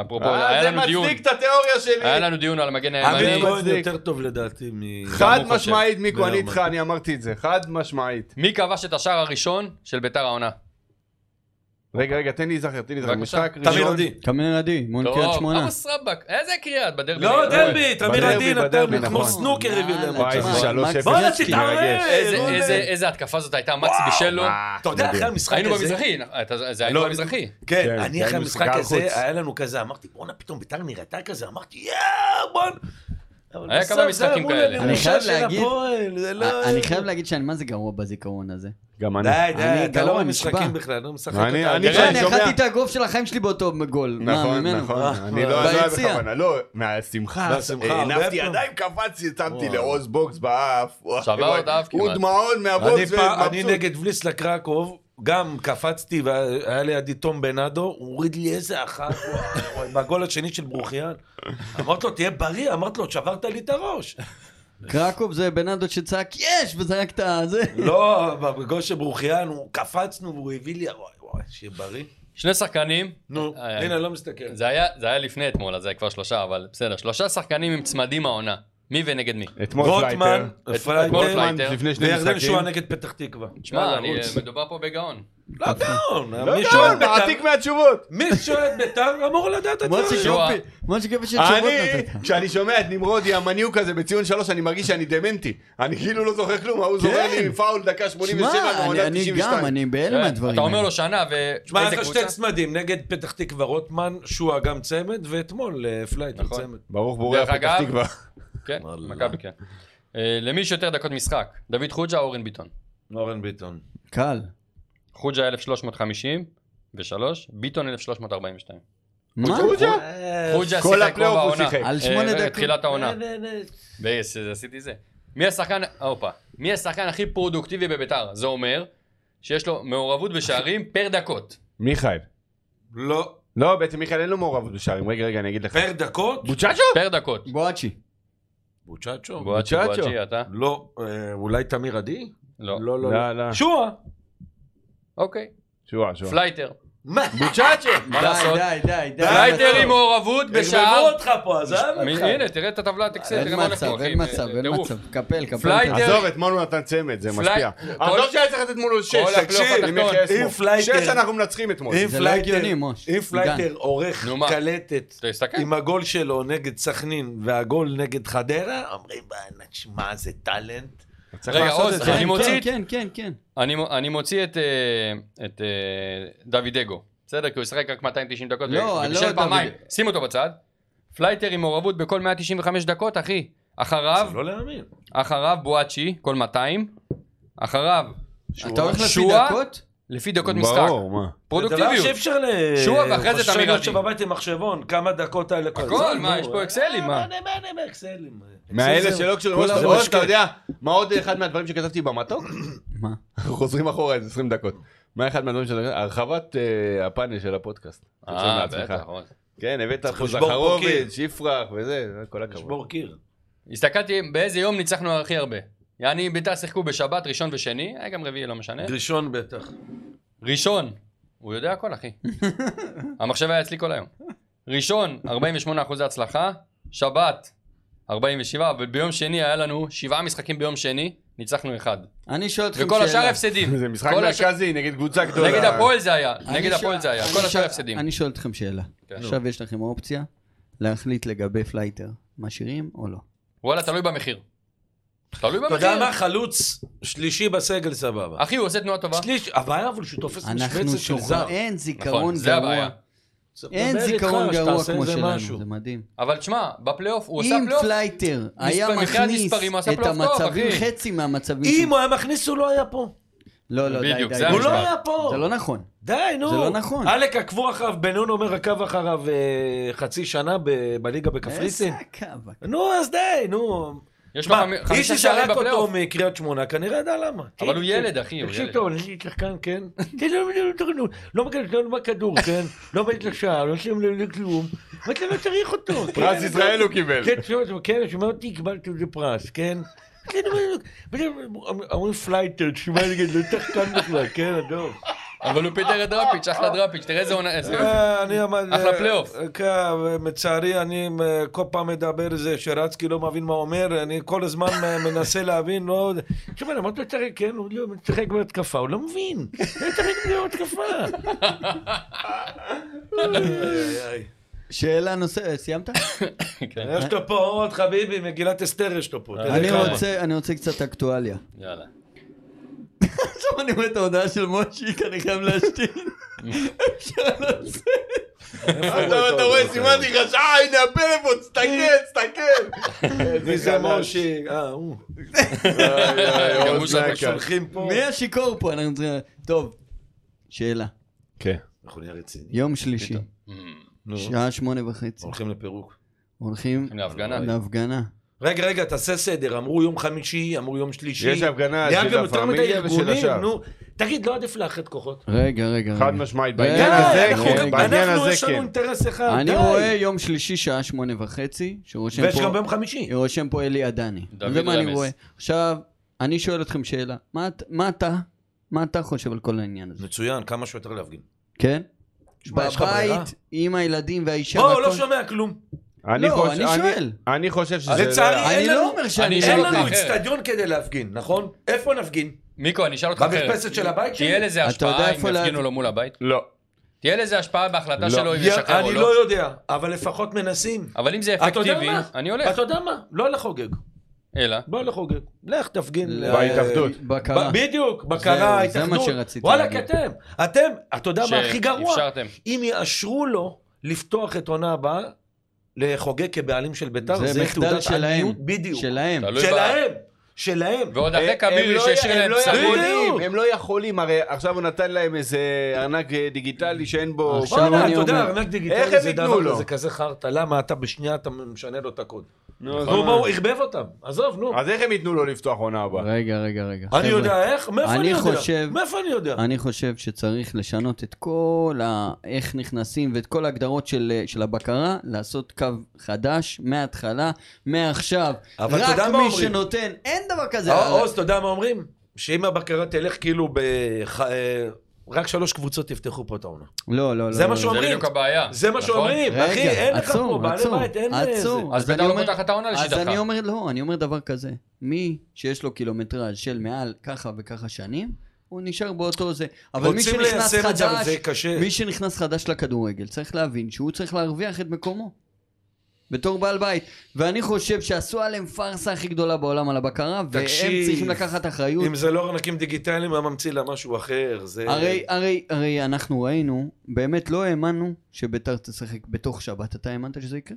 Speaker 4: אפרופו,
Speaker 2: אה,
Speaker 4: היה
Speaker 2: זה
Speaker 4: לנו דיון.
Speaker 2: מצדיק את התיאוריה
Speaker 4: היה
Speaker 2: שלי.
Speaker 4: לנו דיון על המגן
Speaker 5: עמית
Speaker 4: הימני.
Speaker 5: כהן
Speaker 2: לא מצדיק.
Speaker 5: יותר טוב לדעתי מ...
Speaker 2: חד
Speaker 4: גם הוא
Speaker 2: משמעית, מיקו, אני
Speaker 5: ולרמן.
Speaker 2: איתך, אני אמרתי את זה. חד משמעית.
Speaker 4: מי כבש את השער הראשון של ביתר העונה?
Speaker 2: רגע, רגע, תן לי להיזכר, תן לי להיזכר.
Speaker 4: בבקשה.
Speaker 2: משחק
Speaker 5: תמיר
Speaker 2: ראשון.
Speaker 5: עדי.
Speaker 3: קאמר עדי, מול קריית
Speaker 4: טוב,
Speaker 3: שמונה.
Speaker 4: לא, אבו סרבק, איזה קריאה את בדרבי.
Speaker 5: לא,
Speaker 4: נגד הפועל.
Speaker 5: דרבי, תמיר
Speaker 2: בדרבי,
Speaker 5: עדי נתן
Speaker 2: בדרבי,
Speaker 5: לי כמו
Speaker 2: נכון.
Speaker 5: סנוקר הביא להם
Speaker 2: וואי,
Speaker 5: אותם.
Speaker 2: איזה
Speaker 3: מה,
Speaker 2: שלוש
Speaker 3: מקס
Speaker 2: אפס.
Speaker 5: בואנה,
Speaker 3: קרצקי,
Speaker 5: תתערב!
Speaker 4: איזה-
Speaker 5: בואנה.
Speaker 4: איזה- איזה התקפה זאת הייתה, מקס בישלו.
Speaker 5: אתה יודע, אחרי המשחק
Speaker 4: היינו
Speaker 5: הזה...
Speaker 4: במזרחי, נכון, אתה- זה היינו
Speaker 5: לא,
Speaker 4: במזרחי.
Speaker 5: כן,
Speaker 2: כן,
Speaker 5: אני
Speaker 2: כן,
Speaker 5: אחרי המשחק
Speaker 2: משחק חוץ.
Speaker 5: הזה, היה לנו כזה, אמרתי, בואנה, פתאום ביתר נראתה כזה, אמרתי, יאה, בואנה. אבל
Speaker 4: היה
Speaker 5: בסוף
Speaker 4: כמה
Speaker 5: זה
Speaker 4: משחקים
Speaker 5: אמרו
Speaker 4: כאלה.
Speaker 5: לנו,
Speaker 4: אני
Speaker 5: "משה
Speaker 3: חייב
Speaker 5: של
Speaker 3: להגיד-
Speaker 5: הפועל", זה לא-
Speaker 3: אני חייב להגיד שאני מה זה גרוע בזיכרון הזה.
Speaker 2: גם אני.
Speaker 5: די,
Speaker 3: אני
Speaker 5: די, אתה
Speaker 3: גרוע,
Speaker 5: לא
Speaker 3: נשבע.
Speaker 5: במשחקים בכלל, לא משחק
Speaker 2: אני-
Speaker 5: אותה.
Speaker 2: אני-
Speaker 3: תראה, אני
Speaker 2: שומע.
Speaker 3: אכלתי את הגוף של החיים שלי באותו גול. מה,
Speaker 2: נכון,
Speaker 3: ממנו?
Speaker 2: נכון,
Speaker 5: אה,
Speaker 2: אני לא לא היה
Speaker 3: ביציע. אוקיי.
Speaker 2: בכוונה, לא, מהשמחה,
Speaker 5: מהשמחה,
Speaker 2: אה,
Speaker 5: הרבה
Speaker 2: הנפתי
Speaker 5: פעמים.
Speaker 2: ידיים, קפצתי, שמתי לעוז בוקס באף, וואי,
Speaker 4: שבר
Speaker 2: וואי,
Speaker 4: עוד אף
Speaker 2: הוא
Speaker 4: כמעט.
Speaker 2: דמעון
Speaker 5: אני
Speaker 2: מהבוקס,
Speaker 5: פעם- אני
Speaker 2: ומבסוט.
Speaker 5: נגד וליסלה קרקוב, גם קפצתי והיה לידי תום בנאדו, הוא הוריד לי איזה אחת, וואי, וואי, בגול השני של ברוכיאן. אמרתי לו, תהיה בריא, אמרתי לו, שברת לי את הראש.
Speaker 3: קרקוב זה בנאדו שצעק יש וזרק את הזה.
Speaker 5: לא, בגול של ברוכיאן, הוא קפצנו והוא הביא לי, וואי, וואי, שיהיה בריא.
Speaker 4: שני שחקנים.
Speaker 5: נו,
Speaker 4: אה,
Speaker 5: הנה, לא מסתכל.
Speaker 4: זה היה, זה היה לפני אתמול, אז זה היה כבר שלושה, אבל בסדר. שלושה שחקנים עם צמדים העונה. מי ונגד מי?
Speaker 2: אתמול
Speaker 5: רוטמן,
Speaker 4: אתמול
Speaker 5: פרייטר,
Speaker 4: פלייטר.
Speaker 2: לפני שני
Speaker 5: וירדן
Speaker 2: משחקים.
Speaker 5: שואה נגד פתח תקווה.
Speaker 3: אה,
Speaker 4: שמע, אני- אה, מדובר פה בגאון.
Speaker 5: לא גאון,
Speaker 2: לא
Speaker 5: מי
Speaker 2: יודע,
Speaker 5: שואל בית"ר,
Speaker 2: מעתיק מהתשובות.
Speaker 5: מי שואל בית"ר אמור לדעת את
Speaker 3: מוצ'י
Speaker 5: זה.
Speaker 4: שואה.
Speaker 3: גופי, מוצ'י גופי של תשובות
Speaker 2: אני,
Speaker 3: נתת.
Speaker 2: כשאני שומע את נמרודי המניוק הזה בציון שלוש, אני מרגיש שאני דמנטי. אני כאילו לא זוכר כלום, ההוא זוכר לי פאול דקה 87
Speaker 3: כן. שמע,
Speaker 2: מעונה
Speaker 3: אני- אני
Speaker 2: 92.
Speaker 3: גם, אני בהלם
Speaker 4: כן,
Speaker 3: מהדברים
Speaker 4: אתה אומר
Speaker 3: האלה.
Speaker 4: לו שנה,
Speaker 5: תשמע, היה
Speaker 4: ואיזה
Speaker 5: לך שתי
Speaker 4: קבוצה?
Speaker 5: צמדים, נגד פתח תקווה רוטמן, שועה גם צמד, ואתמול אה, פלייטר
Speaker 4: נכון.
Speaker 5: צמד.
Speaker 2: ברוך בורא
Speaker 4: דרך
Speaker 2: פתח
Speaker 4: אגב,
Speaker 2: תקווה.
Speaker 4: כן,
Speaker 5: וואלה.
Speaker 3: לא.
Speaker 4: מכבי כן. אה, למי יש יותר דקות משחק? דוד חוג'ה או אורן ביטון?
Speaker 5: אורן ביטון.
Speaker 3: קל.
Speaker 4: חוג'ה 1353, ביטון 1342.
Speaker 3: מה?
Speaker 2: חוג'ה?
Speaker 5: אה,
Speaker 4: חוג'ה
Speaker 2: כל
Speaker 4: שיחק
Speaker 2: הפלייאוף
Speaker 4: רוב
Speaker 2: הוא
Speaker 4: העונה.
Speaker 2: שיחק.
Speaker 3: על
Speaker 4: אה,
Speaker 3: שמונה
Speaker 4: רגע,
Speaker 3: דקות.
Speaker 4: תחילת העונה.
Speaker 5: נה, נה, נה.
Speaker 4: ויש, אז עשיתי זה. מי השחקן, הופה, מי השחקן הכי פרודוקטיבי בביתר? זה אומר שיש לו מעורבות בשערים פר דקות.
Speaker 2: מיכאל.
Speaker 5: לא,
Speaker 2: לא, בעצם מיכאל אין לו מעורבות בשערים. רגע, רגע, אני אגיד לך.
Speaker 5: פר דקות?
Speaker 2: בוצ'אצ'ו?
Speaker 4: פר דקות.
Speaker 3: בואצ'י.
Speaker 5: בוצ'צ'ו?
Speaker 4: בואצ'י,
Speaker 2: בוצ'צ'ו.
Speaker 4: בואצ'י, אתה?
Speaker 5: לא, אה, אולי תמיר עדי?
Speaker 4: לא.
Speaker 5: לא, לא.
Speaker 2: לא, לא.
Speaker 5: שועה.
Speaker 4: אוקיי.
Speaker 2: שואה, שואה.
Speaker 4: פלייטר.
Speaker 5: מה?
Speaker 4: בוצ'אצ'ו. מה
Speaker 3: די,
Speaker 4: לעשות?
Speaker 3: די, די, די.
Speaker 4: פלייטר עם מעורבות בשער.
Speaker 5: יגמרו אותך פה, אה? עזב
Speaker 4: מי-
Speaker 5: אותך.
Speaker 4: הנה, תראה את הטבלה הטקסטית.
Speaker 3: אוקיי. אין מצב, אין מצב, אין
Speaker 4: אה,
Speaker 3: מצב. קפל, קפל.
Speaker 4: פלייטר.
Speaker 3: קפל.
Speaker 2: עזוב, אתמול הוא נתן צמד, זה
Speaker 4: פלי-
Speaker 2: משפיע.
Speaker 4: כל-
Speaker 2: עזוב שהיה צריך לתת מולו שש,
Speaker 4: לא הפלייאוף
Speaker 2: תקשיב,
Speaker 4: התחתון.
Speaker 2: עם יחיא
Speaker 5: אם
Speaker 2: ישמור.
Speaker 5: פלייטר-
Speaker 2: שש אנחנו מנצחים אתמול.
Speaker 5: אם
Speaker 3: זה לא
Speaker 5: פלייטר-
Speaker 3: הגיוני, מוש.
Speaker 5: אם פלייטר
Speaker 3: עידן.
Speaker 5: עורך
Speaker 4: נו, מה?
Speaker 5: קלטת
Speaker 4: תסתכל.
Speaker 5: עם הגול שלו נגד סכנין והגול נגד חדרה, אומרים, "בואנה, שמע, זה טאלנט.
Speaker 4: רגע,
Speaker 5: לעשות
Speaker 4: עוז,
Speaker 5: את זה.
Speaker 4: אני
Speaker 3: כן,
Speaker 4: מוציא את-
Speaker 3: כן, כן, כן.
Speaker 4: אני, מו- אני מוציא את, אה, את אה, דוד אגו, בסדר? כי הוא ישחק רק 290 דקות,
Speaker 3: לא,
Speaker 4: ו-
Speaker 3: לא
Speaker 4: ובישל
Speaker 3: דוד-
Speaker 4: פעמיים, שים אותו בצד. פלייטר עם מעורבות בכל 195 דקות, אחי. אחריו,
Speaker 5: זה לא להאמין.
Speaker 4: אחריו בואצ'י, כל 200. אחריו,
Speaker 3: כן. אתה הולך לפי
Speaker 4: שועה?
Speaker 3: דקות?
Speaker 4: לפי דקות משחק.
Speaker 2: ברור, מה?
Speaker 5: זה דבר שאי
Speaker 4: פרודוקטיביות.
Speaker 5: אפשר ל...
Speaker 4: שוב, ואחרי זה את
Speaker 5: חושב
Speaker 4: אמירתי.
Speaker 5: שבבית עם מחשבון, כמה דקות האלה... כל
Speaker 4: הכל,
Speaker 5: הזמן,
Speaker 4: מה,
Speaker 5: נו.
Speaker 4: יש פה אקסלים, מה?
Speaker 5: אה, מה, מה, מה, אקסלים? אה,
Speaker 2: מהאלה
Speaker 5: אקסל זה-
Speaker 2: שלא קשורים אוקיי. לראש,
Speaker 5: כולם זה
Speaker 2: עוד, אתה
Speaker 5: משקה.
Speaker 2: יודע, מה עוד אחד מהדברים שכתבתי במתוק?
Speaker 3: מה?
Speaker 2: אנחנו חוזרים אחורה איזה 20 דקות. מה אחד מהדברים של הרחבת אה, הפאנל של הפודקאסט. תרשום
Speaker 4: אה,
Speaker 2: לעצמך.
Speaker 4: בטח.
Speaker 5: נכון.
Speaker 4: עוד.
Speaker 2: כן, הבאת פה
Speaker 5: לשבור פה
Speaker 2: זכרוביץ', יפרח וזה, זה כל הכבוד.
Speaker 5: לשבור קיר.
Speaker 4: הסתכלתי באיזה יום ניצחנו הכי הרבה. יעני, ביתר שיחקו בשבת, ראשון ושני, היה גם רביעי, לא משנה.
Speaker 5: ראשון בטח.
Speaker 4: לא ראשון, הוא יודע הכל אחי. המחשב היה אצלי כל היום. ראשון, 48 אחוזי הצלחה, שבת, 47, אבל ביום שני היה לנו שבעה משחקים ביום שני, ניצחנו אחד.
Speaker 3: אני שואל אתכם
Speaker 4: וכל השאר הפסדים.
Speaker 2: זה משחק
Speaker 4: כל הש-
Speaker 2: מרכזי נגד קבוצה גדולה.
Speaker 4: נגד הפועל זה היה,
Speaker 3: אני
Speaker 4: נגד
Speaker 3: שואל-
Speaker 4: הפועל זה היה,
Speaker 3: אני
Speaker 4: כל השאר
Speaker 3: שואל-
Speaker 4: הפסדים. כן.
Speaker 3: אני שואל אתכם שאלה. עכשיו יש לכם אופציה להחליט לגבי פלייטר, משאירים או לא?
Speaker 4: וואלה, תלוי במחיר. תלוי
Speaker 5: אתה יודע
Speaker 4: במחיר.
Speaker 5: מה? חלוץ שלישי בסגל סבבה.
Speaker 4: אחי, הוא עושה תנועה טובה.
Speaker 5: שליש, הבעיה אבל שהוא תופס
Speaker 3: אנחנו
Speaker 5: משבצת של זר.
Speaker 3: שוכרים, אין זיכרון
Speaker 4: נכון, זה
Speaker 3: גרוע.
Speaker 4: הבעיה.
Speaker 5: צריך
Speaker 3: אין
Speaker 5: לדבר איתך,
Speaker 3: זיכרון גרוע
Speaker 5: שתעשה
Speaker 3: כמו
Speaker 5: איזה
Speaker 3: שלנו,
Speaker 5: משהו.
Speaker 3: זה מדהים.
Speaker 4: אבל תשמע, בפלייאוף, הוא עושה
Speaker 3: אם
Speaker 4: פלייאוף,
Speaker 3: פלייטר היה
Speaker 4: מבחינת
Speaker 3: מכניס
Speaker 4: מספרים, הוא עשה
Speaker 3: את
Speaker 4: פלייאוף טוב,
Speaker 3: המצבים,
Speaker 4: אחי.
Speaker 3: חצי מהמצבים
Speaker 5: אם
Speaker 3: שהוא-
Speaker 5: הוא היה מכניס הוא לא היה פה.
Speaker 3: לא, לא, די,
Speaker 4: בדיוק,
Speaker 3: די.
Speaker 4: זה
Speaker 3: די.
Speaker 5: הוא לא
Speaker 4: המשפט.
Speaker 5: היה פה.
Speaker 3: זה לא נכון.
Speaker 5: די, נו.
Speaker 3: זה לא נכון.
Speaker 5: עלק עקבו אחריו, בן נון אומר עקב אחריו אה, חצי שנה ב- בליגה בקפריסין.
Speaker 3: איזה הקו.
Speaker 5: נו, אז די, נו.
Speaker 4: יש לו
Speaker 5: מה,
Speaker 4: חמ-
Speaker 5: איש
Speaker 4: חמישה שערים
Speaker 5: שזרק אותו
Speaker 4: בפלייאוף.
Speaker 5: מקריית שמונה, כנראה ידע למה.
Speaker 4: אבל הוא ילד, אחי, הוא
Speaker 5: תקשיב
Speaker 4: ילד.
Speaker 5: טוב, אני שחקן, כן? תן לו- לא- לא- לא- לא מקבל לא בכדור, כן? לא בא לשער, לא שם לב לכלום. מה אתה לא צריך אותו? כן?
Speaker 2: פרס ישראל הוא קיבל.
Speaker 5: כן, תשמע, תשמע, כן, שומע אותי, קיבלתי איזה פרס, כן? כן, אבל- אבל- אומרים פלייטר, תשמע, נגיד, לא שחקן בכלל, כן, אדום.
Speaker 4: אבל הוא פיטר את דראפיץ', אחלה דראפיץ', תראה איזה עונה... איזה-
Speaker 5: אה, אני אמר...
Speaker 4: כן. אחלה פלייאוף.
Speaker 5: אה, כן, מצערי, אני אה, כל פעם מדבר זה שרצקי לא מבין מה אומר, אני כל הזמן אה, מנסה להבין, לא... תשמע, למה אתה משחק, כן, הוא לא- משחק בהתקפה, הוא לא מבין. הוא משחק בהתקפה.
Speaker 3: שאלה נוספת, סיימת?
Speaker 5: אה, יש לו פה עוד חביבי, מגילת אסתר יש לו פה. תראה
Speaker 3: אני
Speaker 5: כמה.
Speaker 3: רוצה- אני רוצה קצת אקטואליה.
Speaker 4: יאללה.
Speaker 3: עכשיו אני רואה את ההודעה של מושיק, אני חייב להשתין.
Speaker 5: אה,
Speaker 2: עכשיו אתה רואה, סימנתי לך שעה, הנה הפלאפון, תסתכל, תסתכל.
Speaker 5: מי זה מושי? אה, הוא. אה,
Speaker 4: גם הוא שם
Speaker 5: שולחים פה.
Speaker 3: מי השיכור פה? אנחנו צריכים... טוב, שאלה.
Speaker 2: כן.
Speaker 5: אנחנו נהיה רציניים.
Speaker 3: יום שלישי, שעה שמונה וחצי,
Speaker 5: הולכים לפירוק.
Speaker 3: הולכים
Speaker 4: להפגנה.
Speaker 3: להפגנה.
Speaker 5: רגע, רגע, תעשה סדר. אמרו יום חמישי, אמרו יום שלישי.
Speaker 2: יש הפגנה
Speaker 5: נהיה
Speaker 2: של
Speaker 5: גם יותר מדי
Speaker 2: הפמיליה ושל
Speaker 5: ארגונים,
Speaker 2: השאר.
Speaker 5: נו. תגיד, לא עדיף לאחד כוחות.
Speaker 3: רגע, רגע.
Speaker 2: חד
Speaker 3: רגע.
Speaker 2: משמעית,
Speaker 3: די,
Speaker 2: בעניין
Speaker 5: די,
Speaker 2: הזה,
Speaker 5: אנחנו-
Speaker 2: כן, בעניין
Speaker 5: אנחנו,
Speaker 2: הזה
Speaker 5: יש לנו
Speaker 2: כן.
Speaker 5: אינטרס אחד, די.
Speaker 3: אני רואה יום שלישי, שעה שמונה וחצי, שרושם
Speaker 5: ויש גם
Speaker 3: פה...
Speaker 5: ביום חמישי.
Speaker 3: רושם פה אלי עדני.
Speaker 4: דוד
Speaker 3: זה מה אני
Speaker 4: רמז.
Speaker 3: רואה. עכשיו, אני שואל אתכם שאלה. מה את- מה אתה, מה אתה חושב על כל העניין הזה?
Speaker 5: מצוין, כמה שיותר להפגין.
Speaker 3: כן?
Speaker 5: שמע, יש לך ברירה?
Speaker 3: בבית, עם הילדים והאישה
Speaker 5: בוא, הוא לא
Speaker 3: והכל.
Speaker 5: שומע כלום.
Speaker 3: לא,
Speaker 2: חוש-
Speaker 3: אני שואל.
Speaker 2: אני חושב שזה...
Speaker 5: לצערי,
Speaker 3: אני
Speaker 5: אין
Speaker 3: לא
Speaker 5: לנו-
Speaker 3: אומר שאני...
Speaker 4: אשאל
Speaker 5: אין
Speaker 4: אותך
Speaker 5: לנו
Speaker 4: אחרת.
Speaker 5: אצטדיון כדי להפגין, נכון? איפה נפגין?
Speaker 4: מיקו, אני אשאל אותך אחרת.
Speaker 5: במרפסת של הבית
Speaker 4: תהיה
Speaker 5: שלי?
Speaker 3: אתה
Speaker 4: לזה
Speaker 3: יודע
Speaker 4: השפעה אם
Speaker 3: איפה לה-
Speaker 4: יפגינו לו מול הבית?
Speaker 2: לא.
Speaker 4: תהיה לזה השפעה בהחלטה
Speaker 2: לא.
Speaker 4: שלו אם ישחרר או
Speaker 5: אני לא
Speaker 4: לא?
Speaker 5: יודע, אבל לפחות מנסים.
Speaker 4: אבל אם זה
Speaker 5: אתה יודע
Speaker 4: אפקטיבי,
Speaker 5: מה?
Speaker 4: אני הולך.
Speaker 5: אתה יודע מה? לא לחוגג.
Speaker 4: אלא.
Speaker 5: בוא לחוגג. לך תפגין. אה, ל-
Speaker 2: בהתאחדות.
Speaker 3: בקרה.
Speaker 5: ב- בדיוק, בקרה,
Speaker 3: זהו, זה
Speaker 5: ההתאחדות.
Speaker 3: מה שרציתי
Speaker 5: וואלכ,
Speaker 3: להגיד.
Speaker 5: אתם, אתם, אתה יודע מה הכי גרוע?
Speaker 4: שאפשרתם.
Speaker 5: אם יאשרו לו לפתוח את עונה הבאה לחוגג כבעלים של ביתר,
Speaker 3: זה
Speaker 5: זה
Speaker 3: מחדל
Speaker 5: תעודת
Speaker 3: שלהם.
Speaker 5: עניות בדיוק.
Speaker 3: שלהם.
Speaker 4: תלוי
Speaker 5: שלהם, שלהם.
Speaker 4: ועוד אחרי
Speaker 2: הם- הם
Speaker 4: קבירי
Speaker 2: לא-
Speaker 4: שהשאיר
Speaker 2: הם
Speaker 4: להם
Speaker 2: לא
Speaker 4: סרון.
Speaker 5: בדיוק.
Speaker 2: יכולים, הם לא יכולים, הרי עכשיו הוא נתן להם איזה ארנק אה, דיגיטלי שאין בו...
Speaker 3: עכשיו
Speaker 5: בואנה,
Speaker 3: אני
Speaker 5: אתה יודע,
Speaker 3: אומר-
Speaker 5: ארנק
Speaker 2: איך
Speaker 5: דיגיטלי
Speaker 2: הם
Speaker 5: זה
Speaker 2: ייתנו
Speaker 5: דבר
Speaker 2: לו?
Speaker 5: כזה, כזה חרטא, למה אתה בשנייה אתה משנה לו את הקוד.
Speaker 2: נו, אז
Speaker 5: נו,
Speaker 2: מה?
Speaker 5: מה, הוא ערבב אותם, עזוב, נו.
Speaker 2: אז איך הם ייתנו לו לפתוח עונה
Speaker 5: אה,
Speaker 2: הבאה?
Speaker 3: רגע, רגע, רגע.
Speaker 5: אני
Speaker 3: חבר'ה,
Speaker 5: יודע איך, מאיפה
Speaker 3: אני
Speaker 5: אני יודע?
Speaker 3: חושב-
Speaker 5: מאיפה אני יודע?
Speaker 3: אני חושב שצריך לשנות את כל ה... איך נכנסים ואת כל ההגדרות של, אה, של הבקרה, לעשות קו חדש מההתחלה, מעכשיו.
Speaker 5: אבל אתה
Speaker 3: רק
Speaker 5: יודע מה
Speaker 3: מי
Speaker 5: אומרים?
Speaker 3: שנותן, אין דבר כזה.
Speaker 5: אה, עוז, אתה יודע מה אומרים? שאם הבקרה תלך כאילו ב... ח- אה, רק שלוש קבוצות יפתחו פה את העונה.
Speaker 3: לא, לא, לא.
Speaker 5: זה מה
Speaker 3: לא,
Speaker 5: שאומרים.
Speaker 4: זה בדיוק הבעיה.
Speaker 5: זה מה
Speaker 4: נכון?
Speaker 5: שאומרים,
Speaker 3: רגע,
Speaker 5: אחי, אין לך
Speaker 3: עצור,
Speaker 5: פה בעלי
Speaker 3: עצור,
Speaker 5: בית, אין... אה, זה.
Speaker 3: עצור.
Speaker 4: אז
Speaker 3: אני
Speaker 4: בית"ר לא
Speaker 3: אומר-
Speaker 4: פותחת את העונה לשיטתך.
Speaker 3: אז אני אומר, לא, אני אומר דבר כזה. מי שיש לו קילומטראז' של מעל ככה וככה שנים, הוא נשאר באותו זה. אבל מי
Speaker 5: רוצים
Speaker 3: שנכנס
Speaker 5: ליישם את זה, אבל
Speaker 3: חדש,
Speaker 5: זה קשה.
Speaker 3: מי שנכנס חדש לכדורגל צריך להבין שהוא צריך להרוויח את מקומו. בתור בעל בית. ואני חושב שעשו עליהם פארסה הכי גדולה בעולם על הבקרה, והם
Speaker 5: תקשיב,
Speaker 3: צריכים לקחת אחריות.
Speaker 5: אם זה לא ארנקים דיגיטליים, היה ממציא לה משהו אחר. זה...
Speaker 3: הרי, הרי, הרי אנחנו ראינו, באמת לא האמנו שביתר תשחק בתוך שבת. אתה האמנת שזה יקרה?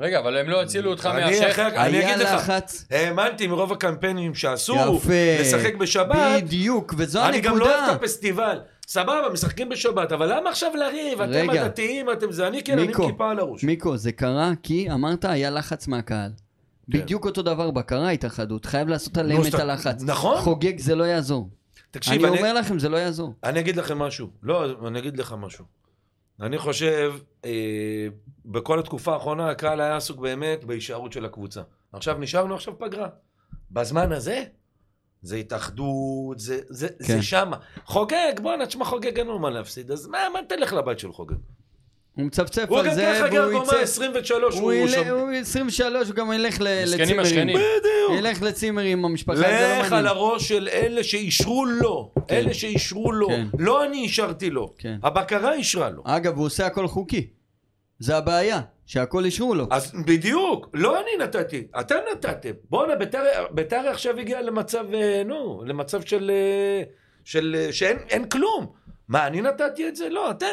Speaker 4: רגע, אבל הם לא הצילו אותך
Speaker 5: אני
Speaker 4: מהשייח.
Speaker 5: אחר כך, אני
Speaker 3: היה
Speaker 5: אגיד לך,
Speaker 3: לחץ.
Speaker 5: האמנתי מרוב הקמפיינים שעשו,
Speaker 3: יפה.
Speaker 5: לשחק בשבת,
Speaker 3: בדיוק, וזו
Speaker 5: אני
Speaker 3: הנקודה.
Speaker 5: גם לא אוהב את הפסטיבל. סבבה, משחקים בשבת, אבל למה עכשיו לריב? אתם
Speaker 3: רגע.
Speaker 5: הדתיים, אתם זה, אני כן, אני עם
Speaker 3: מיקו,
Speaker 5: כיפה על הראש.
Speaker 3: מיקו, זה קרה כי אמרת היה לחץ מהקהל.
Speaker 5: כן.
Speaker 3: בדיוק אותו דבר בקרה התאחדות, חייב לעשות עליהם את
Speaker 5: שאתה-
Speaker 3: הלחץ.
Speaker 5: נכון.
Speaker 3: חוגג זה לא יעזור.
Speaker 5: תקשיב,
Speaker 3: אני אומר לכם, זה לא יעזור.
Speaker 5: אני אגיד לכם משהו. לא, אני אגיד לך משהו. אני חושב, אה, בכל התקופה האחרונה הקהל היה עסוק באמת בהישארות של הקבוצה. עכשיו נשארנו, עכשיו פגרה. בזמן הזה, זה התאחדות, זה, זה, כן.
Speaker 3: כן.
Speaker 5: זה שמה. חוגג, בואנה, תשמע, חוגג אין לו מה להפסיד, אז מה, מה תלך לבית של חוגג?
Speaker 3: הוא מצפצף
Speaker 5: הוא
Speaker 3: על
Speaker 5: גם
Speaker 3: זה,
Speaker 5: ככה גר
Speaker 3: והוא
Speaker 5: קומה
Speaker 3: יצא.
Speaker 5: 23,
Speaker 3: הוא
Speaker 5: הוא
Speaker 3: ילך-
Speaker 5: שם.
Speaker 3: הוא 23, הוא גם ילך ל-
Speaker 4: מסכנים
Speaker 3: לצימרים.
Speaker 4: השכנים.
Speaker 3: ילך לצימרים עם המשפחה לא
Speaker 5: לך על
Speaker 3: הגרמנית.
Speaker 5: הראש של אלה שאישרו לו, אלה שאישרו לו.
Speaker 3: כן.
Speaker 5: לא אני אישרתי לו,
Speaker 3: כן.
Speaker 5: הבקרה אישרה לו.
Speaker 3: אגב, הוא עושה הכל חוקי. זה הבעיה, שהכל אישרו לו.
Speaker 5: אז בדיוק, לא אני נתתי, אתם נתתם. בואנה, ביתר ביתר עכשיו הגיעה למצב, אה, נו, למצב של... אה, של אה, שאין אין כלום. מה, אני נתתי את זה? לא, אתם.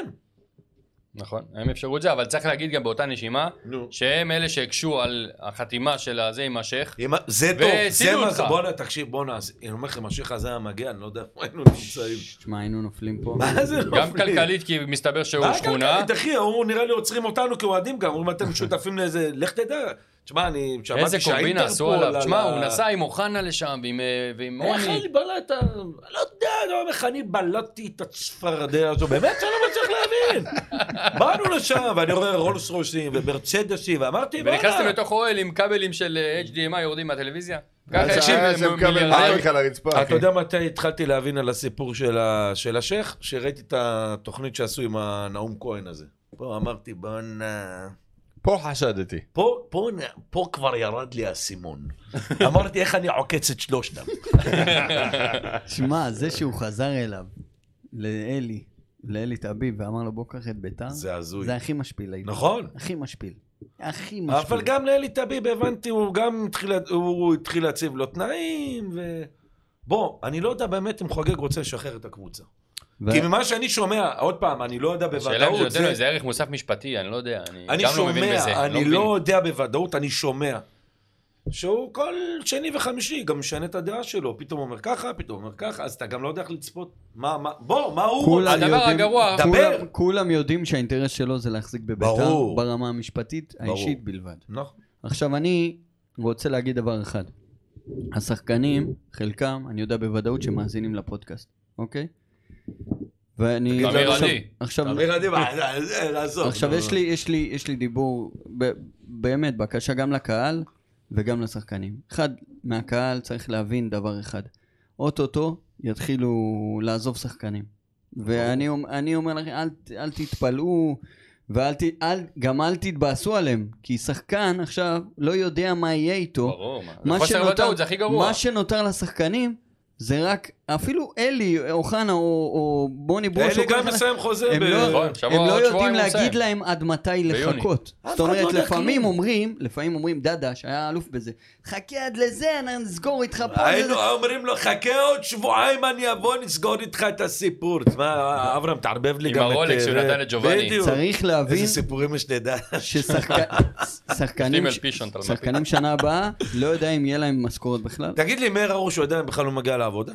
Speaker 4: נכון, הם אפשרו את זה, אבל צריך להגיד גם באותה נשימה,
Speaker 5: נו.
Speaker 4: שהם אלה שהקשו על החתימה של הזה עם השייח.
Speaker 5: אם- זה טוב,
Speaker 4: והצילו
Speaker 5: זה מה
Speaker 4: אותך.
Speaker 5: זה. בואנה, תקשיב, בואנה, אז אני אומר לכם, השיח הזה היה מגיע, אני לא יודע איפה היינו נמצאים.
Speaker 3: תשמע, היינו נופלים פה.
Speaker 5: מה זה לא
Speaker 4: גם כלכלית, כי מסתבר שהוא שכונה.
Speaker 5: אחי, הוא נראה לי עוצרים אותנו כאוהדים גם, אומרים אתם שותפים לאיזה, לך תדע. תשמע, אני שמעתי
Speaker 4: איזה קומבינה
Speaker 5: שהאינטרפול
Speaker 4: עשו עליו.
Speaker 5: על
Speaker 4: תשמע,
Speaker 5: ה-
Speaker 4: הוא נסע עם אוחנה לשם, ועם, אה, ועם
Speaker 5: איך
Speaker 4: רוני.
Speaker 5: אני בלעת, לא יודע, לא יודע איך אני בלעתי את הצפרדע הזו, באמת שאני לא מצליח להבין. באנו לשם, ואני רואה רולס רויסים ומרצדסים, ואמרתי,
Speaker 4: ונכנסתם
Speaker 5: "בואנה."
Speaker 4: לתוך אוהל עם כבלים של אה, HDMI יורדים מהטלוויזיה.
Speaker 2: אז
Speaker 5: אה,
Speaker 4: ככה
Speaker 2: היה
Speaker 4: הקשיב
Speaker 2: איזה מקבל מלניק על הרצפה,
Speaker 5: אתה
Speaker 2: אחי.
Speaker 5: יודע מתי התחלתי להבין על הסיפור של ה- של השייח? שראיתי את התוכנית שעשו עם הנאום כהן הזה. פה אמרתי, בואנה...
Speaker 2: פה חשדתי.
Speaker 5: פה, פה, פה כבר ירד לי האסימון. אמרתי, איך אני עוקץ את שלושתם.
Speaker 3: שמע, זה שהוא חזר אליו, לאלי, לאלי תביב, ואמר לו בוא קח את ביתר,
Speaker 5: זה הזוי.
Speaker 3: אה, זה הכי משפיל היום.
Speaker 5: נכון.
Speaker 3: הכי משפיל. הכי משפיל.
Speaker 5: אבל גם לאלי טביב, הבנתי, הוא גם התחיל, הוא התחיל להציב לו תנאים, ו... בוא, אני לא יודע באמת אם חוגג רוצה לשחרר את הקבוצה.
Speaker 3: ו-
Speaker 5: כי ממה שאני שומע, עוד פעם, אני לא יודע
Speaker 4: השאלה אם זה
Speaker 5: בוודאות,
Speaker 4: נותן לו איזה
Speaker 5: זה...
Speaker 4: ערך מוסף משפטי, אני לא יודע. אני
Speaker 5: אני
Speaker 4: גם לא מבין בזה.
Speaker 5: שומע, אני
Speaker 4: מבין.
Speaker 5: לא יודע בוודאות, אני שומע. שהוא כל שני וחמישי גם משנה את הדעה שלו, פתאום אומר ככה, פתאום אומר ככה, אז אתה גם לא יודע איך לצפות מה, מה, בוא, מה הוא
Speaker 3: כולם
Speaker 5: רוצה?
Speaker 4: הדבר
Speaker 3: יודעים-
Speaker 4: הגרוע-
Speaker 5: דבר.
Speaker 3: כולם- כולם יודעים שהאינטרס שלו זה להחזיק בביתר,
Speaker 5: ברור.
Speaker 3: ברמה המשפטית,
Speaker 5: ברור.
Speaker 3: האישית בלבד.
Speaker 5: נכון.
Speaker 3: עכשיו אני רוצה להגיד דבר אחד. השחקנים, חלקם, אני יודע בוודאות שמאזינים לפודקאסט, אוקיי? ואני...
Speaker 4: תגיד לנו.
Speaker 3: עכשיו-
Speaker 4: עדי.
Speaker 3: עכשיו...
Speaker 5: אמיר עדיף, לעזוב.
Speaker 3: עכשיו
Speaker 4: לא,
Speaker 5: נו,
Speaker 3: יש
Speaker 5: נו.
Speaker 3: לי, יש לי, יש לי דיבור, ב- באמת, בקשה גם לקהל וגם לשחקנים. אחד, מהקהל צריך להבין דבר אחד. אוטוטו יתחילו לעזוב שחקנים. ואני אומ- אני אומר לכם, אל, ת- אל תתפלאו, ואל ת, אל, גם אל תתבאסו עליהם, כי שחקן עכשיו לא יודע מה יהיה איתו.
Speaker 4: ברור, מה.
Speaker 3: מה
Speaker 4: זה חוסר
Speaker 3: שנותר-
Speaker 4: ודאות, זה הכי גרוע.
Speaker 3: מה שנותר לשחקים זה רק, אפילו אלי, אוחנה או, או בוני ברוש,
Speaker 5: אלי
Speaker 3: או כל
Speaker 5: גם
Speaker 3: אחד-
Speaker 5: מסיים חוזה.
Speaker 3: הם
Speaker 5: ב-
Speaker 3: לא,
Speaker 4: נכון,
Speaker 3: הם
Speaker 4: שבוע-
Speaker 3: לא
Speaker 4: עוד
Speaker 3: יודעים
Speaker 4: שבועיים הוא
Speaker 3: להגיד
Speaker 4: מסיים.
Speaker 3: להם עד מתי
Speaker 4: ביוני.
Speaker 3: לחכות. זאת
Speaker 5: אחד לא
Speaker 3: אומרת,
Speaker 5: יודע
Speaker 3: לפעמים
Speaker 5: כלום.
Speaker 3: אומרים, לפעמים אומרים, דדה, שהיה אלוף בזה, חכה עד לזה, אני נסגור איתך פה. זה-
Speaker 5: היינו אומרים לו, חכה עוד שבועיים, אני אבוא, נסגור איתך את הסיפור. תשמע, אברהם, תערבב לי
Speaker 4: עם
Speaker 5: גם את...
Speaker 4: הרולקס שהוא
Speaker 5: אה,
Speaker 4: נתן לג'ובאני.
Speaker 5: בדיוק.
Speaker 3: צריך להבין
Speaker 5: איזה סיפורים יש לדעת.
Speaker 3: ששחקנים
Speaker 4: שטימל פישון, אתה לא מבין.
Speaker 3: שחקנים שנה הבאה, לא יודע אם יהיה להם משכורת בכלל.
Speaker 5: תגיד לי, מאיר ארוש, הוא עדיין בכלל לא מגיע לעבודה?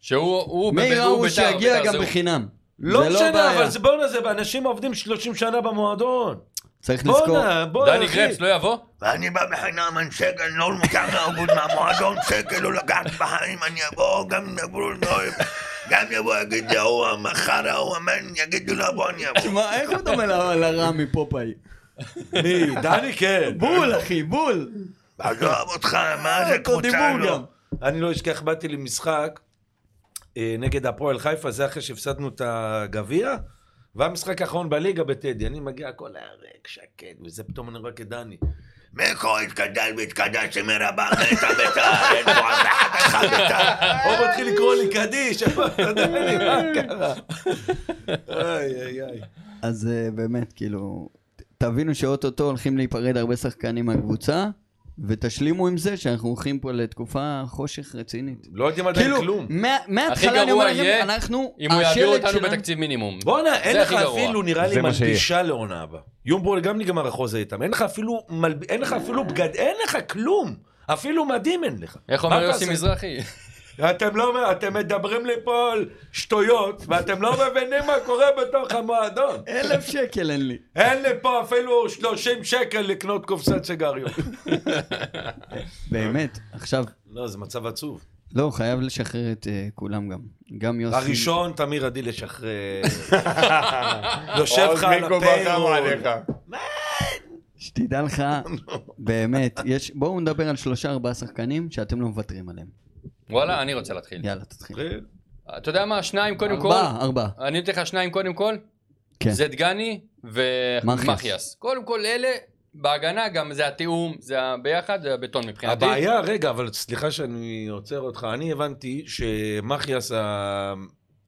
Speaker 4: שהוא, הוא
Speaker 3: מאיר
Speaker 4: בביתר,
Speaker 3: ההוא
Speaker 4: ביתר,
Speaker 3: שיגיע
Speaker 4: ביתר
Speaker 3: גם
Speaker 4: זה הוא.
Speaker 3: בחינם.
Speaker 5: לא
Speaker 3: זה
Speaker 5: משנה,
Speaker 3: בעיה.
Speaker 5: אבל זה- בואנה, זה אנשים עובדים 30 שנה במועדון.
Speaker 3: צריך לזכור,
Speaker 5: בואנה, בואנה,
Speaker 4: דני
Speaker 5: אחי.
Speaker 4: גרפס לא יבוא?
Speaker 6: ואני בא בחינם, אני שקל, לא לוקח לעבוד מהמועדון, שקל לא לקחת בחיים, אני אבוא, גם ידברו, לא- גם יבוא, יגיד לי, ההוא המחר, ההוא המן, יגידו לו, בוא אני אבוא.
Speaker 3: מה, איך הוא דומה ל- לרע מפופאי?
Speaker 5: מי? דני, כן.
Speaker 3: בול, אחי, בול.
Speaker 6: עזוב אותך, מה זה
Speaker 3: אותו
Speaker 6: קבוצה
Speaker 3: דיבור
Speaker 6: לא?
Speaker 3: גם.
Speaker 5: אני לא אשכח, באתי למשחק אה, נגד הפועל חיפה, זה אחרי שהפסדנו את הגביע, והמשחק האחרון בליגה בטדי. אני מגיע, הכל היה ריק, שקט, וזה פתאום אני רואה כדני.
Speaker 6: מקו התקדש והתקדש שמיר הבא, מתה בית"ר, אין פה אף אחד, הלכה בית"ר.
Speaker 5: הוא מתחיל לקרוא לי קדיש, אתה יודע לי מה קרה. איי, איי, איי.
Speaker 3: אז אה, באמת, כאילו, ת- תבינו שאו-טו-טו הולכים להיפרד הרבה שחקנים מהקבוצה, ותשלימו עם זה שאנחנו הולכים פה לתקופה חושך רצינית.
Speaker 5: לא יודעים עדיין
Speaker 3: כאילו,
Speaker 5: כלום.
Speaker 3: מה- מההתחלה
Speaker 4: הכי
Speaker 3: אני אומר
Speaker 4: גרוע יהיה
Speaker 3: לכם, אנחנו,
Speaker 4: אם הוא יעביר
Speaker 3: השלד
Speaker 4: אותנו
Speaker 3: שלנו-
Speaker 4: בתקציב מינימום.
Speaker 5: בואנה,
Speaker 4: זה
Speaker 5: אין לך
Speaker 4: הכי גרוע.
Speaker 5: אפילו, נראה לי,
Speaker 2: זה מה שיהיה.
Speaker 5: מלבישה לעונה הבאה. יומבורג גם נגמר החוזה איתם. אין לך אפילו מלב- אין לך אפילו בגד, אין לך כלום. אפילו מדים אין לך.
Speaker 4: איך אומר
Speaker 5: מה
Speaker 4: יוסי
Speaker 5: תעשה?
Speaker 4: מזרחי?
Speaker 5: אתם לא, אתם מדברים לי פה על שטויות, ואתם לא מבינים מה קורה בתוך המועדון.
Speaker 3: אלף שקל אין לי.
Speaker 5: אין לי פה אפילו 30 שקל לקנות קופסת סיגריות.
Speaker 3: באמת, עכשיו,
Speaker 5: לא, זה מצב עצוב.
Speaker 3: לא, חייב לשחרר את אה, כולם גם. גם יוסי.
Speaker 5: הראשון, תמיר עדי לשחרר. יושב
Speaker 2: עוז
Speaker 5: לך על
Speaker 2: מיקו כבר קמו
Speaker 5: הפיירול.
Speaker 2: עליך.
Speaker 3: שתדע לך,
Speaker 4: לא.
Speaker 3: באמת, יש, בואו נדבר על שלושה ארבעה שחקנים שאתם לא מוותרים עליהם.
Speaker 4: וואלה, אני רוצה להתחיל.
Speaker 3: יאללה, תתחיל.
Speaker 4: אתה יודע מה, שניים קודם כל.
Speaker 3: ארבעה, ארבעה.
Speaker 4: אני נותן לך שניים קודם כל.
Speaker 3: כן.
Speaker 4: זדגני
Speaker 3: מחיאס.
Speaker 4: ומחיאס. קודם כל אלה, בהגנה גם זה התיאום, זה הביחד, זה הבטון מבחינתי.
Speaker 5: הבעיה, רגע, אבל סליחה שאני עוצר אותך, אני הבנתי אה, שמחיאס ה...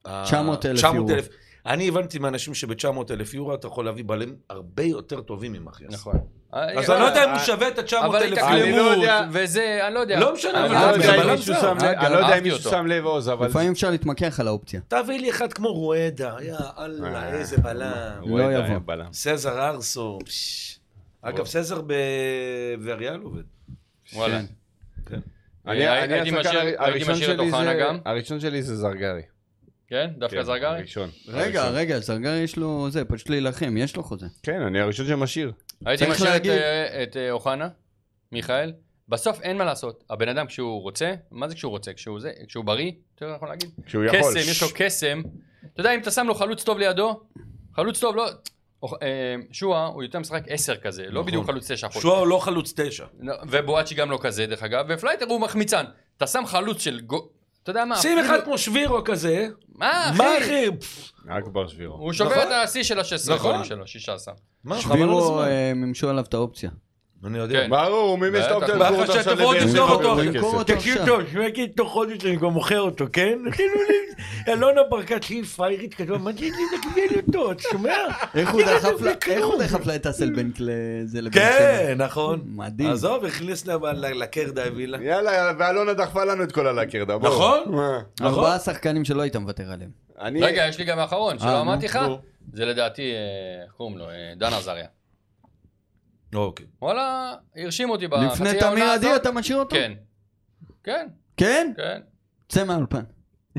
Speaker 5: ה-
Speaker 3: 900,000
Speaker 5: 900,000. אני הבנתי מאנשים שב-900,000 יורו אתה יכול להביא בעלים הרבה יותר טובים ממחיאס.
Speaker 4: נכון.
Speaker 5: אז אני לא יודע אם הוא
Speaker 2: אה,
Speaker 5: שווה את
Speaker 4: אבל
Speaker 5: ה-900,000
Speaker 2: אני לא
Speaker 5: יורו.
Speaker 4: התאקלמות,
Speaker 2: יודע.
Speaker 4: וזה, אני לא יודע.
Speaker 5: לא משנה,
Speaker 4: אני
Speaker 2: אני
Speaker 5: אבל
Speaker 2: לא
Speaker 5: זה אה,
Speaker 2: יודע אם מישהו
Speaker 5: הבלם שלו.
Speaker 2: שם לב- אני לא יודע אם
Speaker 4: אהבתי
Speaker 2: מישהו
Speaker 4: אותו.
Speaker 2: שם לב עוז, אבל...
Speaker 3: לפעמים אפשר להתמקח על האופציה.
Speaker 5: תביא לי אחד כמו רואדה, יא אללה, איזה בלם.
Speaker 2: הוא עדיין
Speaker 3: יבוא.
Speaker 2: בלם.
Speaker 5: סזר ארסו. פש. אגב, סזר בווריאל עובד.
Speaker 4: וואלה.
Speaker 5: כן.
Speaker 2: אני
Speaker 4: אה,
Speaker 2: אני
Speaker 4: הייתי
Speaker 2: השחקן
Speaker 4: משאיר-
Speaker 2: הר-
Speaker 4: הייתי
Speaker 2: הראשון
Speaker 4: משאיר את
Speaker 2: שלי
Speaker 4: אוחנה
Speaker 2: זה-
Speaker 4: גם.
Speaker 2: הראשון שלי זה זרגרי.
Speaker 4: כן? דווקא
Speaker 2: כן,
Speaker 4: זרגרי?
Speaker 2: הראשון.
Speaker 3: רגע,
Speaker 2: הראשון.
Speaker 3: רגע, זרגר יש לו זה, פשוט להילחם, יש לו חוזה.
Speaker 2: כן, אני הראשון שמשאיר.
Speaker 4: הייתי
Speaker 3: צריך
Speaker 4: משאיר את,
Speaker 3: להגיד-
Speaker 4: אה, את אה, אוחנה, מיכאל. בסוף אין מה לעשות. הבן אדם כשהוא רוצה, מה זה כשהוא רוצה? כשהוא זה, כשהוא בריא, יותר נכון להגיד?
Speaker 2: כשהוא יכול.
Speaker 4: קסם, יש לו קסם. אתה יודע, אם אתה שם לו חלוץ טוב לידו, חלוץ טוב לא... אוח- אה, שועה הוא יותר משחק 10 כזה,
Speaker 3: נכון.
Speaker 4: לא בדיוק חלוץ 9 אחוז.
Speaker 5: שואה הוא לא חלוץ תשע.
Speaker 4: אה, ובואצ'י גם לא כזה, דרך אגב, ופלייטר הוא מחמיצן. אתה שם חלוץ של גו... אתה יודע מה?
Speaker 5: שים
Speaker 4: אפילו-
Speaker 5: אחד כמו שבירו כזה.
Speaker 4: מה, אחי?
Speaker 5: מה אחי? פפ,
Speaker 2: רק בר שבירו.
Speaker 4: הוא שובר
Speaker 5: נכון.
Speaker 4: את השיא של ה-16
Speaker 5: נכון.
Speaker 4: גולים שלו, 16.
Speaker 5: מה, חבל על
Speaker 3: שבירו
Speaker 5: הזמן.
Speaker 3: אה, מימשו עליו את האופציה.
Speaker 5: אני יודע.
Speaker 4: כן.
Speaker 2: ברור, הוא מימש את
Speaker 4: בטח.
Speaker 2: האופציה
Speaker 4: ואחרי
Speaker 2: למכור אותו
Speaker 5: שאתם
Speaker 2: עכשיו
Speaker 5: רוצים
Speaker 2: לבאר
Speaker 5: למכור
Speaker 2: שבע
Speaker 5: אותו,
Speaker 2: בכסף.
Speaker 3: למכור אותו.
Speaker 5: תקשיב
Speaker 3: עכשיו.
Speaker 5: טוב, שהוא יגיד תוך חודש אני כבר מוכר אותו, כן? נתנו לי, אלונה ברקת שהיא פראיירית כזו, מה זה לי לקבל אותו, אתה שומע?
Speaker 3: איך הוא
Speaker 5: אני לא
Speaker 3: דחף
Speaker 5: מבין
Speaker 3: לה- איך
Speaker 5: כלום.
Speaker 3: הוא דחף לה את הסלבנק לזה לבן
Speaker 5: כן, נכון.
Speaker 3: מדהים.
Speaker 5: עזוב, הכניס לה ל- לקרדה הווילה.
Speaker 2: יאללה, יאללה, ואלונה דחפה לנו את כל הלקרדה. בוא.
Speaker 5: נכון.
Speaker 2: מה?
Speaker 3: ארבעה שחקנים שלא היית מוותר עליהם.
Speaker 2: אני...
Speaker 4: רגע, יש לי גם האחרון,
Speaker 3: אה,
Speaker 4: שלא אמרתי לך,
Speaker 5: נו.
Speaker 4: זה לדעתי, אה, איך קוראים לו? אה, דן עזריה.
Speaker 3: לא,
Speaker 5: אוקיי.
Speaker 4: וואלה, הרשים אותי בחצי העונה הזאת.
Speaker 3: לפני תמיר עדי אתה משאיר אותו?
Speaker 4: כן. כן,
Speaker 3: כן?
Speaker 4: כן.
Speaker 3: צא מהאולפן.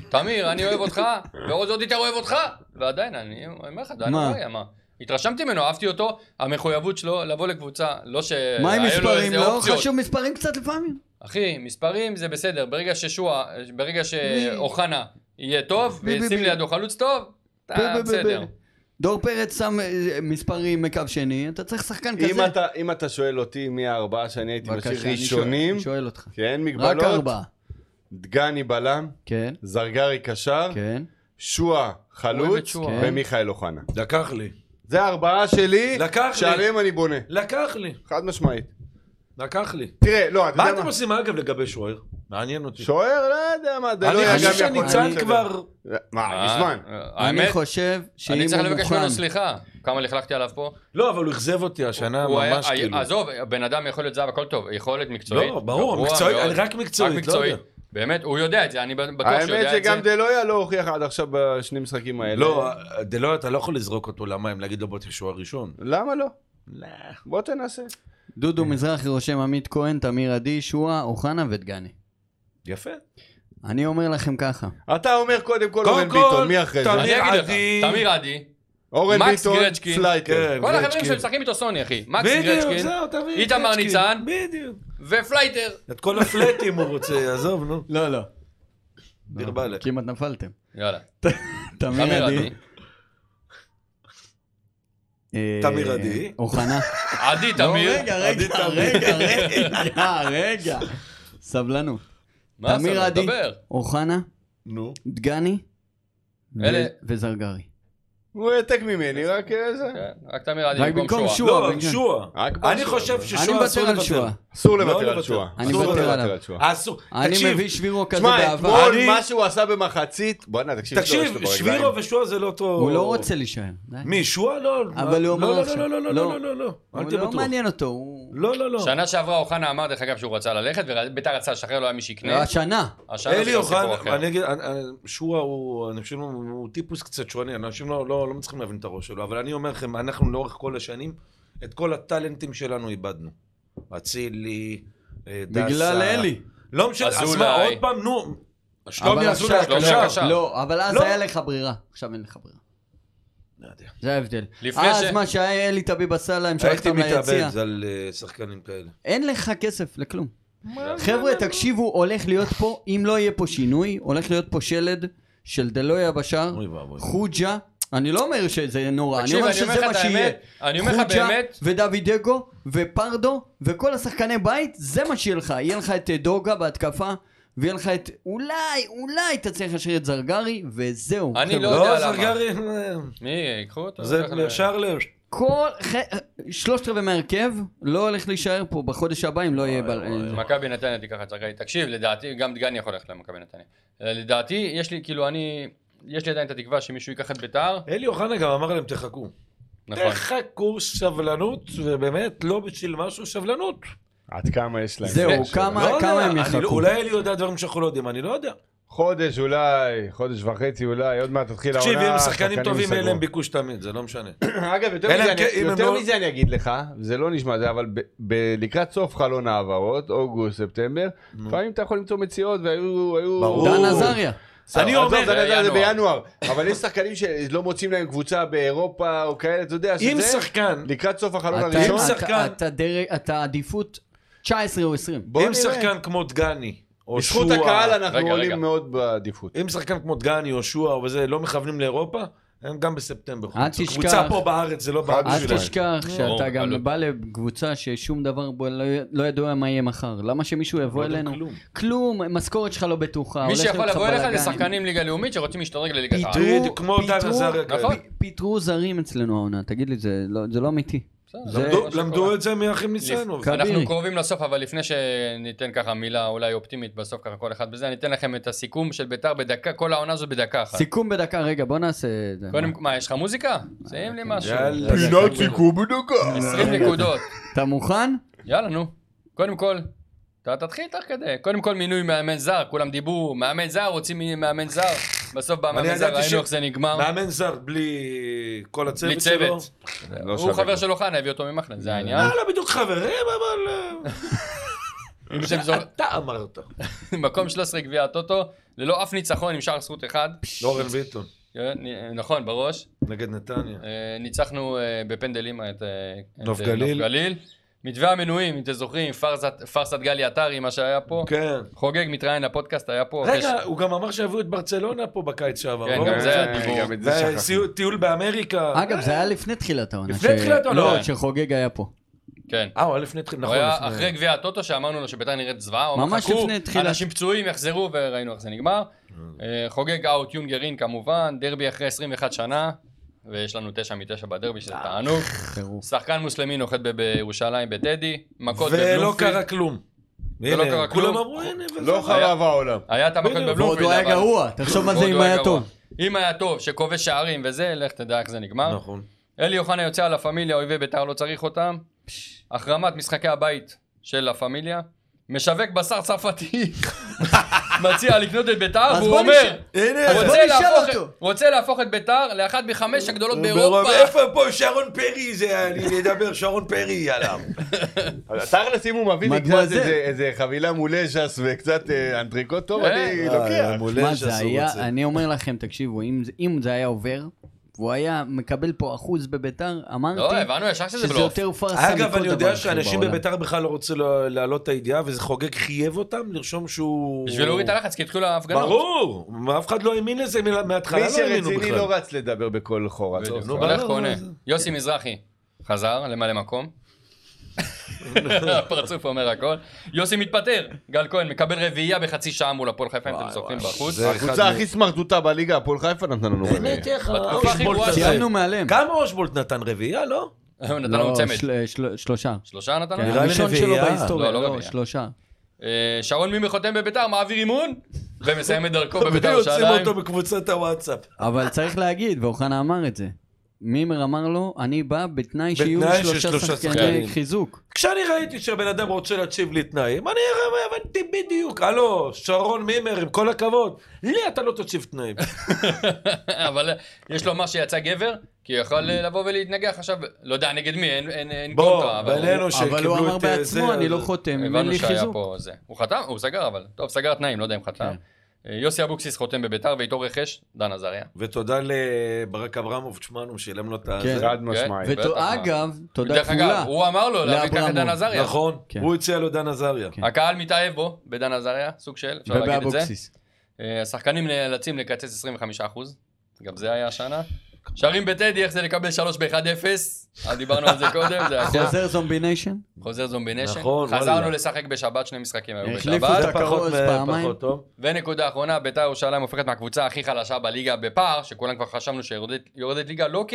Speaker 3: תמיר,
Speaker 4: תמיר, אני אוהב אותך, ועוז עוד יותר אוהב אותך, ועדיין, אני אומר לך, דן
Speaker 3: מה?
Speaker 4: עזריה, מה? התרשמתי ממנו, אהבתי אותו, המחויבות שלו לבוא לקבוצה, לא ש...
Speaker 3: מה עם
Speaker 4: היו לו
Speaker 3: מספרים?
Speaker 4: איזה
Speaker 3: לא
Speaker 4: אופציות.
Speaker 3: חשוב מספרים קצת לפעמים?
Speaker 4: אחי, מספרים זה בסדר, ברגע ששועה, ברגע שאוחנה יהיה טוב,
Speaker 3: בי, בי,
Speaker 4: וישים
Speaker 3: בי.
Speaker 4: לידו חלוץ טוב,
Speaker 3: ב-
Speaker 4: אתה
Speaker 3: ב- ב-
Speaker 4: אה, בסדר.
Speaker 3: ב- דור פרץ שם אה, מספרים מקו שני, אתה צריך שחקן כזה.
Speaker 2: אם אתה- אם אתה שואל אותי מי הארבעה שאני הייתי
Speaker 3: בבקשה,
Speaker 2: משאיר
Speaker 3: אני שואל-
Speaker 2: ראשונים, כן,
Speaker 3: אני שואל אותך.
Speaker 2: כי אין
Speaker 3: רק
Speaker 2: מגבלות,
Speaker 3: ארבעה.
Speaker 2: דגני בלם,
Speaker 3: כן,
Speaker 2: זרגרי קשר,
Speaker 3: כן.
Speaker 2: שועה
Speaker 4: אוהב את
Speaker 2: חלוץ,
Speaker 4: שועה.
Speaker 3: כן.
Speaker 2: ומיכאל אוחנה.
Speaker 5: לקח לי.
Speaker 2: זה הארבעה שלי,
Speaker 5: לקח לי.
Speaker 2: שעליהם אני בונה.
Speaker 5: לקח לי.
Speaker 2: חד משמעית.
Speaker 5: לקח לי.
Speaker 2: תראה, לא, אתה
Speaker 5: מה
Speaker 2: יודע
Speaker 5: אתם
Speaker 2: מה?
Speaker 5: עושים אגב לגבי שוער? מעניין אותי.
Speaker 2: שוער, לא יודע מה, דלויה
Speaker 5: אני
Speaker 2: גם
Speaker 5: חושב
Speaker 2: יכול
Speaker 5: שניצן
Speaker 2: להיות.
Speaker 5: כבר...
Speaker 3: אה,
Speaker 4: אה,
Speaker 2: מה, מזמן.
Speaker 4: האמת,
Speaker 3: אני חושב שאם הוא
Speaker 4: אני
Speaker 3: מוכן...
Speaker 4: צריך לבקש ממנו סליחה, כמה לכלכתי עליו פה.
Speaker 5: לא, אבל הוא אכזב אותי השנה
Speaker 4: הוא היה-
Speaker 5: ממש
Speaker 4: היה-
Speaker 5: כאילו.
Speaker 4: עזוב, בן אדם יכול להיות זהב, הכל טוב, יכולת מקצועית.
Speaker 5: לא, ברור,
Speaker 4: גרוע
Speaker 5: מקצועית,
Speaker 4: מאוד.
Speaker 5: רק מקצועית, לא יודע.
Speaker 4: באמת, הוא יודע את זה, אני בטוח שהוא
Speaker 2: האמת
Speaker 4: יודע את
Speaker 2: שגם
Speaker 4: זה.
Speaker 2: דלויה לא הוכיח עד עכשיו בשני משחקים האלה.
Speaker 5: לא, דלו, אתה לא יכול לזרוק אותו למים, להגיד לו בוא תהיה שוער ראשון.
Speaker 2: למה לא? בוא תנסה.
Speaker 3: דודו
Speaker 5: כן.
Speaker 3: מזרחי רושם עמית כהן, תמיר עדי, שועה, אוחנה ודגני.
Speaker 5: יפה.
Speaker 3: אני אומר לכם ככה,
Speaker 2: אתה אומר קודם כל
Speaker 5: קודם
Speaker 2: אורן
Speaker 5: כל,
Speaker 2: ביטון, מי אחרי זה?
Speaker 5: תמיר-
Speaker 4: אני אגיד לך,
Speaker 5: עדי.
Speaker 4: תמיר עדי,
Speaker 2: אורן
Speaker 4: מקס
Speaker 2: ביטון,
Speaker 4: גרצ'קין.
Speaker 2: פלייטר.
Speaker 5: כן.
Speaker 4: כל החברים
Speaker 5: גרצ'קין.
Speaker 4: שמשחקים איתו סוני, אחי. מקס
Speaker 5: בדיוק,
Speaker 4: גרצ'קין,
Speaker 5: זהו, תביא. את
Speaker 4: איתמר
Speaker 5: גרצ'קין.
Speaker 4: ניצן.
Speaker 5: בדיוק.
Speaker 4: ופלייטר.
Speaker 5: את כל הפלטים הוא רוצה, עזוב, נו.
Speaker 3: לא, לא.
Speaker 5: דיר באלק.
Speaker 3: כמעט נפלתם.
Speaker 4: יאללה,
Speaker 3: תמיר
Speaker 4: תמיר
Speaker 3: עדי.
Speaker 4: עדי.
Speaker 3: אה,
Speaker 5: תמיר עדי.
Speaker 3: אוחנה.
Speaker 4: עדי, תמיר.
Speaker 3: לא, רגע, רגע, רגע, רגע, רגע. סבלנות.
Speaker 4: מה
Speaker 3: תמיר
Speaker 4: עשה?
Speaker 3: עדי.
Speaker 4: דבר.
Speaker 3: אוחנה,
Speaker 5: נו.
Speaker 3: דגני ו-
Speaker 4: אלה-
Speaker 3: וזרגרי.
Speaker 2: הוא העתק ממני, רק אה, זה.
Speaker 4: כן, רק תמיר עדי
Speaker 3: רק במקום
Speaker 4: במקום שואה.
Speaker 3: שועה.
Speaker 5: לא,
Speaker 3: בגלל-
Speaker 5: שועה.
Speaker 2: רק
Speaker 5: אני
Speaker 2: בשועה.
Speaker 5: חושב
Speaker 3: כן. אני
Speaker 5: ששועה אסור
Speaker 3: מוותר על
Speaker 5: לוותר.
Speaker 3: שועה.
Speaker 2: אסור
Speaker 5: לא
Speaker 2: לוותר על
Speaker 5: לוותר.
Speaker 2: תשואה.
Speaker 3: אני
Speaker 2: אסור
Speaker 3: מוותר
Speaker 2: לוותר
Speaker 3: עליו.
Speaker 2: על תשואה.
Speaker 5: אסור,
Speaker 3: אני
Speaker 5: תקשיב,
Speaker 3: מביא שבירו כזה
Speaker 2: תשמע,
Speaker 3: בעבר.
Speaker 2: אתמול
Speaker 5: אה, אני-
Speaker 2: מה שהוא עשה במחצית, בואנה, תקשיב, יש לו
Speaker 5: תקשיב,
Speaker 2: ברגליים.
Speaker 5: שבירו ושועה זה לא אותו...
Speaker 3: הוא לא רוצה להישאר. די.
Speaker 5: מי, שועה? לא.
Speaker 3: אבל הוא אמר
Speaker 5: לא, לא,
Speaker 3: עכשיו.
Speaker 5: לא, לא, לא,
Speaker 3: לא.
Speaker 5: לא, לא, לא, אל
Speaker 3: הוא
Speaker 5: תהיה
Speaker 3: לא
Speaker 5: בטוח.
Speaker 3: מעניין אותו. הוא-
Speaker 5: לא, לא, לא.
Speaker 4: שנה שעברה אוחנה אמר, דרך אגב, שהוא רצה ללכת, וביתר רצה לשחרר, לא היה מי
Speaker 3: כן. אה,
Speaker 4: שיקנה.
Speaker 3: השנה.
Speaker 4: השנה זה
Speaker 5: אלי
Speaker 4: גם סיפור
Speaker 5: אוחנה,
Speaker 4: אחר.
Speaker 5: אני אגיד, אני- אני- שועה הוא, אני חושב, הוא הוא טיפוס קצת שונה, אנשים לא- לא לא מצליחים להבין את הראש שלו, אבל אני אומר לכם, אנחנו לאורך כל השנים, את כל הטאלנטים שלנו איבדנו. אצילי, אה, דסה.
Speaker 3: בגלל אלי.
Speaker 5: לא משנה, אז
Speaker 4: אזולאי.
Speaker 5: מה, עוד פעם, נו.
Speaker 3: אבל
Speaker 5: שלומי
Speaker 3: עכשיו-
Speaker 5: אזולאי,
Speaker 4: שלומי
Speaker 5: הקשר.
Speaker 4: הקשר.
Speaker 3: לא, אבל אז
Speaker 5: לא.
Speaker 3: היה לך ברירה. עכשיו אין לך ברירה.
Speaker 5: לא יודע.
Speaker 3: זה ההבדל.
Speaker 4: לפני
Speaker 3: אז
Speaker 4: ש-
Speaker 3: מה שהיה אלי טביב עשה להם,
Speaker 5: הייתי
Speaker 3: שלחתם ליציע.
Speaker 5: מתאבד על אה, שחקנים כאלה.
Speaker 3: אין לך כסף לכלום. חבר'ה, תקשיבו, הולך להיות פה, אם לא יהיה פה שינוי, הולך להיות פה שלד של דלויה בשאר,
Speaker 5: אוי ואבוי.
Speaker 3: חוג'ה, אני לא אומר שזה נורא, אני
Speaker 4: תקשיב,
Speaker 3: אומר
Speaker 4: אני אומר
Speaker 3: שזה
Speaker 4: לך
Speaker 3: מה
Speaker 4: את
Speaker 3: שיהיה.
Speaker 4: האמת, אני אומר לך באמת-
Speaker 3: ודוידגו, ופרדו, וכל השחקני בית, זה מה שיהיה לך. יהיה לך את אה, דוגה בהתקפה, ויהיה לך את, אולי, אולי תצליח לשיר את זרגרי, וזהו.
Speaker 4: אני
Speaker 3: חבר'ה.
Speaker 4: לא יודע
Speaker 5: לא,
Speaker 4: למה. לא,
Speaker 5: זרגרי,
Speaker 4: מי, ייקחו אותו? לקחת
Speaker 5: זה
Speaker 4: לו-
Speaker 5: שער לב.
Speaker 3: כל, ח... שלושת רבעי מהרכב, לא הולך להישאר פה בחודש הבא, אם לא יהיה... בל-
Speaker 4: מכבי נתניה תיקח את זרגרי. תקשיב, לדעתי, גם דגני יכול ללכת למכבי נתניה. אה, לדעתי, יש לי, כאילו, אני... יש לי עדיין את התקווה שמישהו ייקח את ביתר.
Speaker 5: אלי אוחנה גם אמר להם, תחכו.
Speaker 4: נכון.
Speaker 5: תחכו סבלנות, ובאמת, לא בשביל משהו, סבלנות.
Speaker 2: עד כמה יש להם?
Speaker 3: זהו,
Speaker 2: יש
Speaker 3: כמה-
Speaker 2: להם.
Speaker 5: לא
Speaker 3: כמה
Speaker 5: יודע,
Speaker 3: הם
Speaker 5: אני
Speaker 3: יחכו?
Speaker 5: לא- אולי אלי יודע דברים שאנחנו לא יודעים, אני לא יודע.
Speaker 2: חודש אולי, חודש וחצי אולי, עוד מעט תתחיל העונה.
Speaker 5: תקשיב, אם שחקנים טובים, אין
Speaker 2: לא, ייסגרו.
Speaker 5: להם ביקוש תמיד, זה לא משנה.
Speaker 2: אגב, יותר,
Speaker 5: אלא
Speaker 2: מזה,
Speaker 5: אם
Speaker 2: אני,
Speaker 5: כן- אם הם
Speaker 2: יותר
Speaker 5: לא-
Speaker 2: מזה אני אגיד לך, זה לא נשמע זה, אבל ב, ב, לקראת סוף חלון ההעברות, אוגוסט, ספטמבר, לפעמים אתה יכול למצוא מציאות והיו... היו-
Speaker 5: ברור.
Speaker 3: דן עזריה.
Speaker 2: בסדר,
Speaker 5: אני
Speaker 2: עזוב,
Speaker 5: אומר,
Speaker 2: דן
Speaker 4: זה
Speaker 2: עזריה זה
Speaker 4: בינואר.
Speaker 2: בינואר, אבל יש שחקנים שלא מוצאים להם קבוצה באירופה או כאלה, אתה יודע,
Speaker 5: אם
Speaker 2: שזה...
Speaker 5: שחקן,
Speaker 2: לקראת סוף החלון
Speaker 3: אתה-
Speaker 2: הראשון,
Speaker 3: אתה-
Speaker 5: שחקן-
Speaker 3: אתה דרג, אתה עדיפות 19 או 20.
Speaker 2: בוא
Speaker 5: אם
Speaker 2: נראה.
Speaker 5: שחקן כמו דגני, או
Speaker 2: בזכות
Speaker 5: שועה,
Speaker 2: הקהל אנחנו
Speaker 4: רגע, רגע.
Speaker 2: עולים מאוד בעדיפות.
Speaker 5: אם שחקן כמו דגני או שועה או זה, לא מכוונים לאירופה, הם גם בספטמבר.
Speaker 3: אל
Speaker 5: חוץ.
Speaker 3: תשכח.
Speaker 5: קבוצה פה בארץ, זה לא בארץ
Speaker 3: אל
Speaker 5: שלהם.
Speaker 3: תשכח שאתה
Speaker 4: ברור,
Speaker 3: גם
Speaker 4: אלוף.
Speaker 3: בא לקבוצה ששום דבר בו לא, לא ידוע מה יהיה מחר. למה שמישהו יבוא
Speaker 5: לא יודע
Speaker 3: אלינו?
Speaker 5: כלום.
Speaker 3: כלום, משכורת שלך לא בטוחה.
Speaker 4: מי
Speaker 3: הולך
Speaker 4: שיכול
Speaker 3: להיות לך
Speaker 4: לבוא אליך זה
Speaker 3: בלאגן.
Speaker 4: שחקנים ליגה לאומית שרוצים להשתדרג לליגת העל.
Speaker 3: פיטרו-
Speaker 5: בדיוק, כמו דן
Speaker 3: פיטרו-
Speaker 5: עזריה כאלה.
Speaker 4: נכון.
Speaker 3: פיטרו זרים אצלנו העונה, תגיד לי, זה לא, זה לא אמיתי.
Speaker 4: בסדר,
Speaker 3: זה-
Speaker 4: למדו-
Speaker 5: למדו- למדו את זה מאחים ניסנוב.
Speaker 3: כבירי.
Speaker 4: אנחנו קרובים לסוף, אבל לפני שניתן ככה מילה אולי אופטימית בסוף ככה כל אחד בזה, אני אתן לכם את הסיכום של ביתר בדקה, כל העונה הזו בדקה אחת.
Speaker 3: סיכום בדקה, רגע, בוא נעשה את זה.
Speaker 4: קודם, מה, יש לך מוזיקה? שים לי משהו.
Speaker 5: כן. יאללה.
Speaker 2: פינת סיכום בדקה.
Speaker 4: 20 נקודות.
Speaker 3: אתה מוכן?
Speaker 4: יאללה, נו. קודם כל, אתה תתחיל תוך כדי. קודם כל מינוי מאמן זר, כולם דיברו, מאמן זר, רוצים מי- מאמן זר. בסוף בא מאמן
Speaker 5: אני
Speaker 4: זר,
Speaker 5: ידעתי ש- לא
Speaker 4: ראינו איך זה נגמר.
Speaker 5: מאמן זר בלי כל
Speaker 4: בלי
Speaker 5: הצוות שלו.
Speaker 4: צוות. לא הוא חבר של אוחנה, הביא אותו ממחנה,
Speaker 5: אה.
Speaker 4: זה העניין.
Speaker 5: יאללה, בדיוק חברים, אבל... אה,
Speaker 4: אני חושב שזו-
Speaker 5: אתה אמרת.
Speaker 4: מקום 13 גביע הטוטו, ללא אף ניצחון עם שער זכות אחד.
Speaker 5: אורן ביטון,
Speaker 4: כן, נ- נכון, בראש.
Speaker 5: נגד נתניה.
Speaker 4: אה, ניצחנו אה, בפנדלים את אה, את,
Speaker 5: נוף
Speaker 4: אה,
Speaker 5: גליל.
Speaker 4: נוף גליל. מתווה המנויים, אם אתם זוכרים, פארסת- פארסת גלי עטרי, מה שהיה פה.
Speaker 5: כן.
Speaker 4: חוגג מתראיין לפודקאסט, היה פה.
Speaker 5: רגע, הוא גם אמר שיביאו את ברצלונה פה בקיץ שעבר.
Speaker 4: כן,
Speaker 5: לא?
Speaker 4: גם זה היה דיבור.
Speaker 2: גם את זה
Speaker 5: זה
Speaker 2: שכחנו.
Speaker 5: סיוע- טיול באמריקה.
Speaker 3: אגב, זה היה לפני תחילת העונה.
Speaker 5: לפני תחילת העונה.
Speaker 3: לא,
Speaker 4: כן.
Speaker 3: שחוגג היה פה.
Speaker 4: כן.
Speaker 5: אה, הוא היה לפני תחילה,
Speaker 4: הוא
Speaker 5: נכון.
Speaker 4: היה
Speaker 5: לפני.
Speaker 4: אחרי גביע הטוטו שאמרנו לו שביתר נראית זוועה, הוא אמר
Speaker 3: ממש
Speaker 4: חכו,
Speaker 3: לפני תחילת-
Speaker 4: אנשים פצועים יחזרו וראינו איך זה נגמר. אה, חוגג אאוט יונגרין כמובן, דרבי אחרי 21 שנה, ויש לנו 9 מ-9 בדרבי
Speaker 3: אה.
Speaker 4: שזה תענוג.
Speaker 3: טירוף.
Speaker 4: שחקן מוסלמי נוחת ב- בירושלים בטדי, מכות
Speaker 5: ולא
Speaker 4: בבלומפילד.
Speaker 5: קרה כלום.
Speaker 4: ולא
Speaker 5: הנה,
Speaker 4: קרה
Speaker 5: כולם
Speaker 4: כלום.
Speaker 5: אמרו, הנה, וזה.
Speaker 2: לא חרב העולם.
Speaker 4: היה את המכות
Speaker 5: בדיוק.
Speaker 3: ועוד
Speaker 4: בבלומפילד.
Speaker 3: הוא היה
Speaker 4: לא, אבל-
Speaker 3: גרוע, תחשוב על זה
Speaker 4: ועוד
Speaker 3: אם
Speaker 4: הוא
Speaker 3: היה
Speaker 4: גרוע.
Speaker 3: טוב.
Speaker 4: אם לא היה טוב, שכובש שערים וזה, לך תדע איך זה נגמר.
Speaker 5: נכון.
Speaker 4: אלי אוחנה יוצא על לה פמיליה, אויבי בית"ר לא צריך אותם. החרמת משחקי הבית של לה פמיליה. משווק בשר צרפתי, מציע לקנות את בית"ר,
Speaker 3: אז
Speaker 4: והוא
Speaker 3: בוא
Speaker 4: אומר,
Speaker 3: נשאל-
Speaker 5: הנה,
Speaker 3: אז
Speaker 4: רוצה
Speaker 3: בוא נשאל
Speaker 4: להפוך-
Speaker 3: אותו.
Speaker 4: רוצה להפוך את בית"ר לאחת מחמש
Speaker 5: אה,
Speaker 4: הגדולות באירופה.
Speaker 5: ברוב- איפה פה שרון פרי זה, אני אדבר שרון פרי עליו.
Speaker 2: אז תכלס אם הוא מביא לי
Speaker 3: מדמואזל.
Speaker 2: קצת איזה- איזה חבילה מולז'ס וקצת אה, אנטריקוט טוב,
Speaker 4: אה,
Speaker 2: אני
Speaker 5: אה,
Speaker 2: לוקח.
Speaker 5: מולש
Speaker 3: מה
Speaker 5: עשו
Speaker 3: זה
Speaker 5: את זה.
Speaker 3: היה, אני אומר לכם, תקשיבו, אם זה- אם זה היה עובר, והוא היה מקבל פה אחוז בביתר, אמרתי
Speaker 4: לא, הבנו ישר שזה
Speaker 3: שזה
Speaker 4: בלוף.
Speaker 3: יותר פארסה מכל דבר
Speaker 5: אגב, אני יודע
Speaker 3: אחר
Speaker 5: שאנשים
Speaker 3: בעולם.
Speaker 5: בביתר בכלל לא רוצים לה- להעלות את הידיעה, וזה חוגג חייב אותם לרשום שהוא...
Speaker 4: בשביל להוריד את הלחץ, כי התחילו ההפגנות.
Speaker 5: ברור, אף אחד לא האמין לזה מלה- מההתחלה,
Speaker 2: מי
Speaker 5: לא האמינו
Speaker 2: שרציני
Speaker 5: בכלל.
Speaker 2: לא רץ לדבר בקול חור. עזוב.
Speaker 5: נו,
Speaker 4: הולך
Speaker 5: ברור,
Speaker 4: קונה.
Speaker 5: לא, זה-
Speaker 4: יוסי מזרחי חזר למלא מקום. הפרצוף אומר הכל. יוסי מתפטר. גל כהן מקבל רביעייה בחצי שעה מול הפועל חיפה, אם אתם זוכרים בחוץ.
Speaker 5: זה אחד
Speaker 2: הקבוצה
Speaker 5: מ-
Speaker 2: הכי סמרטוטה בליגה, הפועל חיפה נתנה לנו רביעי.
Speaker 5: איך
Speaker 4: בתקופה הכי
Speaker 5: אושבולט
Speaker 4: גרועה
Speaker 5: נתן-
Speaker 4: שלהם.
Speaker 3: סיימנו מעליהם.
Speaker 5: כמה אושבולט נתן רביעייה, לא? כן,
Speaker 4: הוא אה, נתן לנו
Speaker 3: לא,
Speaker 4: צמד.
Speaker 3: של- של- שלושה. כן,
Speaker 4: שלושה נתן לנו?
Speaker 5: נראה לי
Speaker 3: הראשון שלו
Speaker 5: רביעייה.
Speaker 3: בהיסטוריה,
Speaker 4: לא, לא
Speaker 3: לא,
Speaker 4: רביעייה.
Speaker 3: שלושה.
Speaker 4: אה, שרון מימי חותם בביתר, מעביר אימון, ומסיים את דרכו בביתר
Speaker 5: לא, יוצאים
Speaker 4: ירושלים.
Speaker 5: אותו בקבוצת הוואטסאפ.
Speaker 3: אבל צריך להגיד, ואוחנה אמר את זה. מימר אמר לו, אני בא בתנאי שיהיו
Speaker 5: בתנאי של
Speaker 3: שלושה
Speaker 5: שלושה
Speaker 3: שחקני
Speaker 5: שחקנים."
Speaker 3: חיזוק.
Speaker 5: כשאני ראיתי שהבן אדם רוצה להציב לי תנאים, אני הבנתי בדיוק. הלו, שרון מימר, עם כל הכבוד, לי אתה לא תציב תנאים.
Speaker 4: אבל אה, יש לומר שיצא גבר, כי הוא יכול אה, לבוא ולהתנגח עכשיו, לא יודע נגד מי, אין- אין אין קונטרה.
Speaker 5: בוא,
Speaker 4: אבל-
Speaker 5: בינינו שקיבלו את
Speaker 3: אבל הוא אמר
Speaker 5: אה, זה,
Speaker 3: בעצמו, אני לא
Speaker 5: אז-
Speaker 3: חותם, אם אין
Speaker 4: הבנו
Speaker 3: לי
Speaker 4: שהיה
Speaker 3: חיזוק.
Speaker 4: פה זה. הוא חתם, הוא סגר אבל. טוב, סגר תנאים, לא יודע אם חתם.
Speaker 3: כן.
Speaker 4: אה, יוסי אבוקסיס חותם בביתר ואיתו רכש, דן עזריה.
Speaker 5: ותודה לברק אברמוב, תשמע, נו, שילם לו את ה...
Speaker 3: כן.
Speaker 5: זה.
Speaker 2: חד משמעית.
Speaker 4: בטח, מה.
Speaker 3: ואגב, תודה
Speaker 4: דרך אגב,
Speaker 3: כפולה.
Speaker 4: הוא אמר לו להביא ככה את דן
Speaker 3: לאברמוב,
Speaker 4: עזריה.
Speaker 5: נכון,
Speaker 3: כן.
Speaker 5: הוא הציע לו דן עזריה.
Speaker 3: כן.
Speaker 4: הקהל מתאהב בו, בדן עזריה, סוג של, אפשר להגיד את זה.
Speaker 3: ובאבוקסיס.
Speaker 4: אה, השחקנים נאלצים לקצץ 25%, גם זה היה השנה. שרים בטדי, איך זה לקבל 3 ב-1-0, אז דיברנו על זה קודם, זה היה
Speaker 3: חוזר זומבי ניישן?
Speaker 4: חוזר זומבי נשק.
Speaker 5: נכון,
Speaker 4: חזרנו
Speaker 5: וואלה.
Speaker 4: לשחק בשבת, שני משחקים היו
Speaker 3: החליפו
Speaker 4: בשבת.
Speaker 3: את
Speaker 5: זה פחות
Speaker 3: הכרוז פעמיים.
Speaker 5: פחות טוב.
Speaker 4: ונקודה אחרונה, ביתר ירושלים הופכת מהקבוצה הכי חלשה בליגה בפער, שכולם כבר חשבנו שיורדת יורדת ליגה לא כ...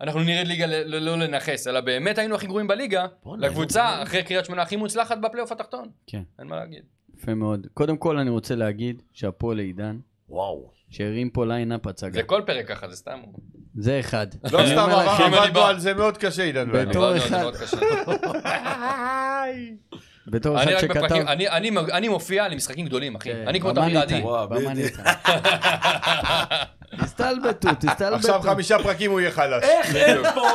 Speaker 4: אנחנו נרד ליגה ל- לא, לא לנכס, אלא באמת היינו הכי גרועים בליגה,
Speaker 5: בואנה,
Speaker 4: לקבוצה אחרי קריית שמונה הכי מוצלחת בפלייאוף התחתון.
Speaker 3: כן.
Speaker 4: אין מה להגיד.
Speaker 3: יפה מאוד. קודם כל אני רוצה להגיד שאפו לעידן,
Speaker 5: וואו.
Speaker 3: שהרים פה ליינאפ הצגה.
Speaker 4: זה כל פרק ככה, זה סתם.
Speaker 3: זה אחד.
Speaker 2: לא
Speaker 4: אני
Speaker 2: סתם
Speaker 4: אומר
Speaker 2: עבר-
Speaker 4: לכם, אני
Speaker 2: עבדנו
Speaker 4: בא-
Speaker 2: על זה מאוד קשה, עידן ואני.
Speaker 3: בתור
Speaker 4: מאוד מאוד,
Speaker 3: אחד.
Speaker 4: מאוד קשה.
Speaker 3: בתור אחד
Speaker 4: אני רק
Speaker 3: שכתב... כן,
Speaker 4: בפרקים, אני- אני מ- אני מופיע למשחקים גדולים, אחי. אני כמו
Speaker 3: במה
Speaker 4: תמיר עדי.
Speaker 3: ניתן?
Speaker 5: וואו,
Speaker 3: במה
Speaker 5: בדיוק.
Speaker 3: ניתן? תסתלבטו, תסתלבטו.
Speaker 2: עכשיו חמישה פרקים הוא יהיה חלש.
Speaker 5: איך אין פה,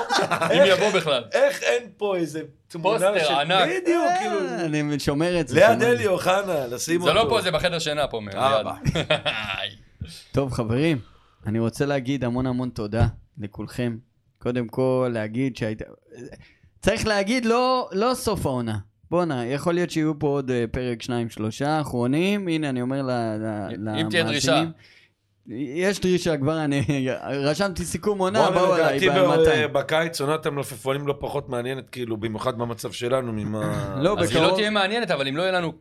Speaker 4: אם יבוא בכלל.
Speaker 5: איך אין פה איזה תמונה
Speaker 4: פוסטר
Speaker 5: של-
Speaker 4: ענק.
Speaker 5: בדיוק, כאילו.
Speaker 3: אה, אני שומר את זה.
Speaker 5: ליד
Speaker 3: שומר.
Speaker 5: אלי אוחנה, לשים
Speaker 4: זה
Speaker 5: אותו. אה,
Speaker 4: לא פה, זה בחדר שינה פה. מיד.
Speaker 5: אבא.
Speaker 3: טוב, חברים, אני רוצה להגיד המון המון תודה לכולכם. קודם כל, להגיד שהייתה... צריך להגיד, לא, לא סוף העונה. בואנה, יכול להיות שיהיו פה עוד אה, פרק שניים, שלושה האחרונים. הנה, אני אומר ל- ל- למאזינים.
Speaker 4: אם תהיה דרישה.
Speaker 3: יש דרישה כבר, אני רשמתי סיכום עונה,
Speaker 5: בואנה,
Speaker 3: באו
Speaker 5: לדעתי אה,
Speaker 3: אליי,
Speaker 5: ב-
Speaker 3: ב-200.
Speaker 5: בקיץ עונת המלפפונים לא פחות מעניינת, כאילו, במיוחד במצב שלנו, ממה...
Speaker 3: לא,
Speaker 4: אז היא
Speaker 3: בקרוב-
Speaker 4: לא תהיה מעניינת, אבל אם לא יהיה לנו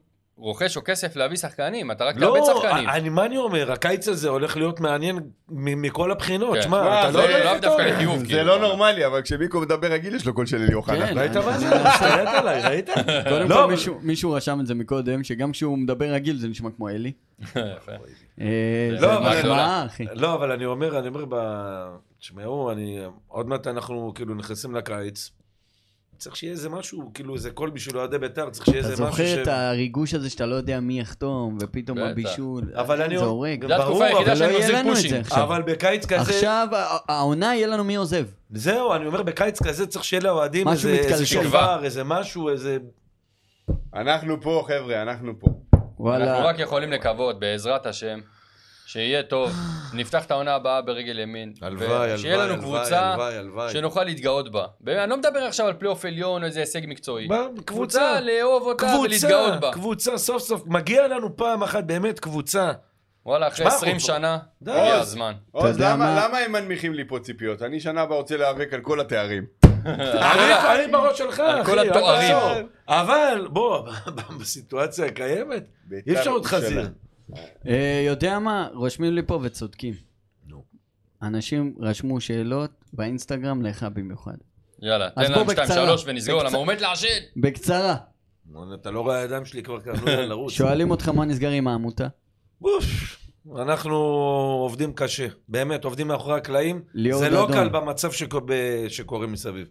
Speaker 4: רוכש או כסף להביא שחקנים, אתה רק תאבד
Speaker 5: לא,
Speaker 4: שחקנים.
Speaker 5: אני, מה אני אומר, הקיץ הזה הולך להיות מעניין מ- מכל הבחינות,
Speaker 4: כן.
Speaker 5: שמע,
Speaker 4: מה,
Speaker 5: אתה
Speaker 4: זה
Speaker 5: לא יודע
Speaker 4: לאו
Speaker 5: איך אתה
Speaker 4: דווקא
Speaker 5: הולך.
Speaker 4: לחיוב,
Speaker 2: זה
Speaker 4: כאילו.
Speaker 2: לא נורמלי, אבל כשמיקו מדבר רגיל יש לו קול של אלי אוחנה.
Speaker 3: כן,
Speaker 5: ראית מה זה?
Speaker 3: אני-
Speaker 5: השתלט עליי, ראית?
Speaker 3: קודם
Speaker 5: לא,
Speaker 3: כל
Speaker 5: אבל-
Speaker 3: מישהו- מישהו רשם את זה מקודם, שגם כשהוא מדבר רגיל זה נשמע כמו אלי.
Speaker 4: יפה.
Speaker 3: אה,
Speaker 4: לא,
Speaker 3: זה
Speaker 5: אבל-
Speaker 3: מחמאה, אחי.
Speaker 5: לא, אבל אני אומר, אני אומר, ב- תשמעו, אני, עוד מעט אנחנו כאילו נכנסים לקיץ. צריך שיהיה איזה משהו, כאילו איזה קול בשביל אוהדי בית"ר, צריך שיהיה
Speaker 3: אתה
Speaker 5: איזה משהו ש...
Speaker 3: זוכר את הריגוש הזה שאתה לא יודע מי יחתום, ופתאום
Speaker 4: בטח.
Speaker 3: הבישול, אה,
Speaker 5: אבל אני...
Speaker 3: זה הורג.
Speaker 4: זה התקופה היחידה
Speaker 5: אבל
Speaker 4: שאני
Speaker 5: לא יהיה-
Speaker 4: עושה
Speaker 3: לנו את זה
Speaker 4: פושים.
Speaker 3: עכשיו.
Speaker 5: אבל בקיץ כזה...
Speaker 3: עכשיו ה- העונה יהיה לנו מי עוזב.
Speaker 5: זהו, אני אומר, בקיץ כזה צריך שיהיה לאוהדים
Speaker 3: משהו
Speaker 5: איזה- איזה
Speaker 3: מתקלקל.
Speaker 5: שובר, איזה משהו, איזה...
Speaker 2: אנחנו פה, חבר'ה, אנחנו פה.
Speaker 4: אנחנו
Speaker 3: וואלה,
Speaker 4: רק יכולים לקוות, בעזרת השם, שיהיה טוב. נפתח את העונה הבאה ברגל ימין. ושיהיה לנו קבוצה
Speaker 5: הלוואי.
Speaker 4: שנוכל להתגאות בה. באמת, אני לא מדבר עכשיו על פלייאוף עליון או איזה הישג מקצועי.
Speaker 5: ב-
Speaker 4: קבוצה,
Speaker 5: קבוצה,
Speaker 4: לאהוב אותה לא ולהתגאות
Speaker 5: קבוצה,
Speaker 4: בה.
Speaker 5: קבוצה, סוף סוף, מגיע לנו פעם אחת באמת קבוצה.
Speaker 4: וואלה, אחרי
Speaker 5: שמע,
Speaker 4: 20
Speaker 5: אנחנו-
Speaker 4: שנה,
Speaker 5: די.
Speaker 4: הגיע הזמן.
Speaker 2: עוז,
Speaker 3: יודע
Speaker 2: למה
Speaker 3: מה?
Speaker 2: למה הם מנמיכים לי פה ציפיות? אני שנה הבאה רוצה להיאבק על כל התארים.
Speaker 4: אה,
Speaker 5: אני אני בראש שלך, אחי,
Speaker 4: כל
Speaker 5: אל
Speaker 4: התוארים.
Speaker 5: תעזור. אבל, בוא, ב- בסיטואציה הקיימת, אי אפשר עוד חזיר.
Speaker 3: אה, יודע מה, רושמים לי פה וצודקים.
Speaker 5: נו.
Speaker 3: אנשים רשמו שאלות באינסטגרם לך במיוחד.
Speaker 4: יאללה,
Speaker 3: אז
Speaker 4: תן
Speaker 3: פה
Speaker 4: לנו 2-3
Speaker 3: בקצרה.
Speaker 4: ונסגור, למה
Speaker 3: בקצרה.
Speaker 4: הוא מת לעשן.
Speaker 3: בקצרה,
Speaker 5: אתה לא רואה הידיים שלי כבר כאן, לא יודע לרוץ.
Speaker 3: שואלים אותך מה נסגר עם העמותה?
Speaker 5: אוף, אנחנו עובדים קשה, באמת, עובדים מאחורי הקלעים.
Speaker 3: ליאור
Speaker 5: זה לא
Speaker 3: דדון.
Speaker 5: קל במצב שקו- ב- שקורה מסביב.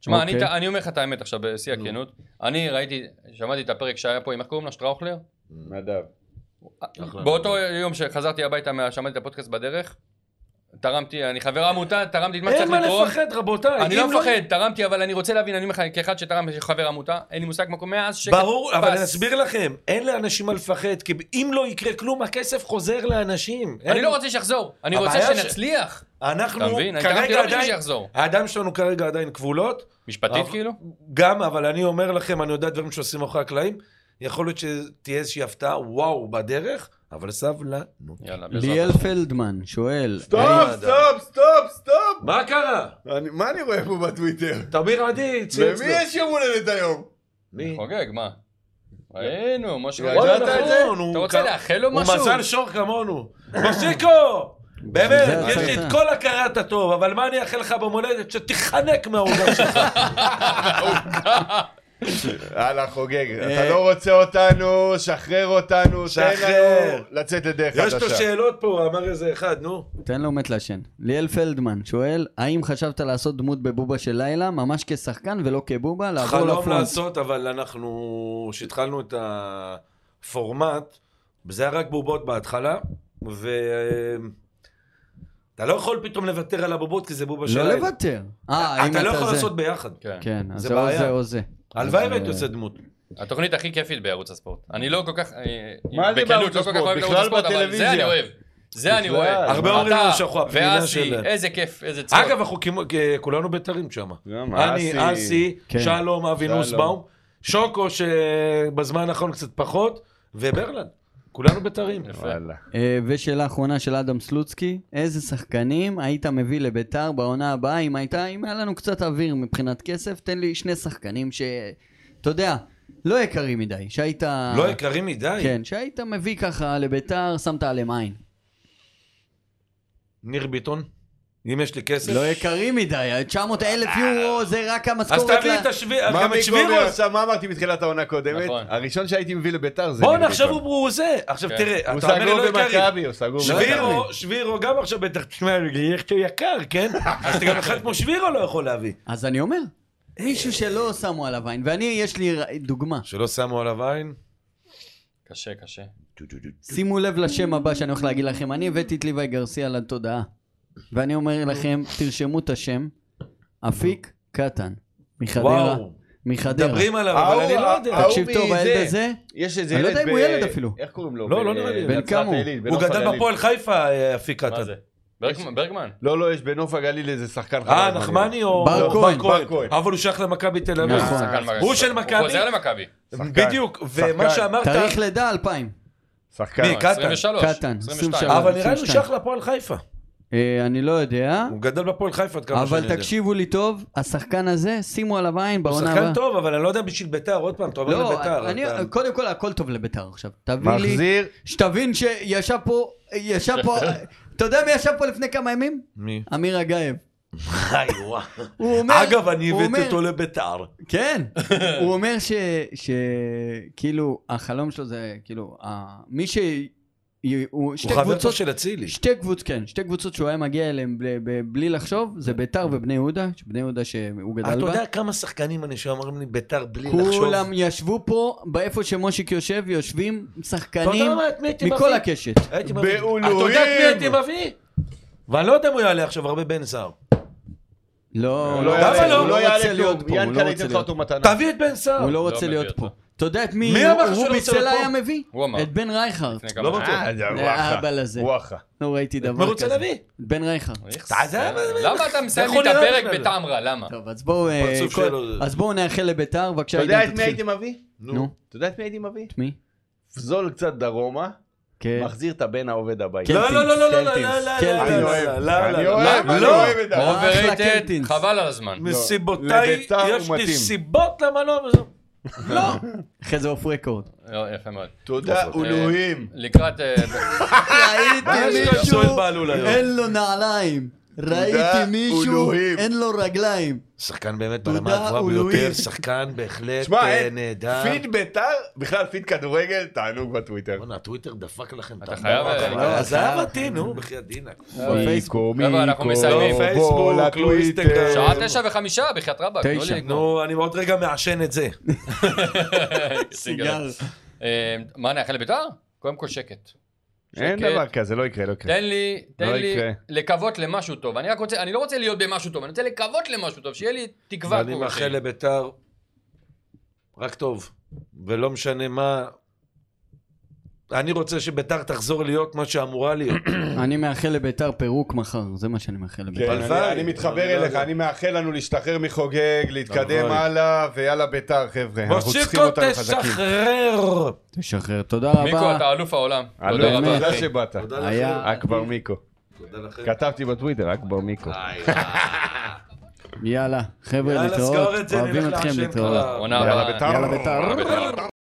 Speaker 4: תשמע,
Speaker 3: אוקיי.
Speaker 4: אני, אני אומר לך את האמת עכשיו, בשיא הכנות. אני ראיתי, שמעתי את הפרק שהיה פה עם, איך קוראים לו? שטראוכלר?
Speaker 2: נדב.
Speaker 5: אחלה.
Speaker 4: באותו יום שחזרתי הביתה, מה- שמעתי את הפודקאסט בדרך, תרמתי, אני חבר עמותה, תרמתי את מה
Speaker 5: אין
Speaker 4: שצריך
Speaker 5: מה
Speaker 4: לתרום.
Speaker 5: לפחד, רבותיי.
Speaker 4: אני
Speaker 5: אם
Speaker 4: לא מפחד, תרמתי, אבל אני רוצה להבין, אני אומר לך, כאחד שתרם חבר עמותה, אין לי מושג מה קורה, מאז שקט
Speaker 5: ברור, אבל
Speaker 4: פס.
Speaker 5: אני אסביר לכם, אין לאנשים מה לפחד, כי אם לא יקרה כלום, הכסף חוזר לאנשים.
Speaker 4: אני
Speaker 5: אין-
Speaker 4: לא רוצה שיחזור, אני
Speaker 5: הבעיה
Speaker 4: רוצה
Speaker 5: ש-
Speaker 4: שנצליח. אתה
Speaker 5: אנחנו
Speaker 4: מבין? אני תרמתי
Speaker 5: כרגע
Speaker 4: לא בשביל
Speaker 5: עדיין, אה,
Speaker 4: שיחזור.
Speaker 5: הידיים שלנו כרגע עדיין כבולות.
Speaker 4: משפטית
Speaker 5: אבל-
Speaker 4: כאילו?
Speaker 5: גם, אבל אני אומר לכם, אני יודע דברים שעושים מאחורי הקלעים, יכול להיות שתהיה איזושהי הפתעה, וואו, בדרך, אבל סבלנות.
Speaker 4: יאללה, בעזרת
Speaker 3: ליאל
Speaker 4: השם.
Speaker 3: פלדמן שואל,
Speaker 2: סטופ, סטופ, סטופ, סטופ!
Speaker 5: מה קרה?
Speaker 2: אני- מה אני רואה פה בטוויטר?
Speaker 5: תמיר עדי, ציוץ
Speaker 2: למי
Speaker 5: לו.
Speaker 2: יש יום הולדת היום?
Speaker 5: מי?
Speaker 4: חוגג, מה? ראינו, משה,
Speaker 2: וואלה,
Speaker 4: ראינו.
Speaker 2: ידעת את זה?
Speaker 5: נכון, הוא
Speaker 4: אתה רוצה
Speaker 5: כ-
Speaker 4: לאחל לו
Speaker 5: הוא
Speaker 4: משהו?
Speaker 5: מזל שור כמונו. מושיקו! באמת,
Speaker 3: זה
Speaker 5: יש לי
Speaker 3: הצעתה.
Speaker 5: את כל הכרת הטוב, אבל מה אני אאחל לך במולדת? שתיחנק מהעוגה שלך.
Speaker 2: הלאה, חוגג. אתה לא רוצה אותנו, שחרר אותנו, תן
Speaker 5: שחרר.
Speaker 2: לנו לצאת לדרך
Speaker 5: יש לו
Speaker 2: חדשה.
Speaker 5: שאלות פה, אמר איזה אחד, נו.
Speaker 3: תן לו מת לעשן. ליאל פלדמן שואל, האם חשבת לעשות דמות בבובה של לילה, ממש כשחקן ולא כבובה, לעבור
Speaker 5: חלום
Speaker 3: לפרונט?
Speaker 5: לעשות, אבל אנחנו, כשהתחלנו את הפורמט, זה היה רק בובות בהתחלה, ו... אתה לא יכול פתאום לוותר על הבובות, כי זה בובה של
Speaker 3: לא
Speaker 5: לילה.
Speaker 3: לוותר. אה, אם
Speaker 5: אתה לא יכול
Speaker 3: זה-
Speaker 5: לעשות ביחד.
Speaker 4: כן.
Speaker 3: כן, אז
Speaker 5: זה
Speaker 3: זה או
Speaker 5: בעיה.
Speaker 3: זה או זה.
Speaker 5: הלוואי
Speaker 3: אז,
Speaker 5: והייתי
Speaker 3: אה,
Speaker 5: עושה דמות.
Speaker 4: התוכנית הכי כיפית בערוץ הספורט. אני לא כל כך... אה,
Speaker 2: מה זה
Speaker 4: בקלות,
Speaker 2: בערוץ
Speaker 4: לא כל כך
Speaker 2: הספורט?
Speaker 4: אוהב את ערוץ
Speaker 2: בכלל
Speaker 4: הספורט, אבל
Speaker 2: בטלוויזיה.
Speaker 4: זה אני אוהב. זה אני
Speaker 2: בכלל.
Speaker 4: אוהב.
Speaker 5: הרבה
Speaker 4: אתה
Speaker 5: אומרים לנו שאנחנו הפנינה
Speaker 4: ואסי,
Speaker 5: של-
Speaker 4: איזה כיף, איזה צחוק.
Speaker 5: אגב, אנחנו כמו- כ- כולנו בית"רים שם.
Speaker 2: למה?
Speaker 5: אני,
Speaker 2: אסי.
Speaker 5: אסי,
Speaker 3: כן.
Speaker 5: שלום, אבי
Speaker 2: שלום.
Speaker 5: נוסבאום, שוקו שבזמן האחרון קצת פחות, וברלנד. כולנו בית"רים.
Speaker 2: וואלה.
Speaker 3: אה, ושאלה אחרונה של אדם סלוצקי, איזה שחקנים היית מביא לביתר בעונה הבאה, אם הייתה, אם היה לנו קצת אוויר מבחינת כסף, תן לי שני שחקנים ש... אתה יודע, לא יקרים מדי, שהיית...
Speaker 5: לא יקרים מדי.
Speaker 3: כן, שהיית מביא ככה לביתר, שמת עליהם עין.
Speaker 5: ניר ביטון, אם יש לי כסף.
Speaker 3: לא יקרים מדי, 900 אלף יורו זה רק המשכורת.
Speaker 5: אז תביא
Speaker 3: ל-
Speaker 5: את השביל,
Speaker 2: מה
Speaker 5: גם את
Speaker 2: מיקו אומר
Speaker 5: שבירוס.
Speaker 2: עכשיו, מה אמרתי בתחילת העונה הקודמת?
Speaker 4: נכון.
Speaker 2: הראשון שהייתי מביא לביתר זה...
Speaker 5: בואנה,
Speaker 2: ניר
Speaker 5: עכשיו
Speaker 2: ביטון.
Speaker 5: הוא זה. עכשיו
Speaker 4: כן.
Speaker 5: תראה,
Speaker 2: הוא
Speaker 5: אתה אומר לי לא
Speaker 2: סגור
Speaker 5: יקרים.
Speaker 2: במכבי, הוא סגור
Speaker 5: שבירו, שבירו גם עכשיו בטח, תשמע, יש לו יקר, כן? אז אתה גם אחד כמו שבירו לא יכול להביא.
Speaker 3: אז אני אומר, מישהו שלא שמו עליו עין, ואני, יש לי ר- דוגמה.
Speaker 5: שלא שמו עליו עין.
Speaker 4: קשה, קשה.
Speaker 3: שימו לב לשם הבא שאני הולך להגיד לכם, אני הבאתי את ליוואי גרסיה לתודעה. ואני אומר לכם, תרשמו את השם, אפיק קטן, מחדרה,
Speaker 5: וואו.
Speaker 3: מחדרה.
Speaker 5: מדברים עליו, אבל אני לא יודע.
Speaker 2: ההוא
Speaker 3: תקשיב טוב,
Speaker 2: מזה.
Speaker 3: הילד הזה,
Speaker 2: יש איזה
Speaker 3: אני
Speaker 2: ילד
Speaker 3: לא יודע אם הוא ילד אפילו.
Speaker 2: איך קוראים לו?
Speaker 5: לא,
Speaker 2: ב-
Speaker 5: לא נראה לי.
Speaker 3: בן
Speaker 2: בנצרת
Speaker 3: כמה הוא?
Speaker 2: עילית,
Speaker 5: הוא
Speaker 2: בנוף
Speaker 5: גדל
Speaker 2: הגליל.
Speaker 5: בפועל חיפה, אה, אפיק
Speaker 4: מה
Speaker 5: קטן.
Speaker 4: זה? ברגמן- ברגמן.
Speaker 2: לא, לא, יש בנוף הגליל איזה שחקן חדש.
Speaker 5: אה, נחמני או...
Speaker 3: בר
Speaker 5: לא,
Speaker 3: כהן.
Speaker 2: בר כהן.
Speaker 5: אבל הוא שייך למכבי תל אביב.
Speaker 3: נכון.
Speaker 4: שחקן מכבי.
Speaker 5: הוא של
Speaker 4: הוא
Speaker 5: מכבי? אה,
Speaker 4: חוזר למכבי.
Speaker 2: שחקן.
Speaker 5: בדיוק,
Speaker 2: שחקן.
Speaker 5: ומה שאמרת...
Speaker 3: תאריך לידה 2000.
Speaker 2: שחקן.
Speaker 5: מי, קטן?
Speaker 4: 23.
Speaker 3: קטן,
Speaker 4: 22.
Speaker 3: 23.
Speaker 5: אבל נראה לי הוא
Speaker 3: 22.
Speaker 5: שייך לפועל חיפה.
Speaker 3: אה, אני לא יודע,
Speaker 5: הוא גדל בפועל חיפה עד כמה שאני יודע.
Speaker 3: אבל תקשיבו לי טוב, השחקן הזה, שימו עליו עין
Speaker 5: הוא
Speaker 3: בעונה הבאה.
Speaker 5: שחקן טוב, אבל אני לא יודע בשביל ביתר, עוד פעם, אתה אומר
Speaker 3: לא,
Speaker 5: לביתר.
Speaker 3: אני-
Speaker 5: אתה-
Speaker 3: קודם כל הכל טוב לביתר עכשיו. תביא לי,
Speaker 2: מחזיר.
Speaker 3: שתבין שישב פה, ישב פה, אתה יודע מי ישב פה לפני כמה ימים?
Speaker 5: מי?
Speaker 3: אמיר אגייב.
Speaker 5: היי, וואו.
Speaker 3: הוא אומר,
Speaker 5: אגב, אני
Speaker 3: הוא
Speaker 5: הבאתי
Speaker 3: אומר-
Speaker 5: אותו לביתר.
Speaker 3: כן, הוא אומר ש... ש... כאילו, החלום שלו זה, כאילו, ה... מי ש... י- הוא
Speaker 5: הוא
Speaker 3: שתי
Speaker 5: חבר טוב
Speaker 3: קבוצות,
Speaker 5: של אצילי.
Speaker 3: שתי קבוצות, כן, שתי קבוצות שהוא היה מגיע אליהן ב- ב- בלי לחשוב, זה ביתר ובני יהודה, שבני יהודה שהוא
Speaker 5: כן. אה, אתה
Speaker 3: גדל בה.
Speaker 5: יודע כמה שחקנים אני שאומרים לי ביתר בלי לחשוב?
Speaker 3: כולם ישבו פה, באיפה שמושיק יושב, יושבים
Speaker 5: אתה
Speaker 3: שחקנים
Speaker 5: יודע מה, את מי הייתי מביא?
Speaker 3: מכל הקשת.
Speaker 5: הייתי מביא.
Speaker 2: בעולורים.
Speaker 5: אתה יודע את מי הייתי מביא? ואני לא יודע אם הוא יעלה עכשיו הרבה בן סער.
Speaker 3: לא,
Speaker 2: הוא לא
Speaker 5: למה
Speaker 2: יעלה,
Speaker 5: לא?
Speaker 2: הוא לא
Speaker 3: רוצה
Speaker 2: יעלה
Speaker 3: להיות
Speaker 2: כלום.
Speaker 3: פה, הוא לא
Speaker 2: ינקלה
Speaker 3: רוצה
Speaker 2: ייתן לך
Speaker 3: להיות
Speaker 2: אותו מתנה.
Speaker 5: תביא את בן סער.
Speaker 3: הוא לא
Speaker 4: לא
Speaker 3: רוצה
Speaker 4: מביא
Speaker 3: להיות
Speaker 4: אותו.
Speaker 3: פה. אתה יודע את מי?
Speaker 5: מי אמר שהוא לא
Speaker 3: רובי
Speaker 5: רוצה להיות
Speaker 3: סלע
Speaker 5: פה?
Speaker 3: היה מביא?
Speaker 4: הוא אמר.
Speaker 3: את בן רייכרד.
Speaker 4: לפני
Speaker 5: לא
Speaker 4: כמה
Speaker 5: בטוח.
Speaker 2: אה, זה
Speaker 3: האבל הזה.
Speaker 2: וואחה.
Speaker 3: לא ראיתי דבר כזה.
Speaker 5: מה רוצה להביא?
Speaker 3: בן רייכרד.
Speaker 4: איך
Speaker 5: אתה יודע
Speaker 4: זה?
Speaker 5: מה-
Speaker 4: למה אתה מסיים לי
Speaker 5: יכול
Speaker 4: את
Speaker 5: להיות
Speaker 4: הפרק
Speaker 5: בכלל?
Speaker 4: בטעם רע? למה?
Speaker 3: טוב, אז בואו... אה,
Speaker 5: הפרצוף
Speaker 3: כל-
Speaker 5: שלו זה-
Speaker 3: אז בואו נאחל לביתר, בבקשה,
Speaker 2: אתה יודע
Speaker 3: עידן
Speaker 2: את מי
Speaker 3: תתחיל.
Speaker 2: הייתי מביא?
Speaker 3: נו.
Speaker 2: אתה יודע את מי הייתי מביא?
Speaker 3: את מי?
Speaker 2: זול קצת דרומה,
Speaker 3: כן.
Speaker 2: מחזיר את הבן העובד הביתה.
Speaker 3: כן.
Speaker 5: לא, לא, לא, לא, לא, לא,
Speaker 3: קלטינס,
Speaker 5: לא, לא,
Speaker 3: קלטינס.
Speaker 5: לא,
Speaker 2: אני
Speaker 5: לא,
Speaker 2: אוהב,
Speaker 5: לא, לא,
Speaker 2: אני
Speaker 5: לא,
Speaker 2: אוהב,
Speaker 5: לא,
Speaker 2: אני
Speaker 5: לא.
Speaker 2: אוהב את
Speaker 3: לא.
Speaker 2: דרומה.
Speaker 4: אוברייטד,
Speaker 3: קלטינס.
Speaker 4: חבל על הזמן.
Speaker 5: מסיבותיי,
Speaker 2: לביתר הוא
Speaker 5: יש לי
Speaker 2: מתאים.
Speaker 5: סיבות למה לא, אבל זהו.
Speaker 3: אחרי זה אוף רקורד.
Speaker 5: אה,
Speaker 4: לא, יפה מאוד.
Speaker 2: תודה, אלוהים.
Speaker 4: לקראת... אה,
Speaker 3: ראיתי
Speaker 5: יש לו שועל בעלול היום.
Speaker 3: אין לו נעליים. ראיתי מישהו,
Speaker 2: אלוהים.
Speaker 3: אין לו רגליים.
Speaker 5: שחקן באמת ברמה הגבוהה
Speaker 3: אלוהים.
Speaker 5: ביותר, שחקן בהחלט
Speaker 2: שמע,
Speaker 5: אה,
Speaker 2: אין,
Speaker 5: נהדר.
Speaker 2: פיד ביתר, בכלל פיד כדורגל, תענוג בטוויטר.
Speaker 5: בואנה, הטוויטר דפק לכם את
Speaker 4: אתה
Speaker 5: המוח.
Speaker 4: חייב,
Speaker 5: אבל
Speaker 4: אה,
Speaker 5: לא,
Speaker 3: אתה
Speaker 5: אז זה היה
Speaker 3: חייב.
Speaker 5: מתאים, נו, בחייאת דינק.
Speaker 2: מיקו,
Speaker 4: חבר'ה, אנחנו מסיימים.
Speaker 2: בוא
Speaker 5: פייסבוק, לא
Speaker 2: לטוויטר.
Speaker 5: אינסטגרם.
Speaker 4: שעה תשע וחמישה, בחייאת רבאק. לא תנו לי
Speaker 3: תשע.
Speaker 4: לגמור.
Speaker 5: נו, אני עוד רגע מעשן את זה.
Speaker 4: סיגר. אה, מה נאחל לבית"ר? קודם כל שקט.
Speaker 2: אין
Speaker 4: שקט.
Speaker 2: דבר כזה, לא יקרה, לא יקרה.
Speaker 4: תן לי, תן
Speaker 2: לא
Speaker 4: לי
Speaker 2: יקרה.
Speaker 4: לקוות למשהו טוב. אני רק רוצה, אני לא רוצה להיות במשהו טוב, אני רוצה לקוות למשהו טוב, שיהיה לי תקווה.
Speaker 5: ואני
Speaker 4: כלשהי.
Speaker 5: מאחל לביתר רק טוב, ולא משנה מה. אני רוצה שביתר תחזור להיות מה שאמורה להיות.
Speaker 3: אני מאחל לביתר פירוק מחר, זה מה שאני מאחל
Speaker 2: כן,
Speaker 3: לביתר.
Speaker 2: אני,
Speaker 5: הלוואי.
Speaker 2: אני מתחבר
Speaker 5: אני לא
Speaker 2: אליך,
Speaker 5: יודע.
Speaker 2: אני מאחל לנו להשתחרר מחוגג, להתקדם
Speaker 5: הלוואי.
Speaker 2: הלאה, ויאללה ביתר, חבר'ה. אנחנו צריכים
Speaker 5: מושיקו
Speaker 2: אותם חזקים.
Speaker 5: תשחרר!
Speaker 3: תשחרר, תודה
Speaker 4: מיקו,
Speaker 3: רבה.
Speaker 4: אתה אלוף העולם.
Speaker 2: אלוף,
Speaker 4: תודה רבה.
Speaker 2: תודה
Speaker 4: אחי.
Speaker 2: שבאת.
Speaker 3: היה,
Speaker 2: אכבר מיקו. כתבתי בטוויטר, אכבר מיקו.
Speaker 3: יאללה, חבר'ה
Speaker 5: יאללה,
Speaker 3: להתראות,
Speaker 5: סגור את זה,
Speaker 3: אוהבים
Speaker 5: נלך
Speaker 3: אתכם
Speaker 5: לעשן
Speaker 3: להתראות.
Speaker 5: כבר.
Speaker 4: עונה
Speaker 2: יאללה
Speaker 4: הבאה.
Speaker 2: ביתר.
Speaker 3: יאללה ביתר.
Speaker 4: יאללה בית"ר.